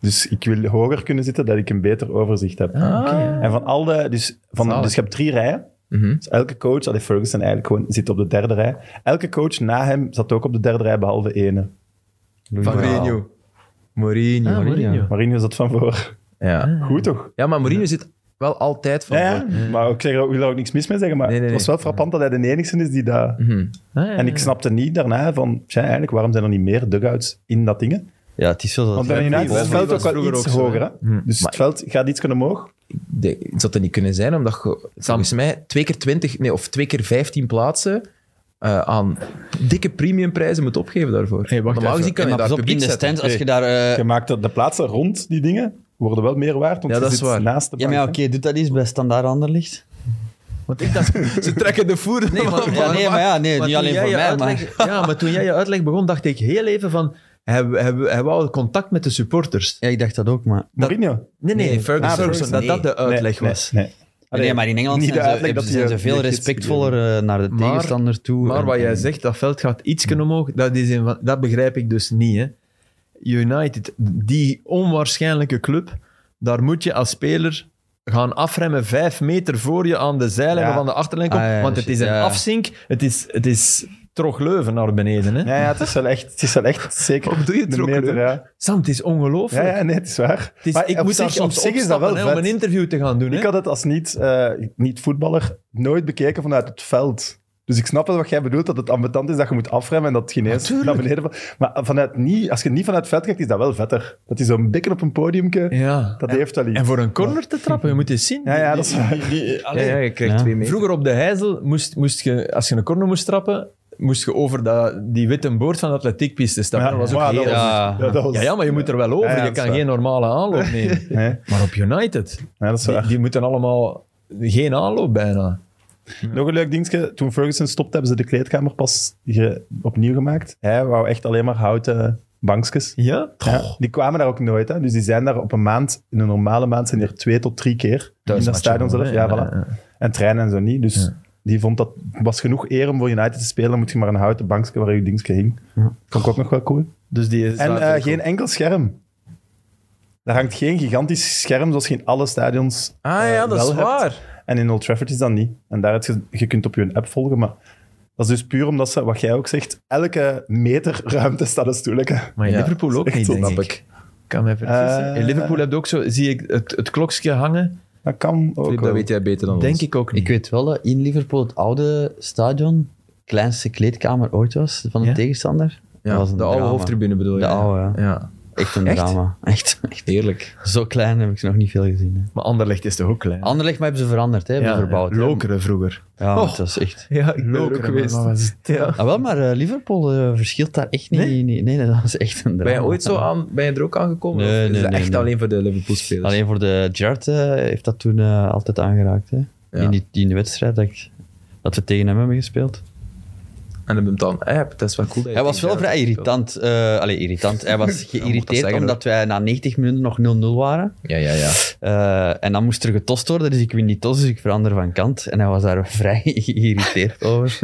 Dus ik wil hoger kunnen zitten, dat ik een beter overzicht heb. En van al de... Dus, van, Ah, Zalig. dus je hebt drie rijen. Mhm. Dus elke coach, allee, Ferguson eigenlijk gewoon zit op de derde rij. Elke coach na hem zat ook op de derde rij, behalve ene. Van Mourinho. Mourinho. Ah, Mourinho. Mourinho zat van voor. Ja. Goed toch? ja, maar Mourinho zit wel altijd van Ja, voor. ja. maar ik zeg, er ook- wil daar ook niks mis mee zeggen, maar Nee, nee, het was wel frappant dat hij de enigste is die dat... Mhm. Ah, ja. En ik snapte niet daarna van, tja, eigenlijk, waarom zijn er niet meer dugouts in dat ding? Ja, het is zo dat... Want bij United is het Wembley veld ook was wel vroeger iets ook zo, hoger, hè? Dus Maar- het veld gaat iets kunnen omhoog. De- het zou er niet kunnen zijn, omdat je volgens mij twee keer 20, nee, of twee keer 15 plaatsen eh, aan dikke premiumprijzen moet opgeven daarvoor. Hey, wacht Normaal even. gezien kan je maar daar pas op, in publiek de zetten. stands, als je daar... eh, Je maakt dat de plaatsen rond die dingen worden wel meer waard, want Ja, je dat is zit waar. naast de ja, bank. maar ja, oké, hè. doet dat eens bij Standaard Anderlicht. Want ik dacht, ze trekken de voer. Nee, maar- ja, nee, maar ja, nee, niet alleen voor mij, maar... Ja, maar toen jij je uitleg begon, dacht ik heel even van... Hij, hij, hij wou contact met de supporters. Ja, ik dacht dat ook, maar... Mourinho? Nee, nee, Nee, Ferguson. ah, Ferguson, Ferguson, dat dat nee. de uitleg Nee, was. Nee, nee. Nee, maar in Engeland niet zijn de uitleg ze, dat zijn je ze veel netjes- respectvoller eh, naar de Maar- tegenstander toe. Maar En- wat jij en- zegt, dat veld gaat ietsken omhoog, dat, is een van- dat begrijp ik dus niet. Hè. United, die onwaarschijnlijke club, daar moet je als speler gaan afremmen vijf meter voor je aan de zijlijn Ja. of aan de achterlijn komt. Ah, ja, want het shit, is een ja. afzink. Het is, het is Trogleuven naar beneden. Hè? Ja, ja, het is wel echt, het is wel echt zeker. Waarom doe je het de ook meter, leuk? ja. Sam, het is ja, ongelooflijk. ja, nee, het is waar. Het is, Maar ik op moet zich- echt soms op zich is dat opstappen, wel hè, om vet. een interview te gaan doen. Ik Hè? had het als niet-voetballer niet voetballer nooit bekeken vanuit het veld. Dus ik snap wel wat jij bedoelt, dat het ambetant is dat je moet afremmen en dat het geen eens naar beneden valt. Maar vanuit niet, als je niet vanuit het veld kijkt, is dat wel vetter. Dat is zo'n bikken op een podiumke, Ja. dat heeft wel iets. En voor een corner te trappen, je moet eens zien. Ja, ja, dat is waar. Ja, Allee, ja, je krijgt Ja. twee meter. Vroeger op de Heizel, moest, moest je, als je een corner moest trappen, moest je over dat, die witte boord van de atletiekpiste stappen. Ja, dat was ook maar dat heel... was- Ja. Ja, dat was- Ja, ja, maar je moet er wel over. Ja, ja, je dat is kan waar. geen normale aanloop nemen. Nee, Maar op United, ja, dat is die, waar. die moeten allemaal geen aanloop bijna. Nog een leuk dingetje. Toen Ferguson stopte, hebben ze de kleedkamer pas ge- opnieuw gemaakt. Hij wou echt alleen maar houten bankjes. Ja? Ja, die kwamen daar ook nooit. Hè. Dus die zijn daar op een maand, in een normale maand, zijn die er twee tot drie keer. in dat stadion zelf. Ja, voilà. En trainen en zo niet. Dus die vond dat was genoeg eer om voor United te spelen. Dan moet je maar een houten bankje waar je dingetje hing. Vond ik ook nog wel cool. Dus die is En eh, geen enkel scherm. Daar hangt geen gigantisch scherm zoals je in alle stadions Ah ja, eh, dat is wel hebt. waar. En in Old Trafford is dat niet. En daar heb je, je kunt op je een app volgen, maar dat is dus puur omdat ze, wat jij ook zegt, elke meter ruimte staat een stoeletje. Maar in Ja, Liverpool ook echt niet, zo, denk ik. snap Ik kan mij vergissen. Eh, in Liverpool heb je ook zo, zie ik het, het klokje hangen, Dat kan ook Filip, wel. dat weet jij beter dan denk ons. ik ook niet. Ik weet wel dat in Liverpool het oude stadion kleinste kleedkamer ooit was van de Ja? tegenstander. Ja, dat was een de oude drama. hoofdtribune bedoel je? De oude, ja. Ja, Echt een Echt? drama. Echt, echt. heerlijk. Zo klein heb ik ze nog niet veel gezien. Hè. Maar Anderlecht is toch ook klein? Anderlecht, maar hebben ze veranderd, hè? Hebben ze verbouwd. hè. Lokeren vroeger. Ja, Oh. dat is echt... Ja, ik Lokeren geweest. Ja. Ah, wel, maar eh, Liverpool eh, verschilt daar echt niet. Nee? nee, nee, dat is echt een drama. Ben je ooit zo aan, ben je er ook aangekomen? Nee, Of is nee, dat nee, echt nee. alleen voor de Liverpool-spelers? Alleen voor de Gerard eh, heeft dat toen eh, altijd aangeraakt. Hè? Ja. In, die, in de wedstrijd dat, ik- dat we tegen hem hebben gespeeld. En dan ben je dan, eh, dat is wel cool. dat je Hij was tegen wel Gerard vrij speelt. irritant. eh allee, irritant. Hij was geïrriteerd zeggen, omdat wij na 90 minuten nog 0-0 waren. Ja, ja, ja. Eh, en dan moest er getost worden, dus ik win die tos, dus ik verander van kant. En hij was daar vrij geïrriteerd over.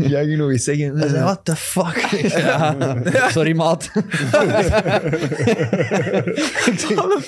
Ja, je nog eens zeggen. Hij zei, what the fuck? Ik zei, Eh. "Ja, sorry, maat. Ik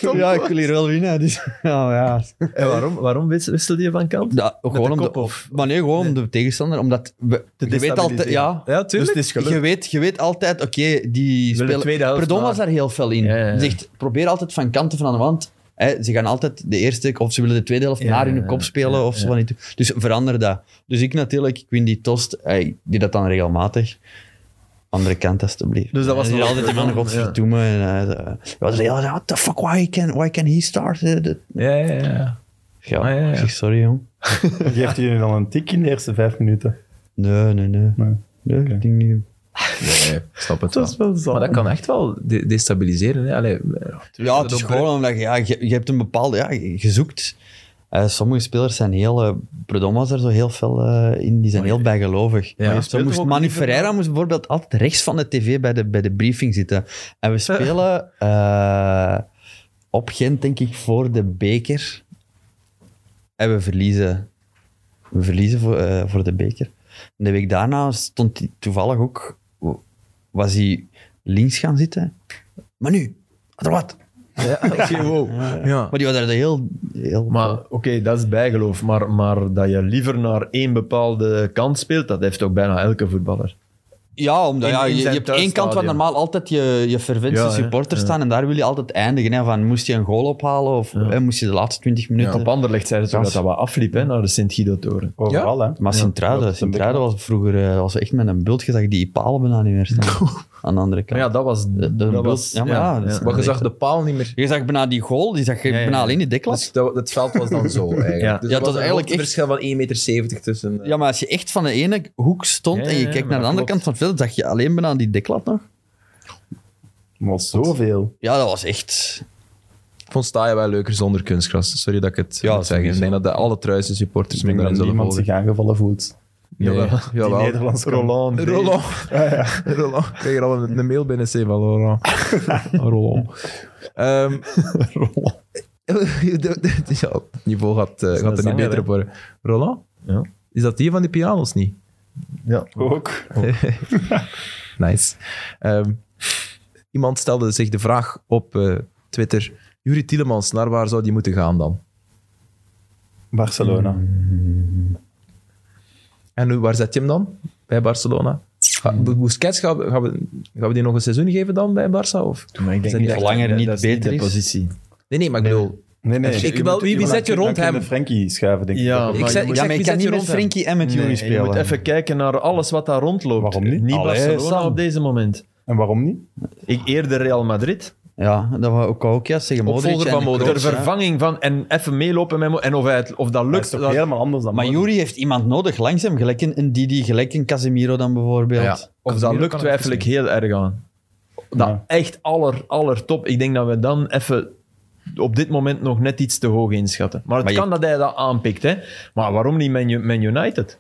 zeg, ja, ik wil hier wel winnen. Dus, ja, ja. En waarom, waarom wis- wisselde je van kant? Ja, gewoon om de de, kop of- maar nee, gewoon om de tegenstander. Omdat we, je, weet altijd, ja, Ja, tuurlijk. Dus het is gelukt. je, weet, je weet altijd, oké, die de spelen... tweede helft Perdom maar. was daar heel fel in. Ja, ja, ja. Die Zegt, probeer altijd van kanten van aan de wand. Hè, ze gaan altijd de eerste, of ze willen de tweede helft Ja, naar ja, hun ja, kop spelen. ja, of zo ja. van die- dus verander dat. Dus ik natuurlijk, ik win die tost. eh, Ik die dat dan regelmatig. Andere kant, alstublieft. Dus dat was En die nog- altijd die man, ja. godverdomme. En, eh, eh, was de hele tijd, what the fuck, why can, why can he start? eh, dat- Ja, ja, ja. Ja, Ah, ja, ja. ik zeg, sorry jong. Geeft hij jullie dan een tik in de eerste vijf minuten? Nee, nee, nee. Nee. Nee, ik denk niet. Nee, nee, snap het Dat wel. is wel zo. Maar dat kan echt wel de- destabiliseren. Hè. Allee, Ja, het is gewoon omdat je, ja, je, je hebt een bepaalde... Ja, je je zoekt... Eh, sommige spelers zijn heel... eh Predom was er zo heel veel eh, in. Die zijn heel bijgelovig. Maar je zo speelt moest toch ook Manu niet Ferreira moest bijvoorbeeld altijd rechts van de tv bij de, bij de briefing zitten. En we spelen eh, op Gent, denk ik, voor de beker. En we verliezen. We verliezen voor, eh, voor de beker. En de week daarna stond hij toevallig ook... Was hij links gaan zitten. Maar nu, er wat? Ja, oké, wow. ja. Maar die was daar heel... heel Maar oké, dat is bijgeloof. Maar, maar dat je liever naar één bepaalde kant speelt, dat heeft toch bijna elke voetballer. ja, omdat in- ja, in je, je zijn hebt één kant waar thuisstadion. normaal altijd je, je ferventste Ja, hè, supporters ja. staan en daar wil je altijd eindigen. Hè, van, moest je een goal ophalen of hè, moest je de laatste 20 minuten... Op Anderlecht zeiden ze toch Kans. dat dat wat afliep hè, naar de Sint-Guido-toren. Overal, hè? maar Sint-Truiden dat is een Sint-Truiden was vroeger eh, was echt met een bultje dat je die palen bijna niet meer staan. aan de andere Maar kant. ja, dat was... De- de dat bult- was ja, maar ja, dat is- Maar je zag de paal niet meer. Je zag bijna die goal, die zag je ja, bijna ja. alleen die deklat. Dus dat, het veld was dan zo eigenlijk. Ja. Dus er Ja, het was was eigenlijk eigenlijk een echt- verschil van 1,70 meter tussen... eh, Ja, maar als je echt van de ene hoek stond Ja, en ja, je ja, kijkt naar maar de dat andere klopt. kant van het veld, zag je alleen bijna die deklat nog. Maar zoveel. Ja, dat was echt... Ik vond Staaien wel leuker zonder kunstgras. Sorry dat ik het Ja, moet zeggen. Ik sowieso. denk dat de alle Truise supporters Ik me denk daarin dat zullen niemand volgen. zich aangevallen voelt. Nee, Jawel. Die jawel. Nederlandse kant. Roland. Roland. Roland. Ik kreeg er al een, een mail binnen, C van Roland. Roland. Ehm, de- de- de- ja, het niveau gaat, eh, een gaat er niet zanger, beter hè? op worden. Roland? Ja. Is dat die van die pianos niet? Ja. Ook. Nice. Ehm, iemand stelde zich de vraag op eh, Twitter. Jurie Tielemans, naar waar zou die moeten gaan dan? Barcelona. Mm. En nu, waar zet je hem dan? Bij Barcelona? Ga- Busquets, gaan we, gaan, we, gaan we die nog een seizoen geven dan bij Barça? Of? Maar ik Is dat niet dat- langer dat- niet dat is beter de is? positie. Nee, nee, maar ik bedoel... Nee, nee. Ik wil- je wie- moet- wie je zet moet- je dan rond kun hem? Frenkie schuiven, denk ik. Ja, Dat Ik, ook. maar zeg, je ik ja, zeg, maar wie ik zet kan niet je met rond hem? Frenkie en met Nee, jullie je spelen. moet even kijken naar alles wat daar rondloopt. Waarom niet? Niet Allee, Barcelona Sam. op deze moment. En waarom niet? Ik eerder Real Madrid. Ja, dat wou ik ook juist zeggen. Modric Opvolger van en Modric. Kroos, Ter hè. vervanging van... En even meelopen met... Mo- En of, hij het- of dat Dat lukt... is toch dat- helemaal anders dan Maar Modric. Jury heeft iemand nodig langs hem. Gelijk een, een Didi, gelijk een Casemiro dan bijvoorbeeld. Ja. of dat Casemiro lukt kan twijfel ik het heel erg aan. Dat Ja. echt aller, aller top. Ik denk dat we dan even op dit moment nog net iets te hoog inschatten. Maar het Maar je- kan dat hij dat aanpikt. Hè? Maar waarom niet Man, Man United?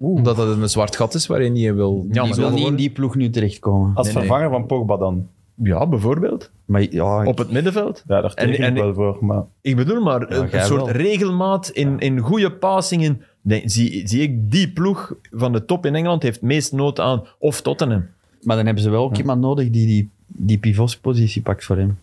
Omdat het een zwart gat is waarin je wil... Ja, Die maar wil dat niet in worden- die ploeg nu terechtkomen. Als Nee, nee. vervanger van Pogba dan. Ja, bijvoorbeeld. Maar ja, Op het middenveld. Ja, daar teken En- en- ik wel voor. Maar Ik bedoel maar, een jij soort wel. regelmaat in, in goede passingen. Nee, zie, zie ik, die ploeg van de top in Engeland heeft meest nood aan. Of Tottenham. maar dan hebben ze wel ook iemand nodig die die, die pivotspositie pakt voor hem.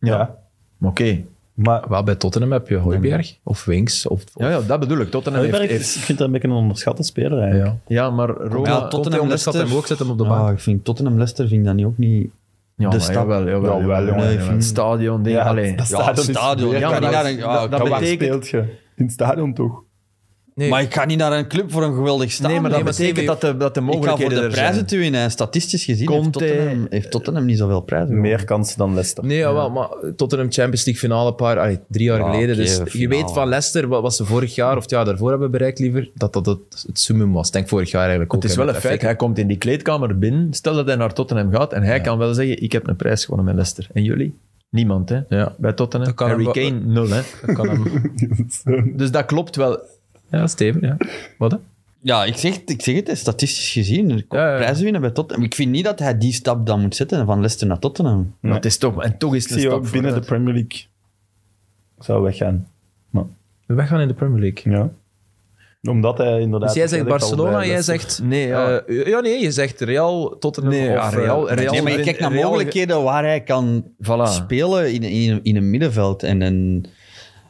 ja. Maar Oké. Maar Wel, bij Tottenham heb je Hooiberg of Winks. Of, of- Ja, ja, dat bedoel ik. Tottenham heeft... Heuberg, heeft- is- ik vind dat een beetje een onderschatte speler eigenlijk. ja. ja, maar Roma... Ja, Komt Tottenham, hij om de Leicester. Ah, schat hem ook, zet hem op de bank. Ja, ik vind Tottenham Leicester vind ik dat niet ook niet. Ja, de maar stap. Jawel, jawel, Jawel, jawel, jongen, jawel. jawel. Het Stadion, dingen. Ja, Allee. dat Ja, stadion is- stadion. Ja, Ja, maar niet maar dat- naar een- ja, dat- dat kan wel. betekent- speelt je? In het stadion toch? Nee, Maar ik ga niet naar een club voor een geweldig stadion. Nee, maar dat maar betekent Stevie- dat de, dat de ik ga voor mogelijkheden de er zijn. prijzen toe in. hè. Statistisch gezien heeft Conte- Tottenham, heeft Tottenham niet zoveel prijzen. Meer kansen dan Leicester. Nee, jawel, maar Tottenham Champions League finale een paar, allee, drie jaar Ja, geleden. oké, dus je finale. weet van Leicester, wat, wat ze vorig jaar of het jaar daarvoor hebben bereikt liever, dat dat het, het summum was. Ik Denk vorig jaar eigenlijk ook. Het is hè, wel een met feit. FA Cup. Hij komt in die kleedkamer binnen. Stel dat hij naar Tottenham gaat en hij kan wel zeggen, ik heb een prijs gewonnen met Leicester. En jullie? Niemand, hè? Ja. Bij Tottenham. Dat kan Harry hem wel- Kane, nul, hè? Dat kan hem- Dus dat klopt wel. ja, Steven, ja. Wat hè? Ja, ik zeg, het- ik zeg het, hè, statistisch gezien. er komt Ja, ja, ja. Prijzen winnen bij Tottenham. Ik vind niet dat hij die stap dan moet zetten van Leicester naar Tottenham. Maar het is toch, en toch is Ik het een zie je stap ook binnen de vooruit. Premier League. Ik zou weggaan. We weggaan in de Premier League. Ja. Omdat hij inderdaad... Dus jij zegt ik al Barcelona, bij jij Leicester- zegt... Nee, ja. eh, ja, nee, je zegt Real, Tottenham Nee, of... ja, Real- eh, Real- nee, maar je wint- Ah. kijkt naar Real- mogelijkheden waar hij kan Voilà. spelen in, in, in een middenveld. En, en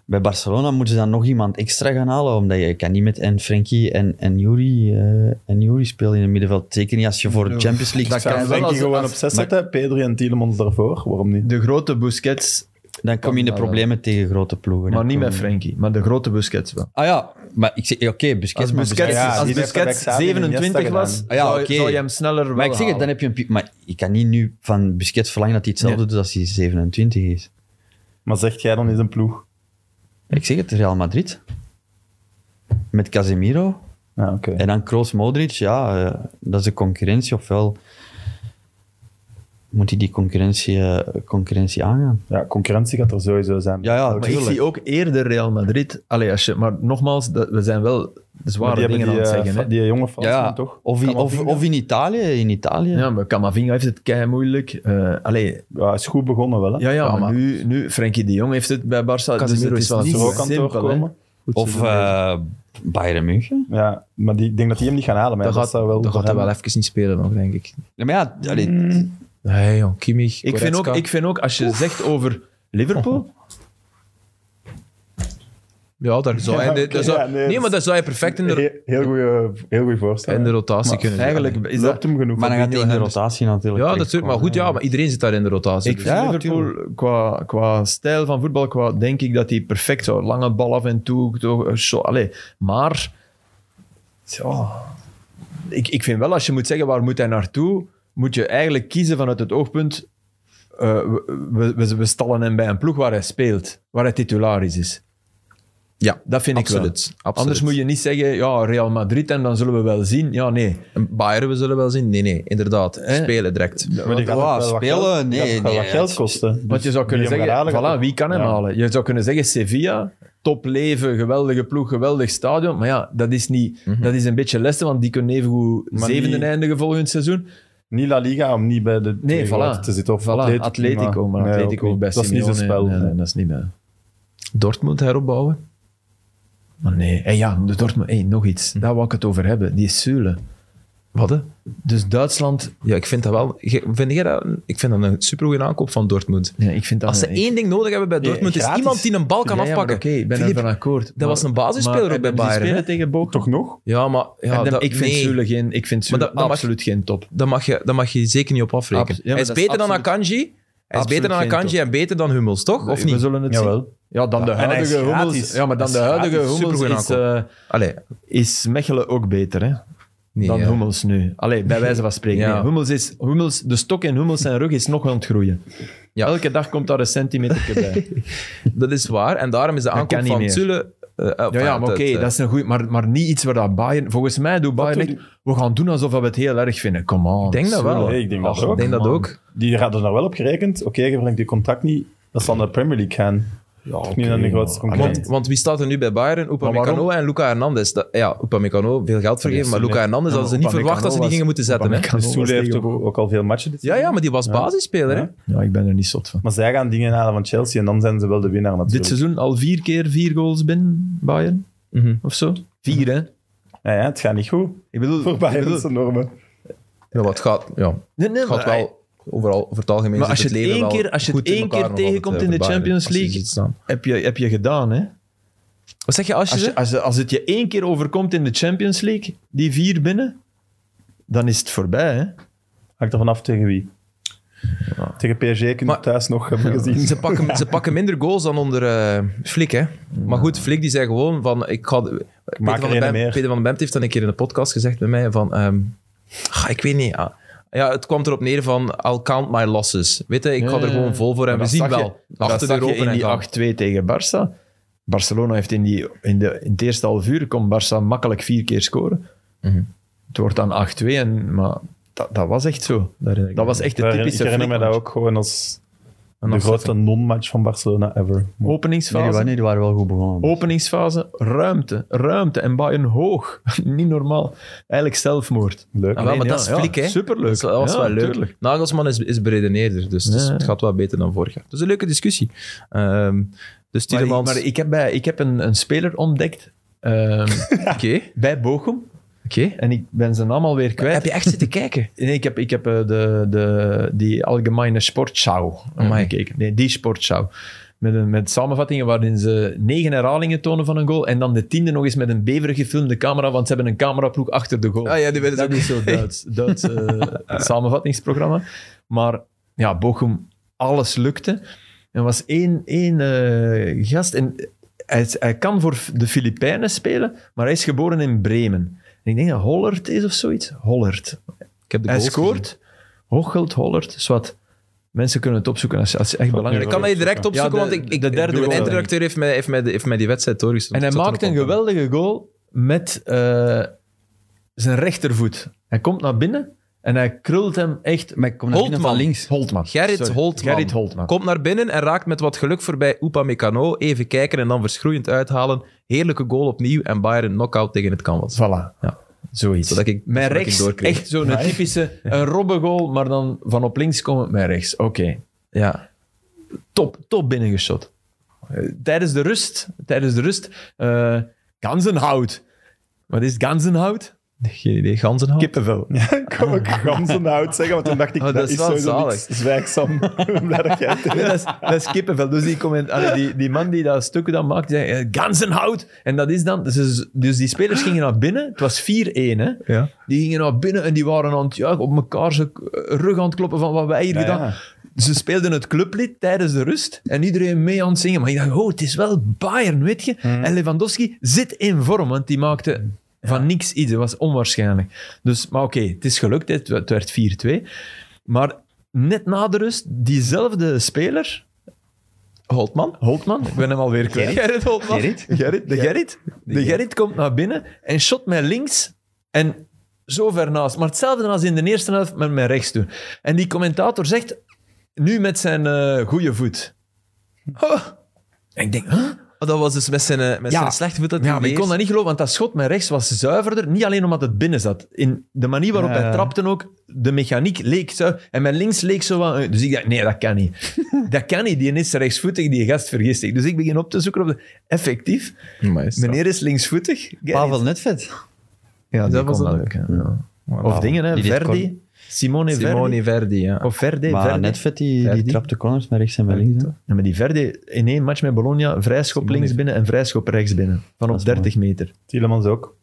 bij Barcelona moeten ze dan nog iemand extra gaan halen, omdat je kan niet met en Frenkie en, en, Yuri, eh, en Yuri spelen in een middenveld. Zeker niet als je voor de Champions League Dat Ik zou kan gaat. wel Frenkie als- gewoon als- op 6 zetten, Pedri en Tielemans daarvoor. Waarom niet? De grote Busquets, Dan kom je in de kan wel. problemen tegen grote ploegen. maar Dan niet kom met je- Frenkie. Maar de grote Busquets wel. Ah ja, maar ik zeg, oké, Busquets. Als maar Busquets, Ja, die als heeft dat Busquets bij Xavi en Iniesta 27 was, gedaan. Ah ja, zou, oké. zou je hem sneller wel Maar ik zeg het, dan halen. heb je een... pi- Maar je kan niet nu van Busquets verlangen dat hij hetzelfde doet als hij 27 is. Maar zegt jij dan eens een ploeg? Ik zeg het, Real Madrid. Met Casemiro. Ja, oké. En dan Kroos Modric, ja, eh, dat is de concurrentie. Ofwel moet hij die concurrentie, eh, concurrentie aangaan. Ja, concurrentie gaat er sowieso zijn. Ja, ja, Maar ik zie ook eerder Real Madrid. Allee, als je, maar nogmaals, dat, we zijn wel Maar zware die hebben dingen aan die, het eh, zeggen. Fra- hè. die jonge Ja, Fransman, ja. toch? Of, i- of, Camavinga? of in Italië. In Italië. Ja, maar Camavinga heeft het kei moeilijk. Eh, allee, Ja, is goed begonnen wel, hè? ja, ja, Ja, maar, maar- Nu, nu, Frenkie de Jong heeft het bij Barça. Dus Casemiro het is is wel niet Als er ook aan het simpel. hè. doorkomen. of eh, Bayern München. Ja, maar die, ik denk dat die hem niet gaan halen. Maar Dat dat gaat, zou wel dat gaat hij voor wel hem- even niet spelen nog, denk ik. Ja, maar ja, allee, Nee, jong, Kimmich, Ik vind, ook, Goretzka. ik vind ook, als je zegt over Liverpool, Ja, daar zou Ja, hij... oké, daar zou- ja, nee, nee, maar daar zou je perfect in de, Heel, heel goede heel goeie voorstel. in de rotatie Maar kunnen eigenlijk is Is dat... dat hem genoeg? maar dan gaat hij in de Fabinho rotatie natuurlijk. Ja, natuurlijk. Maar goed, ja, maar iedereen zit daar in de rotatie. Ik dus- vind Ja, Liverpool qua, qua stijl van voetbal, qua, denk ik dat hij perfect zou. Lange bal af en toe. Toch, eh, zo, allee, maar ja, ik, ik vind wel, als je moet zeggen waar moet hij naartoe, moet je eigenlijk kiezen vanuit het oogpunt. eh, we, we- we, we stallen hem bij een ploeg waar hij speelt, waar hij titularis is. Ja, Dat vind ik wel. absoluut, absoluut. Anders moet je niet zeggen, ja, Real Madrid en dan zullen we wel zien. Ja, nee. En Bayern, we zullen wel zien. Nee, nee, inderdaad. Eh? Spelen direct. Maar die Ja, gaat ook wel wat spelen, geld- nee, die gaat wel nee, wat geld het- kosten. Dus Want je zou kunnen zeggen, voilà, wie kan hem halen? Je zou kunnen zeggen, Sevilla, topleven, geweldige ploeg, geweldig stadion. Maar ja, dat is, niet, dat is een beetje lessen, want die kunnen evengoed Mhm. Maar zevende niet- eindigen volgend seizoen. Niet La Liga om niet bij de Nee, twee voilà. grote te zitten. Of Voilà, Atletico, maar Nee, Atletico ook is best Dat is niet zijn spel. Nee, nee. nee, dat is niet bij. Dortmund heropbouwen. Hm. Maar nee, en ja, de Dortmund, hey, nog iets. Daar wou ik het over hebben. Die Sule. Wat? hè? Dus Duitsland... Ja, ik vind dat wel. ge- Vind jij dat, een- ik vind dat een supergoeie aankoop van Dortmund. Ja, ik vind dat Als ze een- één ding nodig hebben bij Dortmund, is gratis. iemand die een bal kan Ja, ja, maar afpakken. Oké, ik ben Filip, ervan akkoord. Maar- was een basisspeler maar- ook bij en die Bayern, spelen hè? tegen Bochum. Toch nog? Ja, maar ja, En dan- dat, ik vind nee, Zule geen, ik vind Zule Maar dat- dat mag- absoluut geen top. daar mag, je, daar mag je zeker niet op afrekenen. Abs- ja, maar hij is dat is beter dan absoluut- Akanji. Hij is absoluut beter dan geen Akanji top. en beter dan Hummels, toch? Of We niet? zullen het zien. Jawel. Ja, dan de en hij is huidige Hummels. gratis. Ja, maar dan de Hij is huidige gratis. Hummels Supergoeie is, eh Allee, is Mechelen ook beter hè, nee, dan ja. Hummels nu. Allee, bij wijze van spreken. Ja. Nee, Hummels is, Hummels, de stok in Hummels zijn rug is nog aan het groeien. Ja. Elke dag komt daar een centimeter bij. Dat is waar. En daarom is de kan aankoop niet van meer. Zule... eh, eh, ja, ja, maar het, oké, eh, dat is een goeie, maar, maar niet iets waar dat Bayern... Volgens mij doet Bayern doet echt, we gaan doen alsof we het heel erg vinden. Come on. Ik denk dat wel. Nee, ik denk dat ook. Ik denk dat man. ook. Die hadden daar wel op gerekend. Oké, je verlengt je contract niet. Dat zal naar de Premier League gaan. Ja, Niet naar de grootste concurrent. Want, want wie staat er nu bij Bayern? Maar Upamecano waarom? en Luca Hernandez. Dat, ja, Upamecano, veel geld vergeven, maar Soele. Luca Hernandez Ja, hadden ze niet Upamecano verwacht dat ze die was- gingen moeten zetten. Hè? Upamecano Dus Soele was heeft tegen ook, ook al veel matchen dit Ja, jaar. ja, maar die was basisspeler. Hè? Ja. Ja, ik ben er niet zot van. Maar zij gaan dingen halen van Chelsea en dan zijn ze wel de winnaar natuurlijk. Dit seizoen al vier keer vier goals binnen Bayern Mhm. of zo. Vier, hè? Ja, ja, het gaat niet goed. Ik bedoel, Voor ik Bayern bedoel- is enorme. Ja, wat gaat, ja, nee, het nee, gaat maar- wel overal, over het algemeen. Maar zit als het je het leven één wel keer- als je het goed in één elkaar keer nog altijd, tegenkomt eh, in de bij Bayern, Champions als je League. ziet staan. Heb je, heb je gedaan, hè? Wat zeg je als je, Als, ze- je, als, je- als het je één keer overkomt in de Champions League, die vier binnen, dan is het voorbij, hè? Hangt er vanaf tegen wie. Tegen PSG kunnen Maar- we thuis nog hebben gezien. Ze pakken, ze pakken minder goals dan onder eh, Flik, hè. Maar goed, Flik die zei gewoon van... Ik ga, Peter, maak van den er een Bem- meer. Peter van den Bemt heeft dan een keer in de podcast gezegd bij mij van... ehm, ah, ik weet niet. ah. ja, het kwam erop neer van... I'll count my losses. Weet je, ik ga Ja, er ja, gewoon ja. vol voor en Maar we dat zien zag je- wel. Achter de dat zag je Europa in die 8-2 tegen Barça. Barcelona heeft in, die, in, de, in het eerste half uur kon Barça makkelijk vier keer scoren. Mhm. Het wordt dan 8-2, en, maar dat, dat was echt zo. Dat was echt de Daar- Ik typische herinner me dat flikmatch. ook gewoon als de grootste non-match van Barcelona ever. Oh. Nee, die Openingsfase. waren, nee, die waren wel goed begonnen. Openingsfase, ruimte, ruimte en Bayern hoog. Niet normaal. Eigenlijk zelfmoord. Leuk. Ah, wel, Alleen, maar ja, dat is ja, Flik, hè. superleuk. Dat was Ja, wel leuk. tuurlijk. Nagelsman is, is beredeneerder, dus het is- Ja. het gaat wel beter dan vorig jaar. Dus een leuke discussie. Ehm, dus Maar, ik, Tielemans... maar Oké, ik heb, bij, ik heb een, een speler ontdekt ehm, oké. bij Bochum. En ik ben ze allemaal weer kwijt. Heb je echt zitten kijken? Nee, ik heb, ik heb eh, de, de, die Algemeine Sportschau eh, Amai. gekeken. Nee, die Sportschau. Met, een, met samenvattingen waarin ze negen herhalingen tonen van een goal. En dan de tiende nog eens met een beverig gefilmde camera, want ze hebben een cameraploeg achter de goal. Ah ja, die willen ze dat ook- is zo Duits, Duits eh, samenvattingsprogramma. Maar ja, Bochum, alles lukte. Er was één, één eh, gast. En hij, is- hij kan voor de Filipijnen spelen, maar hij is geboren in Bremen. En ik denk dat Hollert is of zoiets. Hollert. Ik heb de Hij goals gezien. scoort. Hoogeld, Hollert, zwart. Dus Mensen kunnen het opzoeken als, als het echt belangrijk Ik is. kan dat je direct opzoeken, Ja, de- want ik, ik, de ik derde bedoel, goal. de eindredacteur heeft mij, heeft, mij, heeft mij die wedstrijd doorgestuurd. En hij Het staat maakt er een nog op. geweldige goal met eh, zijn rechtervoet. Hij komt naar binnen en hij krult hem echt... Maar ik kom naar binnen Holtman. van links. Holtman. Gerrit Sorry, Holtman. Gerrit Holtman. Komt naar binnen en raakt met wat geluk voorbij Upamecano. Even kijken en dan verschroeiend uithalen. Heerlijke goal opnieuw en Bayern knockout tegen het canvas. Voilà. Ja. Zoiets. Zodat ik- mijn zodat ik rechts, doorkreeg. echt zo'n typische een robbengoal, maar dan van op links komen mijn rechts. Oké. Ja. top, top binnengeschot. Eh, Tijdens de rust, tijdens de rust, eh, ganzenhout. Wat is ganzenhout? Geen idee. Ganzenhout? Kippenvel. Ja, ik kon ook ganzenhout zeggen, want toen dacht ik, Oh, dat, dat is is wel sowieso niks zwijgzaam. Ik ben blij dat jij het Nee, dat, is, dat is kippenvel. Dus die, comment, allee, die, die man die dat stuk dan maakt, die zei, eh, ganzenhout. En dat is dan... Dus, dus die spelers gingen naar binnen. Het was 4-1, hè. Ja. Die gingen naar binnen en die waren aan het, ja, op elkaar zijn rug aan het kloppen van wat wij hier Ja, gedaan. ja. Ze speelden het clublied tijdens de rust en iedereen mee aan het zingen. Maar ik dacht, oh, het is wel Bayern, weet je. Hmm. En Lewandowski zit in vorm, want die maakte van niks iets. Dat was onwaarschijnlijk. Dus, maar oké, het is gelukt. Het, het werd 4-2. Maar net na de rust, diezelfde speler, Holtman? Holtman, ik ben hem alweer kwijt. Gerrit Holtman. Gerrit, de Gerrit. De Gerrit komt naar binnen en shot met links en zo ver naast. Maar hetzelfde als in de eerste helft, maar met rechts doen. En die commentator zegt, nu met zijn eh, goede voet. Huh. En ik denk, huh? Oh, dat was dus met zijn, eh, met Ja. zijn slechte voet dat hij ja, maar ik leest. kon dat niet geloven, want dat schot met rechts was zuiverder. Niet alleen omdat het binnen zat. In de manier waarop Ja. hij trapte ook, de mechaniek leek zo. En mijn links leek zo van... eh, Dus ik dacht, nee, dat kan niet. dat kan niet, die is rechtsvoetig, die gast vergist zich. Dus ik begin op te zoeken op de... Effectief, Maar is dat- meneer is linksvoetig. Gerrit. Pavel Netvet. Ja, Dat was kon een ook, hè. Ja. Of Ja, dingen, hè. die dit Verdi. Simone, Verdi. Simone Verdi, ja. Of Verdi, Maar Verdi. net vet, die, die Verdi. trapte corners met rechts en met links. hè. Ja, maar die Verdi, in één match met Bologna, vrijschop links binnen en vrijschop rechts binnen. Dat Van op is 30 meter. Tielemans ook.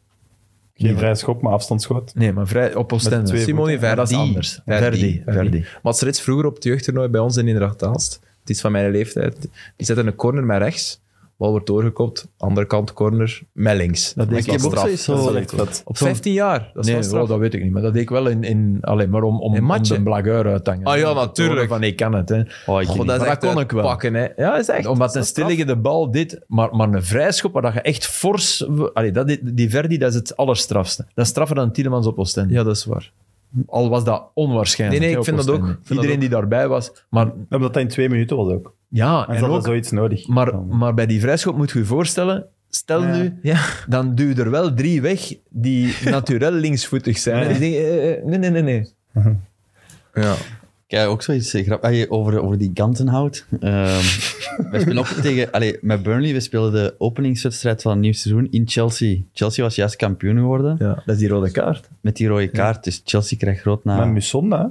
Geen Nee. vrije schop, maar afstandschot. Nee, maar vrij op Oostende. twee Simone voeten. Verdi. Dat is Verdi. anders. Verdi. Verdi. Verdi. Verdi. Maar het reeds vroeger op het jeugdtoernooi bij ons in Inderdaad Aalst. Het is van mijn leeftijd. Die zetten een corner met rechts. Bal wordt doorgekopt. Andere kant corner met links. Dat Maar deed ik ik was ook straf. zoiets, eh, zo. Dat is wel Dat echt- is echt wat. Op Zo'n- 15 jaar. Dat is nee, wel straf. wel, dat weet ik niet. Maar dat deed ik wel in... in allee, maar om, om, In om matchen? de blagueur uit te hangen. Ah ja, Om te tonen natuurlijk. Van, ik kan het. Hè. Oh, ik Goh, weet dat niet. is Maar echt dat kon ik wel. pakken, hè. Ja, is echt. Omdat Dat een is straf. stilliggende bal dit, maar, maar een vrijschop waar dat je echt fors... Allee, dat, die, die Verdi, dat is het allerstrafste. Dat is straffer dan Tielemans op Oostende. Ja, dat is waar. Al was dat onwaarschijnlijk. Nee, nee, hè, ik op vind dat Oostende. ook. Ik vind Iedereen die daarbij was. Maar Omdat dat in twee minuten was ook. ja, En en ze hadden ook, zoiets nodig. maar, Dan. maar bij die vrijschop moet je je voorstellen... Stel Ja. nu, Ja. dan duw je er wel drie weg die naturel linksvoetig zijn. Ja. Die denken, eh, eh, nee, nee, nee, nee. Ja. Kijk, ook zoiets eh, grappig. Ah, je- Over, over die kanten houdt. we spelen ook tegen... Allee, met Burnley, we speelden de openingswedstrijd van het nieuw seizoen in Chelsea. Chelsea was juist kampioen geworden Ja, dat is die rode kaart. met die rode kaart. Dus Chelsea krijgt rood na... Maar Musonda,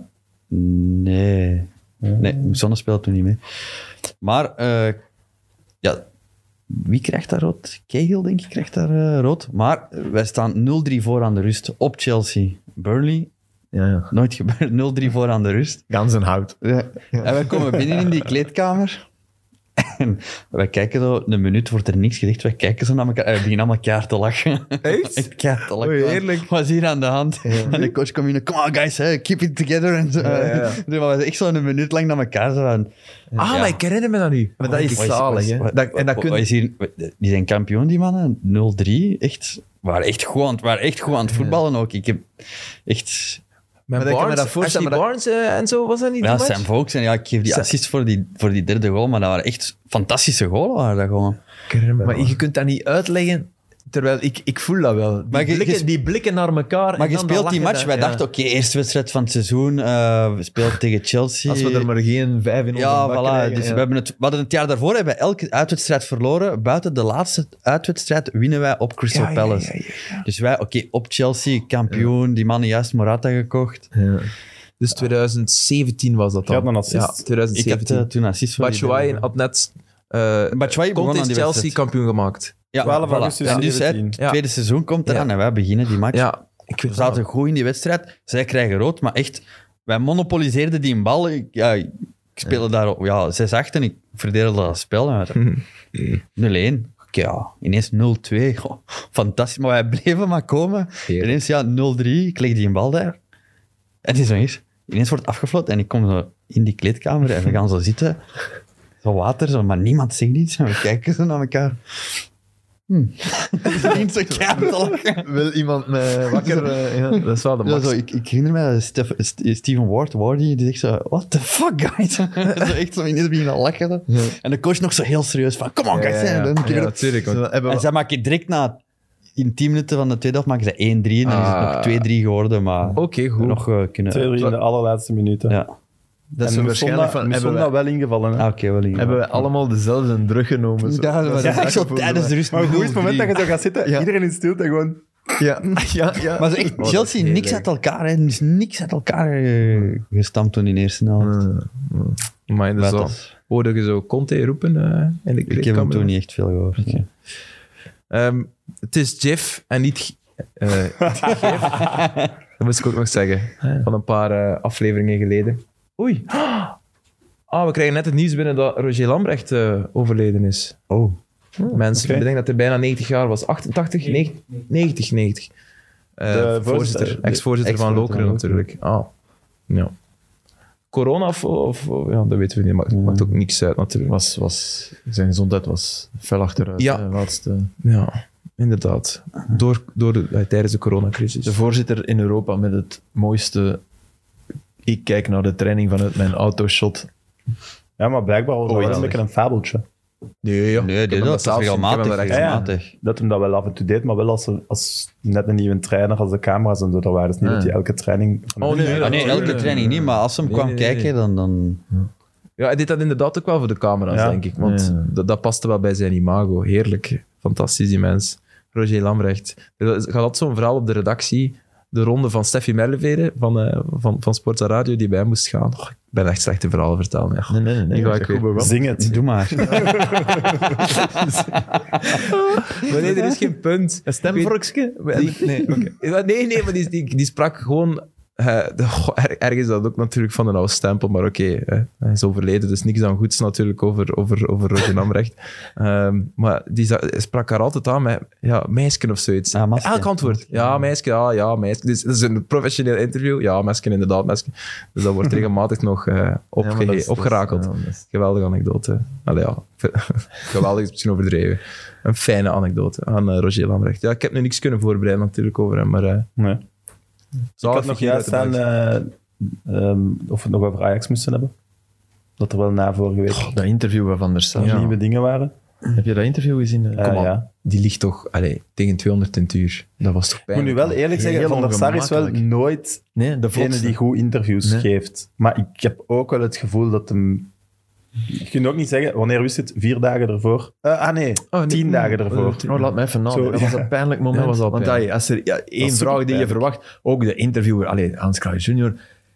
Nee. Nee, Sonne speelde toen niet mee. Maar, eh, ja, wie krijgt daar rood? Cahill, denk ik, krijgt daar eh, rood. Maar wij staan 0-3 voor aan de rust op Chelsea. Burnley, Ja, ja. nooit gebeurd, 0-3 voor aan de rust. Ganzenhout. Ja. En wij komen binnen in die kleedkamer. En wij kijken zo, een minuut wordt er niks gezegd. Wij kijken zo naar elkaar en we beginnen allemaal keihard te lachen. Echt? Echt keihard te lachen. Oei, eerlijk? Wat is hier aan de hand? En de coach kwam in, come on guys, hè, keep it together. En zo. ja, ja. Dus we waren echt zo een minuut lang naar elkaar. Zo van, Ah, maar ik herinner me dat nu. Maar dat is zalig, hè. Dat- En dat wat- wat kun is hier, die zijn kampioen, die mannen. 0-3, echt. Waren echt, goed aan, het- waren echt goed aan het voetballen ook. Ik heb echt... Met Maar dat kan me Barnes, dat voorstellen, Ashley maar Barnes eh, en zo, was dat niet Ja, die match? Sam Vokes. En ja, ik geef die Sam- assist voor die, voor die derde goal, maar dat waren echt fantastische goals. Waren dat gewoon. Ik herinner me Maar dat. je kunt dat niet uitleggen, terwijl ik, ik voel dat wel. Die, Maar je- je blikken, sp- die blikken naar elkaar. en Maar je dan dat speelt die lachen, match. dat- Wij ja. dachten, oké, eerste wedstrijd van het seizoen. eh, we spelen tegen Chelsea. Als we er maar geen vijf in onze Ja, bak voilà. krijgen, dus ja. We, hebben het, we hadden het jaar daarvoor hebben we elke uitwedstrijd verloren. Buiten de laatste uitwedstrijd winnen wij op Crystal Ja, ja, Palace. ja, Dus wij, oké, op Chelsea, kampioen. Die mannen juist Morata gekocht. Ja. Dus 2017 was dat dan. Je had een assist. Ja, Ik had 2017. eh, toen assist voor die Batshuayi derde goal. had net... eh Batshuayi begon Conte aan is die Chelsea wedstrijd. kampioen gemaakt. Ja, 12 augustus En dus hè, het 17. Ja. tweede seizoen komt eraan en wij beginnen die match. Ja, ik We weet het zaten goed in die wedstrijd. Zij krijgen rood, maar echt, wij monopoliseerden die bal. Ik, ja, ik speelde daar ja, 6-8 en ik verdeelde dat spel. En we- Hmm. 0-1. Oké, ja, ineens 0-2. Goh, fantastisch, maar wij bleven maar komen. Heerlijk. Ineens ja, 0-3. Ik leg die bal daar. En die zo is. Ineens wordt afgevlot en ik kom zo in die kleedkamer en we gaan zo zitten. Zo water, zo, maar niemand zegt iets. En we kijken zo naar elkaar. Hm. Ze begint zo keihard te lachen. Wil iemand me wakker... eh, ja, dat is wel de Ja, max. zo, ik, ik herinner me dat Stef- St- Steven Ward, Wardy, die zegt zo, what the fuck, guys? zo echt zo ineens beginnen lachen. En de coach nog zo heel serieus van, come on, guys. hè, dan een keer Ja, erop. natuurlijk. Zo, want- hebben we- en zij maken direct na, in 10 minuten van de tweede helft, maken ze 1-3 en dan Ah. is het nog 2-3 geworden, maar Oké, goed. nog eh, kunnen... 2-3 in de allerlaatste minuten. Ja, ah, dat is zo waarschijnlijk van... Hebben Musonda we, wel ingevallen. hè. oké, wel in. hebben we allemaal dezelfde drug genomen? zo. Ja, dat is is echt zo gevoel, tijdens de rust. Maar goed, het moment dat 0-3. je zo gaat zitten, Ja. iedereen in stilte gewoon... Ja, ja, ja. Maar zo echt, dat is Chelsea, niks heerlijk. uit elkaar. Hè. Dus niks uit elkaar eh, gestampt toen in de eerste helft. Maar dat Maar is wel- dat is- Hoorde je zo Conte roepen eh, in de ik heb hem kleedkamer? toen niet echt veel gehoord. nee. Ehm, het is Jeff en niet... G- eh, Jeff. Dat moest ik ook nog zeggen. Van een paar eh, afleveringen geleden. Oei. Ah, we krijgen net het nieuws binnen dat Roger Lambrecht eh, overleden is. Oh. Mensen, oké. ik denk dat hij bijna 90 jaar was. 88? 90? 90, 90. Eh, De voorzitter, ex-voorzitter voorzitter. van Ex-voorzitter Lokeren van natuurlijk. Ah, ja. Corona of, of- of- ja, dat weten we niet. Maakt, maakt ook niks uit natuurlijk. Was, was, zijn gezondheid was fel achteruit. Ja. hè, laatste. Ja, inderdaad. Door, door de, eh, tijdens de coronacrisis. De voorzitter in Europa met het mooiste... Ik kijk naar de training vanuit mijn autoshot. Ja, maar blijkbaar was dat wel een Geweldig. beetje een fabeltje. nee, ja. Ik Nee, heb dit hem dat is zelf- ik regelmatig. heb hem Ja, daar echt- ja. regelmatig. Dat hem dat wel af en toe deed, maar wel als, als net een nieuwe trainer, als de camera's en zo er waren. Dus niet Ja. dat hij elke training... van- Oh, nee, Ah, nee, elke training niet, maar als ze hem Nee, kwam nee, nee. kijken, dan... dan... Ja, hij deed dat inderdaad ook wel voor de camera's, Ja. denk ik. Want Ja. dat, dat paste wel bij zijn imago. Dus Heerlijk. Fantastisch, die mens. Roger Lambrecht. Er is- Je had zo'n verhaal op de redactie de ronde van Steffi Merleveren van, eh, van, van Sportza Radio die bij hem moest gaan. Oh, ik ben echt slechte verhalen vertellen. Ja. Nee, nee, nee. Die ga dat is ik goed weer. bewaard. Zing het. Doe maar. Maar nee, er is geen punt. Een stemvorkje? Die- Nee, oké. Ja, Nee, nee, maar die, die, die sprak gewoon... eh, de- goh, er- ergens dat ook natuurlijk van een oude stempel, maar oké, eh, hij is overleden, dus niks dan goeds natuurlijk over, over, over Roger Namrecht. Ehm, maar die za- sprak haar altijd aan met ja, meisje of zoiets. Ah, maske. Elk antwoord. Ja, meisje, ja, ja, meisje. Dus dat is een professioneel interview. Ja, meisje, inderdaad, meisje. Dus dat wordt regelmatig nog eh Ja, maar opgehe- dat is- dat is- opgerakeld. ja, dat is- Geweldige anekdote. Allee, ja. Geweldig is misschien overdreven. Een fijne anekdote aan eh, Roger Lambrecht. Ja, ik heb nu niks kunnen voorbereiden natuurlijk over hem, maar... eh Nee. Ik zalig had nog figuur uit juist de aan buik. eh, ehm, of we het nog over Ajax moesten hebben. Dat er wel na vorige week Goh, dat interview van Van der Sar. Ja. nieuwe dingen waren. Heb je dat interview gezien? Eh, Kom aan. ja. Die ligt toch allee, tegen 200 in het uur. Dat was toch Ik moet nu pijnlijk. wel eerlijk Heel zeggen, Van der Sar is wel ongemakkelijk. nooit Nee, de degene vlotste. die goed interviews Nee. geeft. Maar ik heb ook wel het gevoel dat hem... Je kunt ook niet zeggen, wanneer wist het? Vier dagen ervoor? Eh, ah nee, Oh, nee. tien dagen Oh, ervoor. tien- Oh, laat me even nadenken. Zo, dat ja. was een pijnlijk moment. Dat was al Want pijnlijk. dat- als er ja, één is vraag die je superpijnlijk. verwacht, ook de interviewer, allee, Hans Kruijs junior,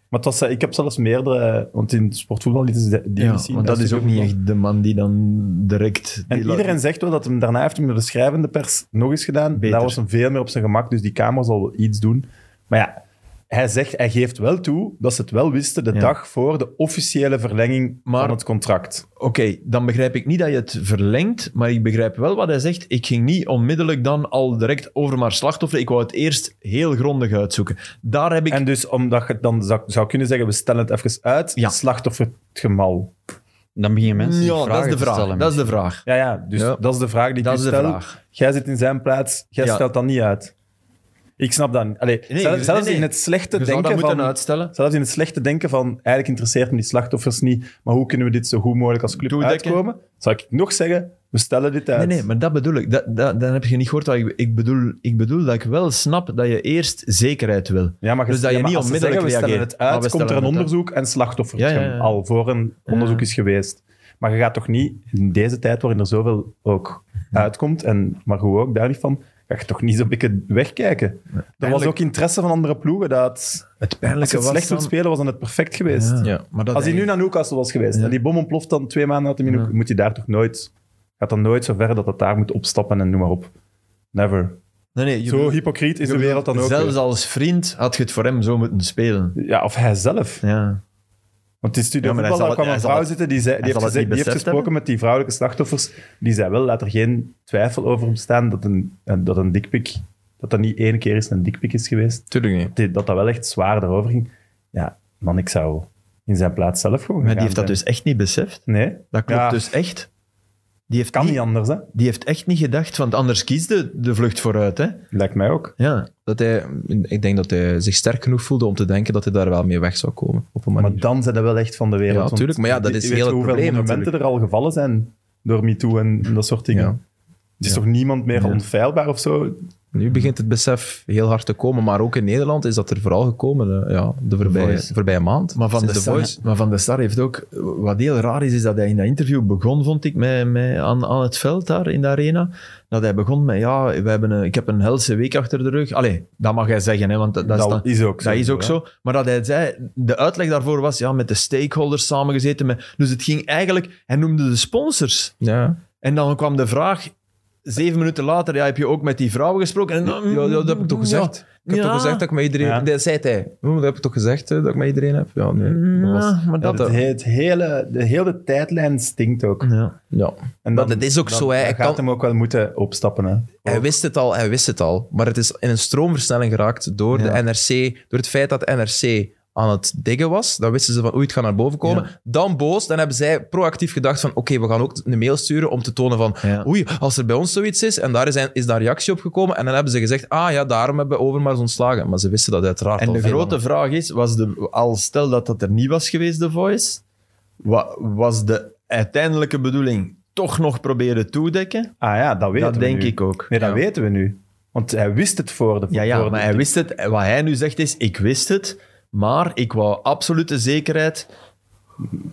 Maar het was, eh, ik heb zelfs meerdere... eh, Want in sportvoetbal lieten ze de- die ja, niet zien. want dat is ook niet echt de man die dan direct... En die laat- iedereen zegt wel dat hem daarna heeft hem met de schrijvende pers nog eens gedaan. Beter. Daar was hem veel meer op zijn gemak, dus die camera zal wel iets doen. Maar ja, hij, zegt, hij geeft wel toe dat ze het wel wisten de Ja. dag voor de officiële verlenging Maar- van het contract. Oké, dan begrijp ik niet dat je het verlengt, maar ik begrijp wel wat hij zegt. Ik ging niet onmiddellijk dan al direct over maar slachtoffer. Ik wou het eerst heel grondig uitzoeken. Daar heb ik... En dus omdat je dan zou, zou kunnen zeggen, we stellen het even uit, Ja. slachtoffer het gemal. Dan begin je mensen die ja, vragen dat is de te vraag. stellen. Dat is de vraag. Ja, ja, dus Ja. dat is de vraag die Dat ik is u de stel. vraag. Jij zit in zijn plaats, jij Ja. stelt dat niet uit. Ik snap dat niet. Allee, Nee, zelf- nee, zelfs nee. in het slechte Je zou dat denken moeten van... uitstellen. Zelfs in het slechte denken van eigenlijk interesseert me die slachtoffers niet, maar hoe kunnen we dit zo goed mogelijk als club Toedekken. uitkomen? Zou ik nog zeggen, we stellen dit uit. Nee, nee, maar dat bedoel ik. Dat, dat, dan heb je niet gehoord wat ik, ik bedoel. Ik bedoel dat ik wel snap dat je eerst zekerheid wil. ja, maar Dus dat je ja, maar niet als ze onmiddellijk zeggen, we reageert. stellen het Ah, uit, we komt stellen er een het onderzoek en slachtoffers Ja, ja, ja. al voor een onderzoek is geweest. Maar je gaat toch niet, in deze tijd waarin er zoveel ook uitkomt, en maar hoe ook, daar niet van, ga je toch niet zo'n beetje wegkijken. Er was Eigenlijk- ook interesse van andere ploegen dat... Het Als pijnlijke je was het slecht dan- wilt spelen, was dan het perfect geweest. Ja, maar dat Als hij nu eigenlijk- naar Newcastle was geweest Ja. en die bom ontploft dan twee maanden uit de minuut, moet hij daar toch nooit... Gaat dan nooit zo ver dat dat daar moet opstappen en noem maar op. Never. Nee, nee, je Zo bedoelt- hypocriet is de wereld dan ook. Zelfs weer. als vriend had je het voor hem zo moeten spelen. Ja, of hij zelf. Ja. Want in Studio Ja, maar hij Voetbal zal het- daar kwam hij een zal vrouw het- zitten die, zei, die, hij heeft, zal het gezegd- niet die heeft beseft gesproken met die vrouwelijke slachtoffers. Die zei wel, laat er geen twijfel over bestaan dat een, een- dat een dikpik... Dat dat niet één keer is een dikpik is geweest. Tuurlijk niet. Die- Dat dat wel echt zwaar erover ging. Ja, man, ik zou in zijn plaats zelf gewoon Maar die gegaan heeft dat zijn. dus echt niet beseft. Nee, Dat klopt Ja. dus echt. Die heeft, kan niet, niet anders, hè. die heeft echt niet gedacht, want anders kiest de, de vlucht vooruit. Hè? Lijkt mij ook. Ja. Dat hij, ik denk dat hij zich sterk genoeg voelde om te denken dat hij daar wel mee weg zou komen. Op een manier. Maar dan zijn dat wel echt van de wereld. Ja, want tuurlijk, maar ja, dat je is weet heel het hoeveel probleem monumenten er al gevallen zijn door MeToo en dat soort dingen. Ja. Het is toch niemand meer onfeilbaar of zo? Nu begint het besef heel hard te komen, maar ook in Nederland is dat er vooral gekomen eh, ja, de voorbije, Voice. voorbije maand. Maar, van de Sinds The Sar, Voice. maar Van der Sar heeft ook... Wat heel raar is, is dat hij in dat interview begon, vond ik, met, met, aan, aan het veld daar in de arena. Dat hij begon met, ja, we hebben een, ik heb een helse week achter de rug. Allee, dat mag hij zeggen, hè, want dat, dat is dan- is ook zo. Dat is ook hè. zo. Maar dat hij zei, de uitleg daarvoor was ja, met de stakeholders samengezeten. Met, dus het ging eigenlijk, hij noemde de sponsors. Ja. En dan kwam de vraag, zeven minuten later, ja, heb je ook met die vrouwen gesproken? En, Ja, ja, dat heb ik toch gezegd? Ik heb Ja. toch gezegd dat ik met iedereen... Ja. Dat zei hij. Oh, Dat heb ik toch gezegd eh, dat ik met iedereen heb? Ja, nee. Dat was- Ja, maar Ja, dat... Dat het, he- het hele, de hele tijdlijn stinkt ook. Ja. ja. En Maar dat is ook zo, hè. Hij Hij gaat kan- hem ook wel moeten opstappen. Hè. Hij wist het al, hij wist het al. Maar het is in een stroomversnelling geraakt door Ja. de NRC, door het feit dat NRC aan het diggen was. Dan wisten ze van, oei, het gaat naar boven komen. Dan boos, dan hebben zij proactief gedacht van, oké, we gaan ook een mail sturen om te tonen van, Ja. oei, als er bij ons zoiets is, en daar is, een- is daar reactie op gekomen, en dan hebben ze gezegd, ah ja, daarom hebben we Overmars ontslagen. Maar ze wisten dat uiteraard En al de veel grote langer. vraag is, was de, al stel dat dat er niet was geweest, de Voice, wa- was de uiteindelijke bedoeling toch nog proberen toedekken? Ah ja, dat weten Dat we denk nu. ik ook. Nee, dat Ja. weten we nu. Want hij wist het voor de Ja, voor ja de- maar hij wist het. Wat hij nu zegt is, ik wist het, maar ik wou absolute zekerheid. Nee,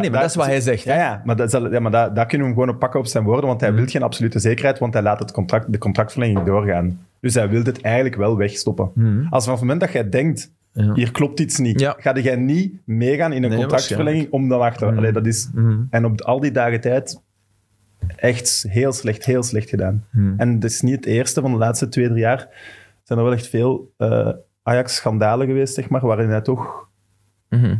nee, maar dat is wat hij zegt. Ja, ja, maar, dat, zal- ja, maar dat, daar kunnen we hem gewoon op pakken op zijn woorden, want hij Mm. wil geen absolute zekerheid, want hij laat het contract, de contractverlenging doorgaan. Dus hij wil dit eigenlijk wel wegstoppen. Als vanaf het moment dat jij denkt, Mm. Ja. hier klopt iets niet, Ja. ga jij niet meegaan in een Nee, contractverlenging om dan achter... Allee, dat is, Mhm. En op al die dagen tijd echt heel slecht, heel slecht gedaan. Mm. En het is niet het eerste van de laatste twee, drie jaar. Zijn er wel echt veel eh, Ajax-schandalen geweest, zeg maar, waarin hij toch Mhm.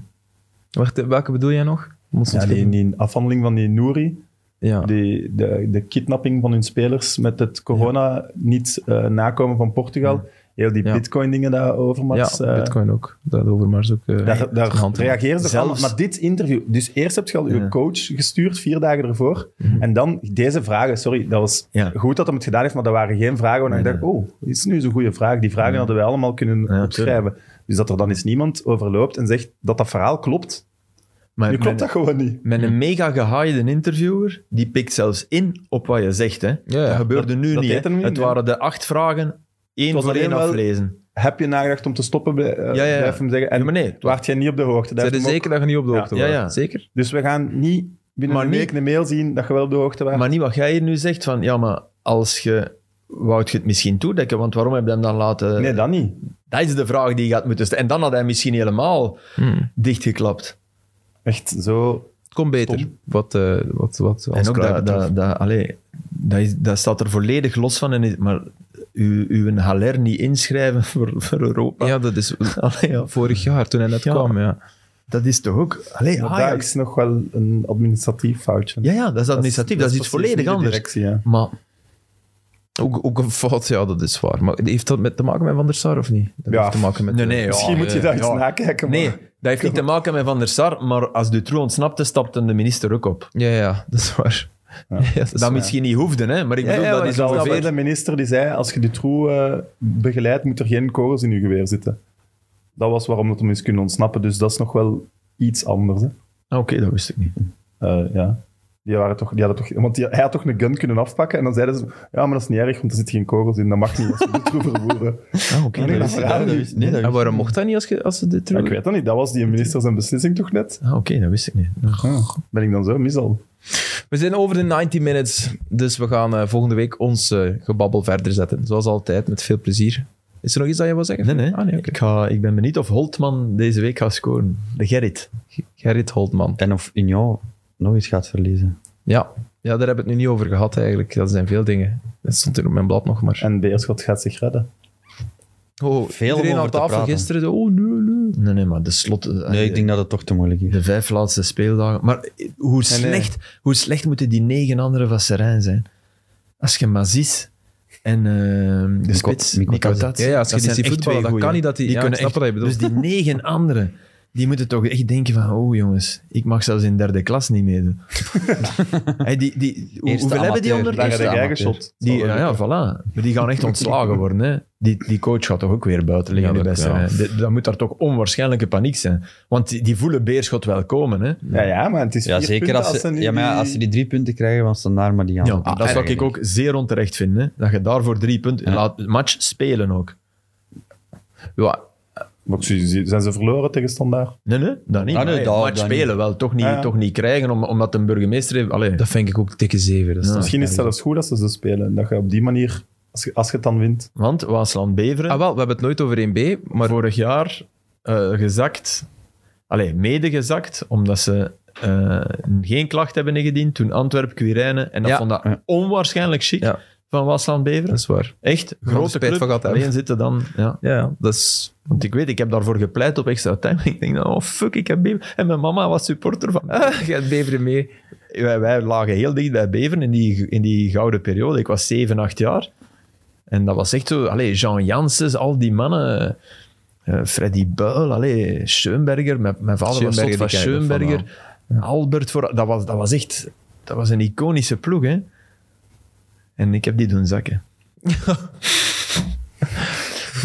Wacht, eh, welke bedoel jij nog? Moest Ja, het die, goed- die afhandeling van die Nouri, ja. die, de, de kidnapping van hun spelers met het corona niet eh, nakomen van Portugal. Heel die Ja. bitcoin-dingen daarover, ja, Mats. eh, Bitcoin ook. Daarover maar is ook. eh, daar daar een hand in. reageren ze Zelfs- van. Maar dit interview... Dus eerst heb je al Ja. je coach gestuurd, vier dagen ervoor. Mhm. En dan deze vragen. Sorry, dat was Ja. goed dat hem het gedaan heeft, maar dat waren geen vragen waarvan ik dacht, oh, dit is nu eens een goede vraag. Die vragen hadden wij allemaal kunnen Ja, opschrijven. Dus dat er dan eens niemand overloopt en zegt dat dat verhaal klopt. Maar Nu klopt met, dat gewoon niet. met een mega gehaaide interviewer, die pikt zelfs in op wat je zegt. Hè. Ja, Dat ja. gebeurde nu dat niet. deed hè. hem niet, het nee. waren de acht vragen, één was voor één alleen wel- aflezen. Heb je nagedacht om te stoppen? Blij- eh, Ja, ja, ja. Blijf hem zeggen. En Ja, maar nee, het waart jij niet op de hoogte. Dat Zijn heeft er hem ook- zeker dat je niet op de Ja. hoogte Ja, was? ja. Zeker? Dus we gaan niet binnen Maar een niet- week een mail zien dat je wel op de hoogte was. Maar niet wat jij hier nu zegt van, ja, maar als je... Wou je het misschien toedekken? Want waarom heb je hem dan laten... nee, dat niet. Dat is de vraag die je gaat moeten stellen. En dan had hij misschien helemaal Hmm. dichtgeklapt. Echt zo. Het komt beter. Stom. Wat, eh, wat, wat als en ook Cruijff dat, betreft. dat, dat, allee, dat, is, dat staat er volledig los van. En, is- maar u, uw Haller niet inschrijven voor, voor Europa. Ja, dat is Allee, ja, vorig jaar toen hij net Ja. kwam. Ja. dat is toch ook. Allee, ah, Maar dat Ajax. is nog wel een administratief foutje. Ja, ja, dat is administratief. Dat is, iets precies volledig niet de anders. directie, ja. Maar Ook, ook een fout, ja, dat is waar. Maar heeft dat met te maken met Van der Sar of niet? Dat Ja. heeft te maken met. Nee, nee, ja. Misschien moet je daar eens ja. nakijken. maar- nee, dat heeft niet te maken met Van der Sar. Maar als Dutroux ontsnapte, stapte de minister ook op. Ja, ja, dat is waar. Ja. dat is Dat waar. misschien niet hoefde, hè? maar ik Ja, bedoel, ja, dat maar is ik Dat was ongeveer... wel de minister die zei, als je de troe eh, begeleidt, moet er geen kogels in je geweer zitten. Dat was waarom dat hem is kunnen ontsnappen. Dus dat is nog wel iets anders. Hè. Ah, Oké, dat wist ik niet. Eh, ja. Die, waren toch, die hadden toch... Want die, hij had toch een gun kunnen afpakken. En dan zeiden ze, ja, maar dat is niet erg, want er zitten geen kogels in. Dat mag niet als we de troe vervoeren. Ah, Oké, Nee, dat dat wist ik verhaal niet. Ah, niet. wist- nee, dat En wist- waarom mocht dat niet als, je- als ze dit Ja, terug... ik weet dat niet. Dat was die minister zijn beslissing toch net? Ah, Oké, dat wist ik niet. Ben ik dan zo mis al? We zijn over de 90 minutes, dus we gaan eh, volgende week ons eh, gebabbel verder zetten. Zoals altijd, met veel plezier. Is er nog iets dat je wil zeggen? Nee, nee. Ah, nee, oké. ik, ga, ik ben benieuwd of Holtman deze week gaat scoren. De Gerrit. Gerrit Holtman. En of Union nog eens gaat verliezen. Ja. ja, daar hebben we het nu niet over gehad eigenlijk. Dat zijn veel dingen. Dat stond hier op mijn blad nog maar. En Beerschot gaat zich redden. Oh, Veel om iedereen over aan te tafel praten. gisteren. zo, Oh, nee, nee. Nee, nee, maar de slot... eh, Nee, ik denk dat het toch te moeilijk is. De vijf laatste speeldagen. Maar eh, hoe slecht, hoe slecht moeten die negen anderen van Serijn zijn? Als je Mazis en eh de Dus Nico- spits, Nico Nico Tats. Tats, Ja, ja, als je dat die ziet zijn echt voetballen, twee dan goeie. kan niet dat die- ja, ik kunnen snap wat je echt- bedoelt. Dus die negen anderen, die moeten toch echt denken van, oh jongens, ik mag zelfs in derde klas niet meedoen. hey, die, die, hoe, Eerste hoeveel hebben die amateur. onder? Daar Eerste heb jij amateur. geschot. Die, ja, ja, voilà. Maar die gaan echt ontslagen worden. Hè. Die, die coach gaat toch ook weer buiten liggen. Ja, die dat- beste, ja. hè. De- Dan moet daar toch onwaarschijnlijke paniek zijn. Want die, die voelen Beerschot wel komen. Hè. Ja, ja, maar het is Ja, vier zeker punten als ze, nu ja, maar ja, als ze die drie punten krijgen van standaard, maar die gaan Ja, ze dat is wat ik krijgen. ook zeer onterecht vind. Hè. Dat je daarvoor drie punten... Ah, Ja. Laat het match spelen ook. Ja, Maar ze- ze- Zijn ze verloren tegen Standaard? Nee, nee, dat niet. Ah, nee, Maar, dat- hey, match dat spelen wel. Toch niet, Ja, ja. toch niet krijgen, om- omdat een burgemeester... Heeft, allee, dat vind ik ook dikke zeven. Dat is Ja. toch- Misschien is het zelfs goed dat ze zo spelen. Dat je op die manier, als je, als je het dan wint... Want Waasland-Beveren, Ah wel, we hebben het nooit over 1B, maar vorig jaar eh, gezakt... Allee, mede gezakt, omdat ze eh, geen klacht hebben ingediend. Toen Antwerpen, Quirijnen. En dat Ja. vond dat onwaarschijnlijk chic Ja. van Waasland-Beveren. dat is waar. Echt, de grote spijt club. van gehad hebben. alleen zitten dan... Ja. Ja, dat is... Want ik weet, ik heb daarvoor gepleit op extra time. Ik denk, dan, oh fuck, ik heb Beveren. En mijn mama was supporter van... Ah, je hebt Beveren mee. Wij, wij lagen heel dicht bij Beveren in die, in die gouden periode. Ik was 7, 8 jaar. En dat was echt zo... Allee, Jean Janssens, al die mannen... eh, Freddy Buil, allee, Schoenberger. Mijn, mijn vader was Schoenberger, zot van die ken ik ook Schoenberger. Albert, voor, dat, was, dat was echt... Dat was een iconische ploeg, hè. En ik heb die doen zakken.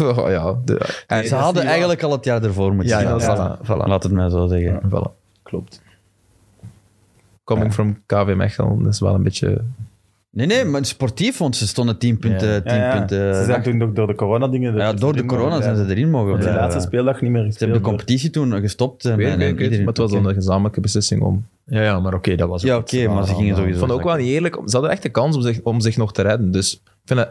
Oh, ja, de- Ze hadden eigenlijk al het jaar ervoor moeten Ja, zijn. ja, ja. voilà. voilà. Laat het mij zo zeggen. voilà. Klopt. Coming from KV Mechelen dat is wel een beetje Nee, nee, maar sportief, want ze stonden 10 punten. Ja. 10 ja. punten Ah, ze zijn toen nog door de coronadingen... ja, door de corona zijn ze erin mogen De blijven. laatste speeldag niet meer Ze hebben gespeeld. de competitie toen gestopt. eh, Weet, weet, en- en weet, iedereen- maar het was oké. dan een gezamenlijke beslissing om. Ja, ja maar oké, dat was ook Ja, iets oké, maar ze waar- gingen Ik sowieso... vond het ook wel niet eerlijk. Ze hadden echt de kans om zich, om zich nog te redden. Dus ik vind het-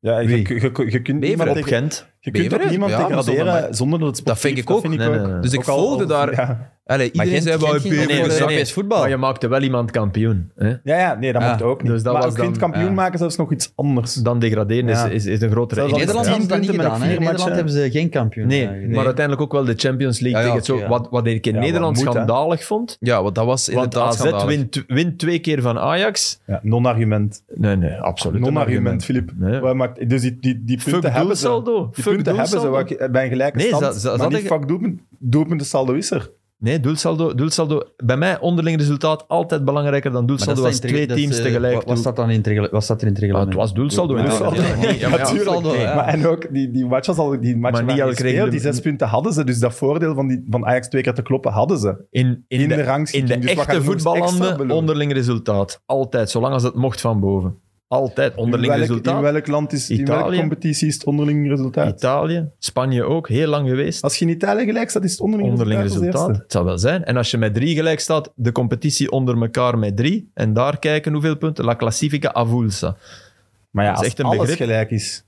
Ja, je, Wie? je, je, je kunt Beveren. niemand Op tegen- Gent. Je kunt Beveren? op niemand Ja, maar tegen zonder raderen mij. zonder dat het Dat sportief vind ik ook. Nee, nee, nee. Dus ik Ook al- volgde al- daar. Ja, Allee, Maar iedereen Gent- zei wel Gent ging Peper, nog voor de nee, nee. Europees voetbal. Maar je maakte wel iemand kampioen. Hè? ja, ja, nee, dat Ja. mocht ook niet. Dus dat maar was als kind dan- kampioen ja. maken, dat is nog iets anders. Dan degraderen Ja. is, is, is een grotere... Zelfs In al- Nederland Ja. hebben ze dat niet punten met gedaan. hè. In vier Nederland matchen. hebben ze geen kampioen. Nee, eh, maar gedaan. uiteindelijk ook wel de Champions League. Ja, ja, tegen het oké, zo, ja. wat, wat ik in Ja, wat Nederland moet, hè. schandalig vond. Ja, want dat was Want inderdaad AZ schandalig. wint wint twee keer van Ajax. Ja, non-argument. Nee, nee, absoluut. een Non-argument, argument. Filip. Nee. Wat maakt- Dus die, die, die punten Fuck hebben ze. doelsaldo. Die Fuck punten hebben ze doelsaldo. wat ik- bij een gelijke Nee, stand. dat- dat- maar dat niet ik- fuck doelpunt. Doelpunten saldo is er. Nee, doelsaldo, doelsaldo. Bij mij onderling resultaat altijd belangrijker dan Maar dat doelsaldo. staat was in het regel- twee dat teams is, eh, tegelijk. Wat, wat staat dan in het regel- wat staat er in het Ah, reglement? het was doelsaldo. in Doelsaldo. Nederland. Ja, Ja, maar ja, Natuurlijk. doelsaldo, ja. Maar, en ook, die, die match was al... Die match Maar niet elke gespeeld, regel- die zes punten hadden ze. Dus dat voordeel van, die, van Ajax twee keer te kloppen hadden ze. In, in, In de de, rangschikking. in de Dus wat gaat echte er nog eens extra voetballanden belonen? onderling resultaat. Altijd, zolang als het mocht van boven. Altijd In onderling welk, in resultaat. welk land is... In welke Italië. competitie is het onderling resultaat? Italië, Spanje ook, heel lang geweest. Als je in Italië gelijk staat, is het onderling, onderling als resultaat. eerste. Het zou wel zijn. En als je met drie gelijk staat, de competitie onder elkaar met drie. En daar kijken hoeveel punten. La Classifica avulsa. Maar ja, Dat is als echt een alles begrip. gelijk is,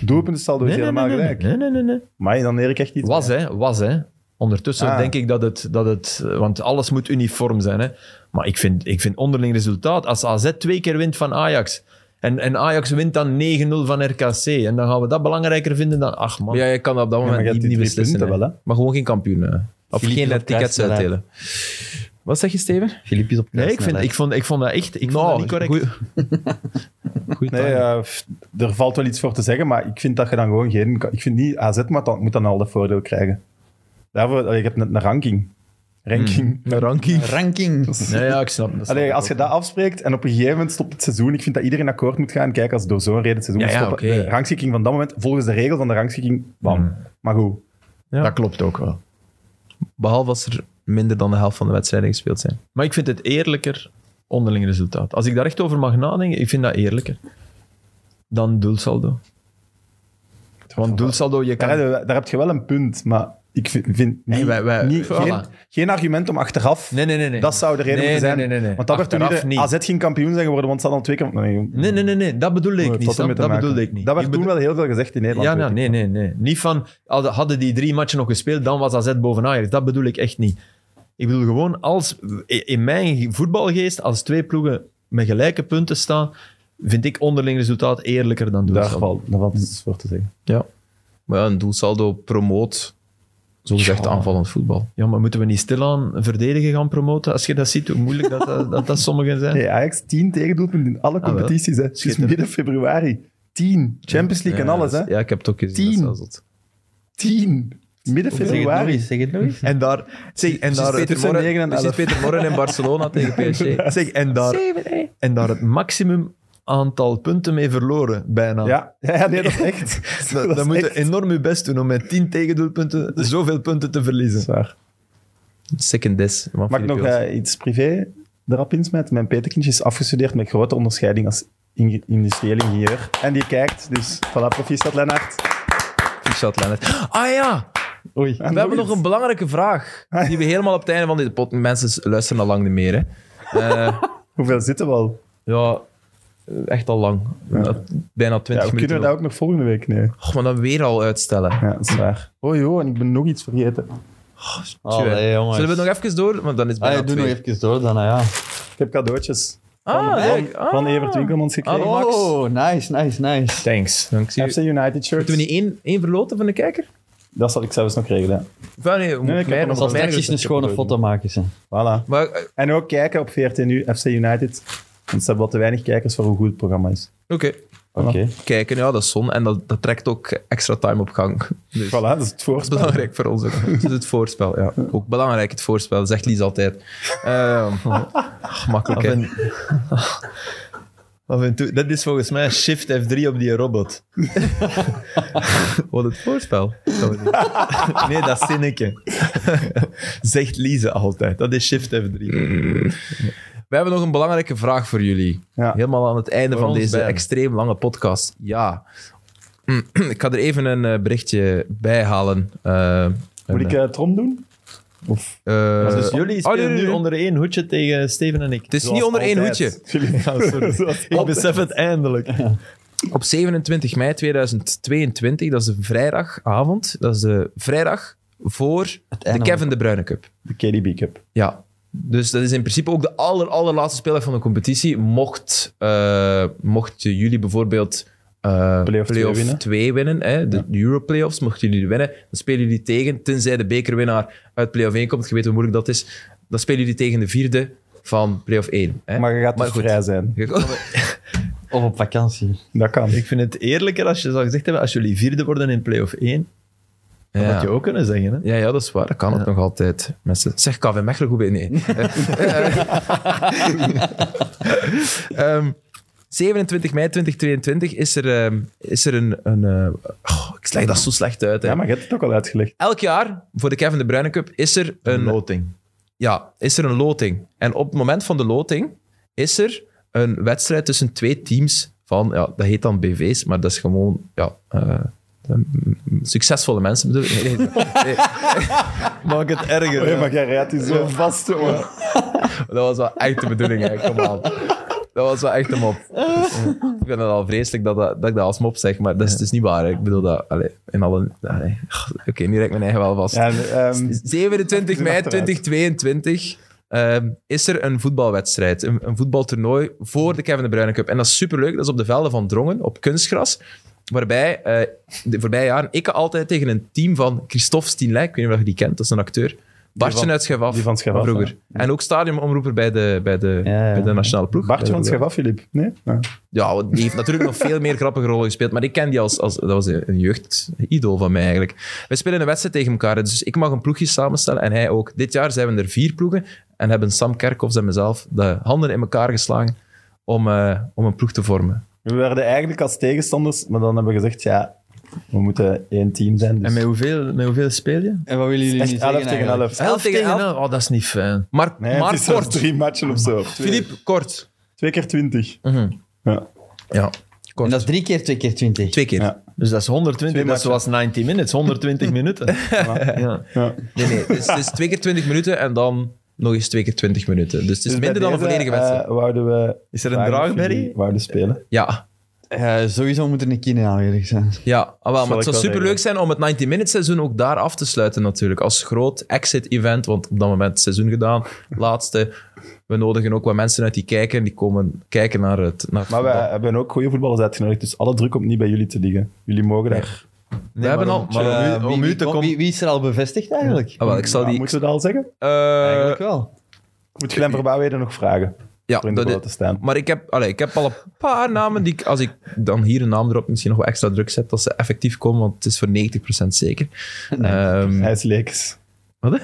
doelpunten saldo is Nee, nee, nee, helemaal nee, gelijk. nee, nee, nee, nee. Maar dan leer ik echt iets. Was, bij. hè. Was, hè. Ondertussen Ah. denk ik dat het, dat het... Want alles moet uniform zijn, hè. Maar ik vind, ik vind onderling resultaat... Als AZ twee keer wint van Ajax... En, en Ajax wint dan 9-0 van RKC. En dan gaan we dat belangrijker vinden dan... Ach, man. Ja, je kan dat op dat Ja, maar moment je hebt niet, die niet drie beslissen. punten hè. wel, hè? Maar gewoon geen kampioen. hè. Of Philippe is geen op tickets kruissnelheid. uitdelen. Wat zeg je, Steven? Filip is op Nee, ik, vind, kruissnelheid. ik, vond, ik vond dat echt... Ik Nou, vond dat niet correct. goeie- Goed. Nee, eh, pff, er valt wel iets voor te zeggen, maar ik vind dat je dan gewoon geen... Ik vind niet, AZ moet dan, moet dan al dat voordeel krijgen. Daarvoor, allee, je hebt net een ranking. Hmm. Ranking. Een ranking. Ranking. Nee, ja, ik snap dat. Allee, als je dat afspreekt en op een gegeven moment stopt het seizoen, ik vind dat iedereen akkoord moet gaan. Kijk, als het door zo'n reden het seizoen Ja, ja, stopt, oké. Mm. de rangschikking van dat moment, volgens de regel van de rangschikking, bam. Maar goed, Dat klopt ook wel. Behalve als er minder dan de helft van de wedstrijden gespeeld zijn. Maar ik vind het eerlijker onderling resultaat. Als ik daar echt over mag nadenken, ik vind dat eerlijker. Dan doelsaldo. Want doelsaldo, je daar, kan... heb je- daar heb je wel een punt, maar ik vind, vind niet, Nee, wij- wij- niet- voilà. geen, geen argument om achteraf Nee, nee, nee. nee. Dat zou de reden Nee, moeten zijn. Nee, nee, nee. nee. Want dat werd toen Achteraf iedereen- AZ geen kampioen zijn geworden, want ze hadden al twee keer... Nee, Nee, nee, nee, nee. Dat bedoel ik dat niet. had Sam. ermee te Dat maken. bedoelde ik niet. Dat werd Ik toen bedoel- wel heel veel gezegd in Nederland. Ja, nou, weet ik. nee, nee, nee. Niet van, hadden hadden die drie matchen nog gespeeld, dan was AZ boven Ajax. Dat bedoel ik echt niet. Ik bedoel gewoon, als, in mijn voetbalgeest, als twee ploegen met gelijke punten staan, vind ik onderling resultaat eerlijker dan Daar doelsaldo. valt, daar valt iets voor te zeggen. Ja. Maar ja, een doelsaldo promoot, zogezegd, Ja. aanvallend voetbal. Ja, maar moeten we niet stilaan verdedigen gaan promoten? Als je dat ziet, hoe moeilijk dat, dat, dat, dat sommigen zijn. Hey, Ajax, tien tegendoelpunten in alle competities. hè. Het is Ah, Schitterend. midden februari. Tien. Champions League en Ja, alles. Hè. Ja, ik heb het ook gezien. Tien. dat is wel zot. Tien. Midden Zeg het nog februari. eens, zeg het nog eens. En daar, zeg, en daar, Precies Peter tussen negen Morren, en precies elf. Peter Morren in Barcelona tegen PSG. zeg, en, daar, en daar het maximum aantal punten mee verloren, bijna. Ja. ja, ja, nee, dat is echt. Dan, is dan moet je echt- enorm je best doen om met 10 tegendoelpunten zoveel punten te verliezen. Zwaar. Second dis. van Mag ik Philippe nog Joos. eh, iets privé erop insmijten? Mijn petekindje is afgestudeerd met grote onderscheiding als inge- industrieel ingenieur. En die kijkt, dus voilà, proficiat Lennart. Shout, Lennart. Ah ja, Oei. we hebben nog een belangrijke vraag. Die we helemaal op het einde van dit pot... Mensen luisteren al lang niet meer, hè. Eh, Hoeveel zitten we al? ja, eh, echt al lang. Bijna Ja, 20 kunnen minuten. we dat ook nog volgende week? Nee. Och, maar dan weer al uitstellen. Ja, dat is waar. Oh joh, en ik ben nog iets vergeten. Oh, Allee, jongens. Zullen we het nog even door? Want dan is het bijna Ah, doe nog twee. even door dan, ah, ja. Ik heb cadeautjes Ah, van, kijk. Ah. van Evert Winkelmans gekregen. Ah, Max. Oh, nice, nice, nice. Thanks. Dank je. FC United shirt. Moeten we niet één, één verloten van de kijker? Dat zal ik zelfs nog regelen. Enfin, nee, moet ik heb mij hem nog al Zal mij straks eens nog- een schone foto maken. Ze. Voilà. Maar eh, En ook kijken op 14 uur FC United. Want ze hebben wel te weinig kijkers voor hoe goed het programma is. oké. Oké. Kijken, ja, dat is zon. En dat, dat trekt ook extra time op gang. Dus Voilà, dat dat is het is voorspel. belangrijk voor ons ook. Dus het voorspel, ja. Ook belangrijk, het voorspel, zegt Lies altijd. Ehm, ach, makkelijk, hè. Af en toe, dat is volgens mij Shift F3 op die robot. Wat het voorspel. Nee, dat Eh, zinnetje. Zegt Lise altijd. Dat is Shift F3. Wij hebben nog een belangrijke vraag voor jullie. Ja. Helemaal aan het einde Voor van ons deze beiden. extreem lange podcast. Ja. Ik ga er even een eh, berichtje bij halen. Eh, een, Moet ik eh, trom doen? eh, Maar dus jullie oh, nee, spelen nee, nu nee. onder één hoedje tegen Steven en ik. Het is niet onder één hoedje. Ik besef het eindelijk. Op 27 mei 2022, dat is de vrijdagavond. Dat is de vrijdag voor de einde van Kevin de Bruyne Cup. De KDB Cup. Ja. Dus dat is in principe ook de aller, allerlaatste speeldag van de competitie. Mocht, eh, mochten jullie bijvoorbeeld eh Play-off twee winnen. 2 winnen, hè, de Euro Playoffs, mochten jullie winnen, dan spelen jullie tegen, tenzij de bekerwinnaar uit Playoff 1 komt, je weet hoe moeilijk dat is, dan spelen jullie tegen de vierde van Playoff 1. Hè. Maar je gaat Maar dus goed. vrij zijn. Of op vakantie. Dat kan. Ik vind het eerlijker als je zou gezegd hebben, als jullie vierde worden in play-off 1, dat had je ja. ook kunnen zeggen. Hè? Ja, ja, dat is waar. Dat kan ook nog altijd. Mensen, zeg KV Mechelen goed bij? Nee. Ehm, 27 mei 2022 is er, ehm, is er een... een eh, oh, ik sleg dat zo slecht uit. Hè. Ja, maar je hebt het ook al uitgelegd. Elk jaar, voor de Kevin de Bruyne Cup, is er Een een, loting. ja, is er een loting. En op het moment van de loting is er een wedstrijd tussen twee teams van... Ja, dat heet dan BV's, maar dat is gewoon... Ja, eh, mm, succesvolle mensen bedoel ik. Nee, nee. Maak het erger. Oh ja, hè. maar jij rijdt hier zo vast, hoor. Dat was wel echt de bedoeling, hè. Kom aan. Dat was wel echt een mop. Dus, eh, Ik vind het al vreselijk dat, dat, dat ik dat als mop zeg, maar dat is, het is niet waar. hè. Ik bedoel dat... Allee, in alle... allee. Oké, nu rek ik mijn eigen wel vast. Ja, en, ehm, 27 mei Achteruit. 2022 ehm, is er een voetbalwedstrijd, een, een voetbaltoernooi voor de Kevin de Bruyne Cup. En dat is superleuk. Dat is op de velden van Drongen, op kunstgras. Waarbij eh, de voorbije jaren ik altijd tegen een team van Christophe Stienley, ik weet niet of je die kent, dat is een acteur. Bartje van- uit Schijf af die van Schijf af, vroeger. En ook stadionomroeper bij de, bij de, ja. bij de nationale ploeg. Bartje van Bij de- Schaf af, Filip. Nee? Ja. ja, want die heeft natuurlijk nog veel meer grappige rollen gespeeld. Maar ik ken die als, als dat was een een jeugdidool van mij eigenlijk. We spelen een wedstrijd tegen elkaar. Dus ik mag een ploegje samenstellen en hij ook. Dit jaar zijn we er vier ploegen en hebben Sam Kerkhoffs en mezelf de handen in elkaar geslagen om, eh, om een ploeg te vormen. We werden eigenlijk als tegenstanders, maar dan hebben we gezegd, ja, we moeten één team zijn. Dus En met hoeveel, met hoeveel speel je? En wat willen jullie nu echt 11 zeggen tegen 11. Elf tegen elf. elf? Oh, dat is niet fijn. Maar, Nee, het maar is zelfs kort. drie matchen of zo. Twee, Filip, kort. twee keer twintig. Ja. Ja, En kort. dat is drie keer twee keer twintig. Twee keer. Ja. Dus dat is 120, Twee dat is zoals 90 minutes, 120 minuten. Ja. Ja. Nee, nee. Het is, het is twee keer twintig minuten en dan nog eens twee keer twintig minuten. Dus het is Dus bij minder dan een deze, volledige wedstrijd. eh, wouden we Is er een vragen of draagberry? jullie Wouden spelen. ja. Eh, sowieso moet er een kine aanwezig zijn. Ja, ah, wel, maar het ik zou wel superleuk zeggen. zijn om het 90 minute seizoen ook daar af te sluiten natuurlijk. Als groot exit-event, want op dat moment het seizoen gedaan, laatste. We nodigen ook wat mensen uit die kijken, die komen kijken naar het, naar het Maar we voetbal. hebben ook goede voetballers uitgenodigd, dus alle druk komt niet bij jullie te liggen. Jullie mogen daar... We hebben al... Maar om u- Eh, wie- om u wie te kom- kom- wie, wie is er al bevestigd eigenlijk? Ah, wel, ik zal Ja, die... Moeten we dat al zeggen? eh, Eigenlijk wel. Moet Glenn Verbouwheden nog vragen? ja, Om in de dat goal is, Mm. te staan. maar ik heb, allee, ik heb al een paar namen die ik, als ik dan hier een naam erop misschien nog wat extra druk zet, dat ze effectief komen, want het is voor 90% zeker. Ehm, Hij is leeks. wat?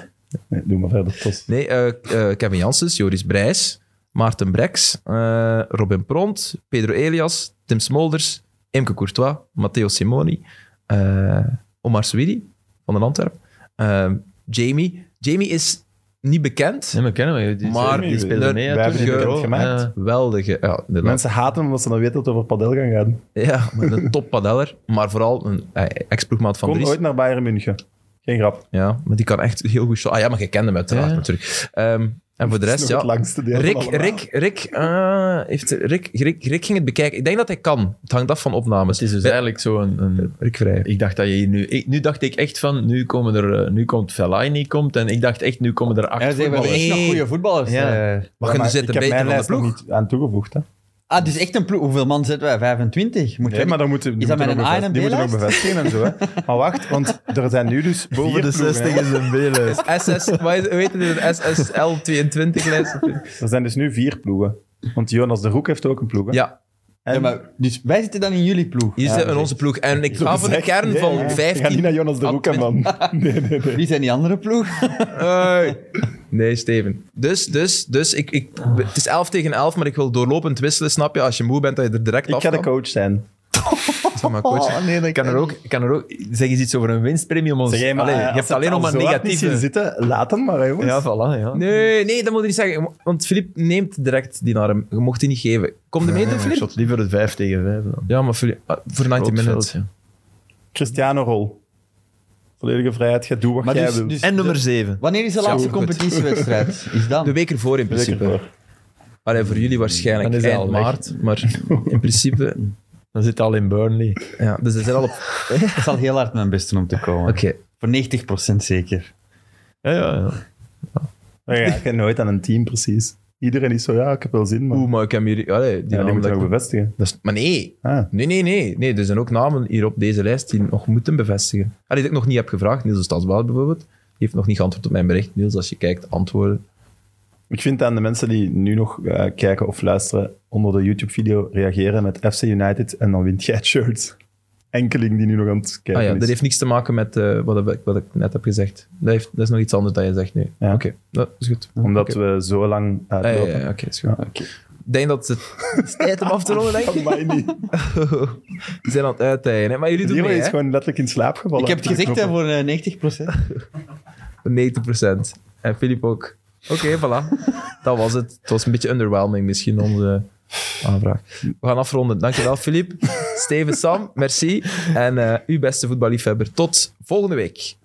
Nee, doe maar verder, Tos. Nee, eh, eh, Kevin Janssens, Joris Brijs, Maarten Brex, eh, Robin Pront, Pedro Elias, Tim Smolders, Imke Courtois, Matteo Simoni, eh, Omar Swidi van de Antwerp, eh, Jamie. Jamie is niet bekend. Nee, maar kennen we. Die, Maar- die speelde Wij mee. hè, hebben toen. die Ja. bekend gemaakt. Ja. Geweldige. Ja, inderdaad. Mensen haten hem omdat ze dan weten dat het over padel gaan gaan. ja maar een toppadeller, maar vooral een eh, ex-ploegmaat van Kom Dries. ooit naar Bayern München. Geen grap. Ja, maar die kan echt heel goed shotten. Ah ja, maar je kende hem uiteraard Ja. natuurlijk. Ehm, en voor de Dat is rest, nog ja, het langste deel van Rick, allemaal. Rick, Rick, eh, heeft, Rick, Rick, Rick ging het bekijken. Ik denk dat hij kan. Het hangt af van opnames. Het is dus Bij- eigenlijk zo'n... Een, Rick Vrij. ik dacht dat je hier nu... Ik, nu dacht ik echt van, nu, komen er, eh, nu komt Fellaini komt. En ik dacht echt, nu komen er acht Ja, ze hebben voetballers. echt nog goede voetballers. Ja. eh. Mag Ja, je nu maar zitten ik heb beter mijn dan de lijst nog ploeg? niet aan toegevoegd. Hè? Ah, dus echt een ploeg. Hoeveel man zetten wij? 25? Moet Nee, maar dan moeten, die Is dat moeten met nog een A en bevest- een die moeten nog B-lijst? bevestigen en zo. Hè? Maar wacht, want er zijn nu dus Boven vier de ploegen, 60 hè. is een b SS, wat is- weet je, een SSL22-lijst? Er zijn dus nu vier ploegen. Want Jonas de Roek heeft ook een ploeg. hè? Ja, En Ja, maar, dus wij zitten dan in jullie ploeg. hier Ja, zitten in oké. onze ploeg. En ik zo ga voor de gezegd, kern nee, van nee, Ik ga niet 15... naar Jonas de Ah, Roek, hè, man. Nee, nee, nee. Wie zijn die andere ploeg? Hey. Nee, Steven. Dus, dus, dus ik, ik, het is 11 tegen 11, maar ik wil doorlopend wisselen, snap je? Als je moe bent, dat je er direct Ik af ga de kan. coach zijn. Zeg maar, coach. nee, dat Ik kan er ook, ik kan er ook, zeg eens iets over een winstpremium. Ons, Zeg jij maar, Allee, eh, je als hebt het alleen al nog maar zo hard niet zien negatieve... zitten, laat hem maar, hè, jongens. Ja, Ah, voilà, ja. Nee, nee, dat moet je niet zeggen. Want Filip neemt direct die naar hem. Je mocht die niet geven. Kom je mee doen, Nee, ik Filip? shot liever het 5 tegen 5 dan. Ja, maar Filip, ah, voor 90 minutes. Groot veld, Cristiano Rol. Volledige vrijheid, ga doen wat Maar jij dus- wil. dus- ja. En nummer 7. Wanneer is de laatste goed. competitiewedstrijd? Is dan? De week ervoor in Zeker principe. voor. Allee, voor jullie waarschijnlijk Dan is hij eind al weg. maart. Maar in principe... Dan zit hij al in Burnley. Ja, dus ze zijn al op... Ik zal heel hard mijn best doen om te komen. Oké. Voor 90% zeker. Ja, ja, ja. Maar ja, ik ken nooit aan een team, precies. Iedereen is zo, ja, ik heb wel zin, maar Oeh, maar ik heb hier... Allee, die ja, die namen moet je dat ook ik- bevestigen. dat is- Maar nee. Ah. Nee, nee, nee, nee. Er zijn ook namen hier op deze lijst die nog moeten bevestigen. Allee, die ik nog niet heb gevraagd. Niels de Stadsbaat bijvoorbeeld. Die heeft nog niet geantwoord op mijn bericht. Niels, als je kijkt, antwoorden. Ik vind aan de mensen die nu nog eh, kijken of luisteren, onder de YouTube-video reageren met FC United en dan wint jij het shirt. Enkeling die nu nog aan het Ah kijken ja, is. dat heeft niks te maken met eh, wat, ik, wat ik net heb gezegd. Dat, heeft, dat is nog iets anders dat je zegt nu. Ja. Oké, dat is goed. Omdat Hm, Oké. we zo lang Ah, ja, uitlopen. ja, ja, oké, is goed. Ja, oké. Ik denk dat het, het is tijd om af te ronden, denk ik. Amai, niet. We zijn aan het uitdijen, hè. Maar jullie doen Nero mee, is hè? gewoon letterlijk in slaap gevallen. Ik heb het gezegd hè, voor eh, 90%. 90%. En Filip ook. Oké, voilà. Dat was het. Het was een beetje underwhelming misschien, onze aanvraag. We gaan afronden. Dankjewel, Filip. Steven, Sam, merci. En eh uw beste voetballiefhebber. Tot volgende week.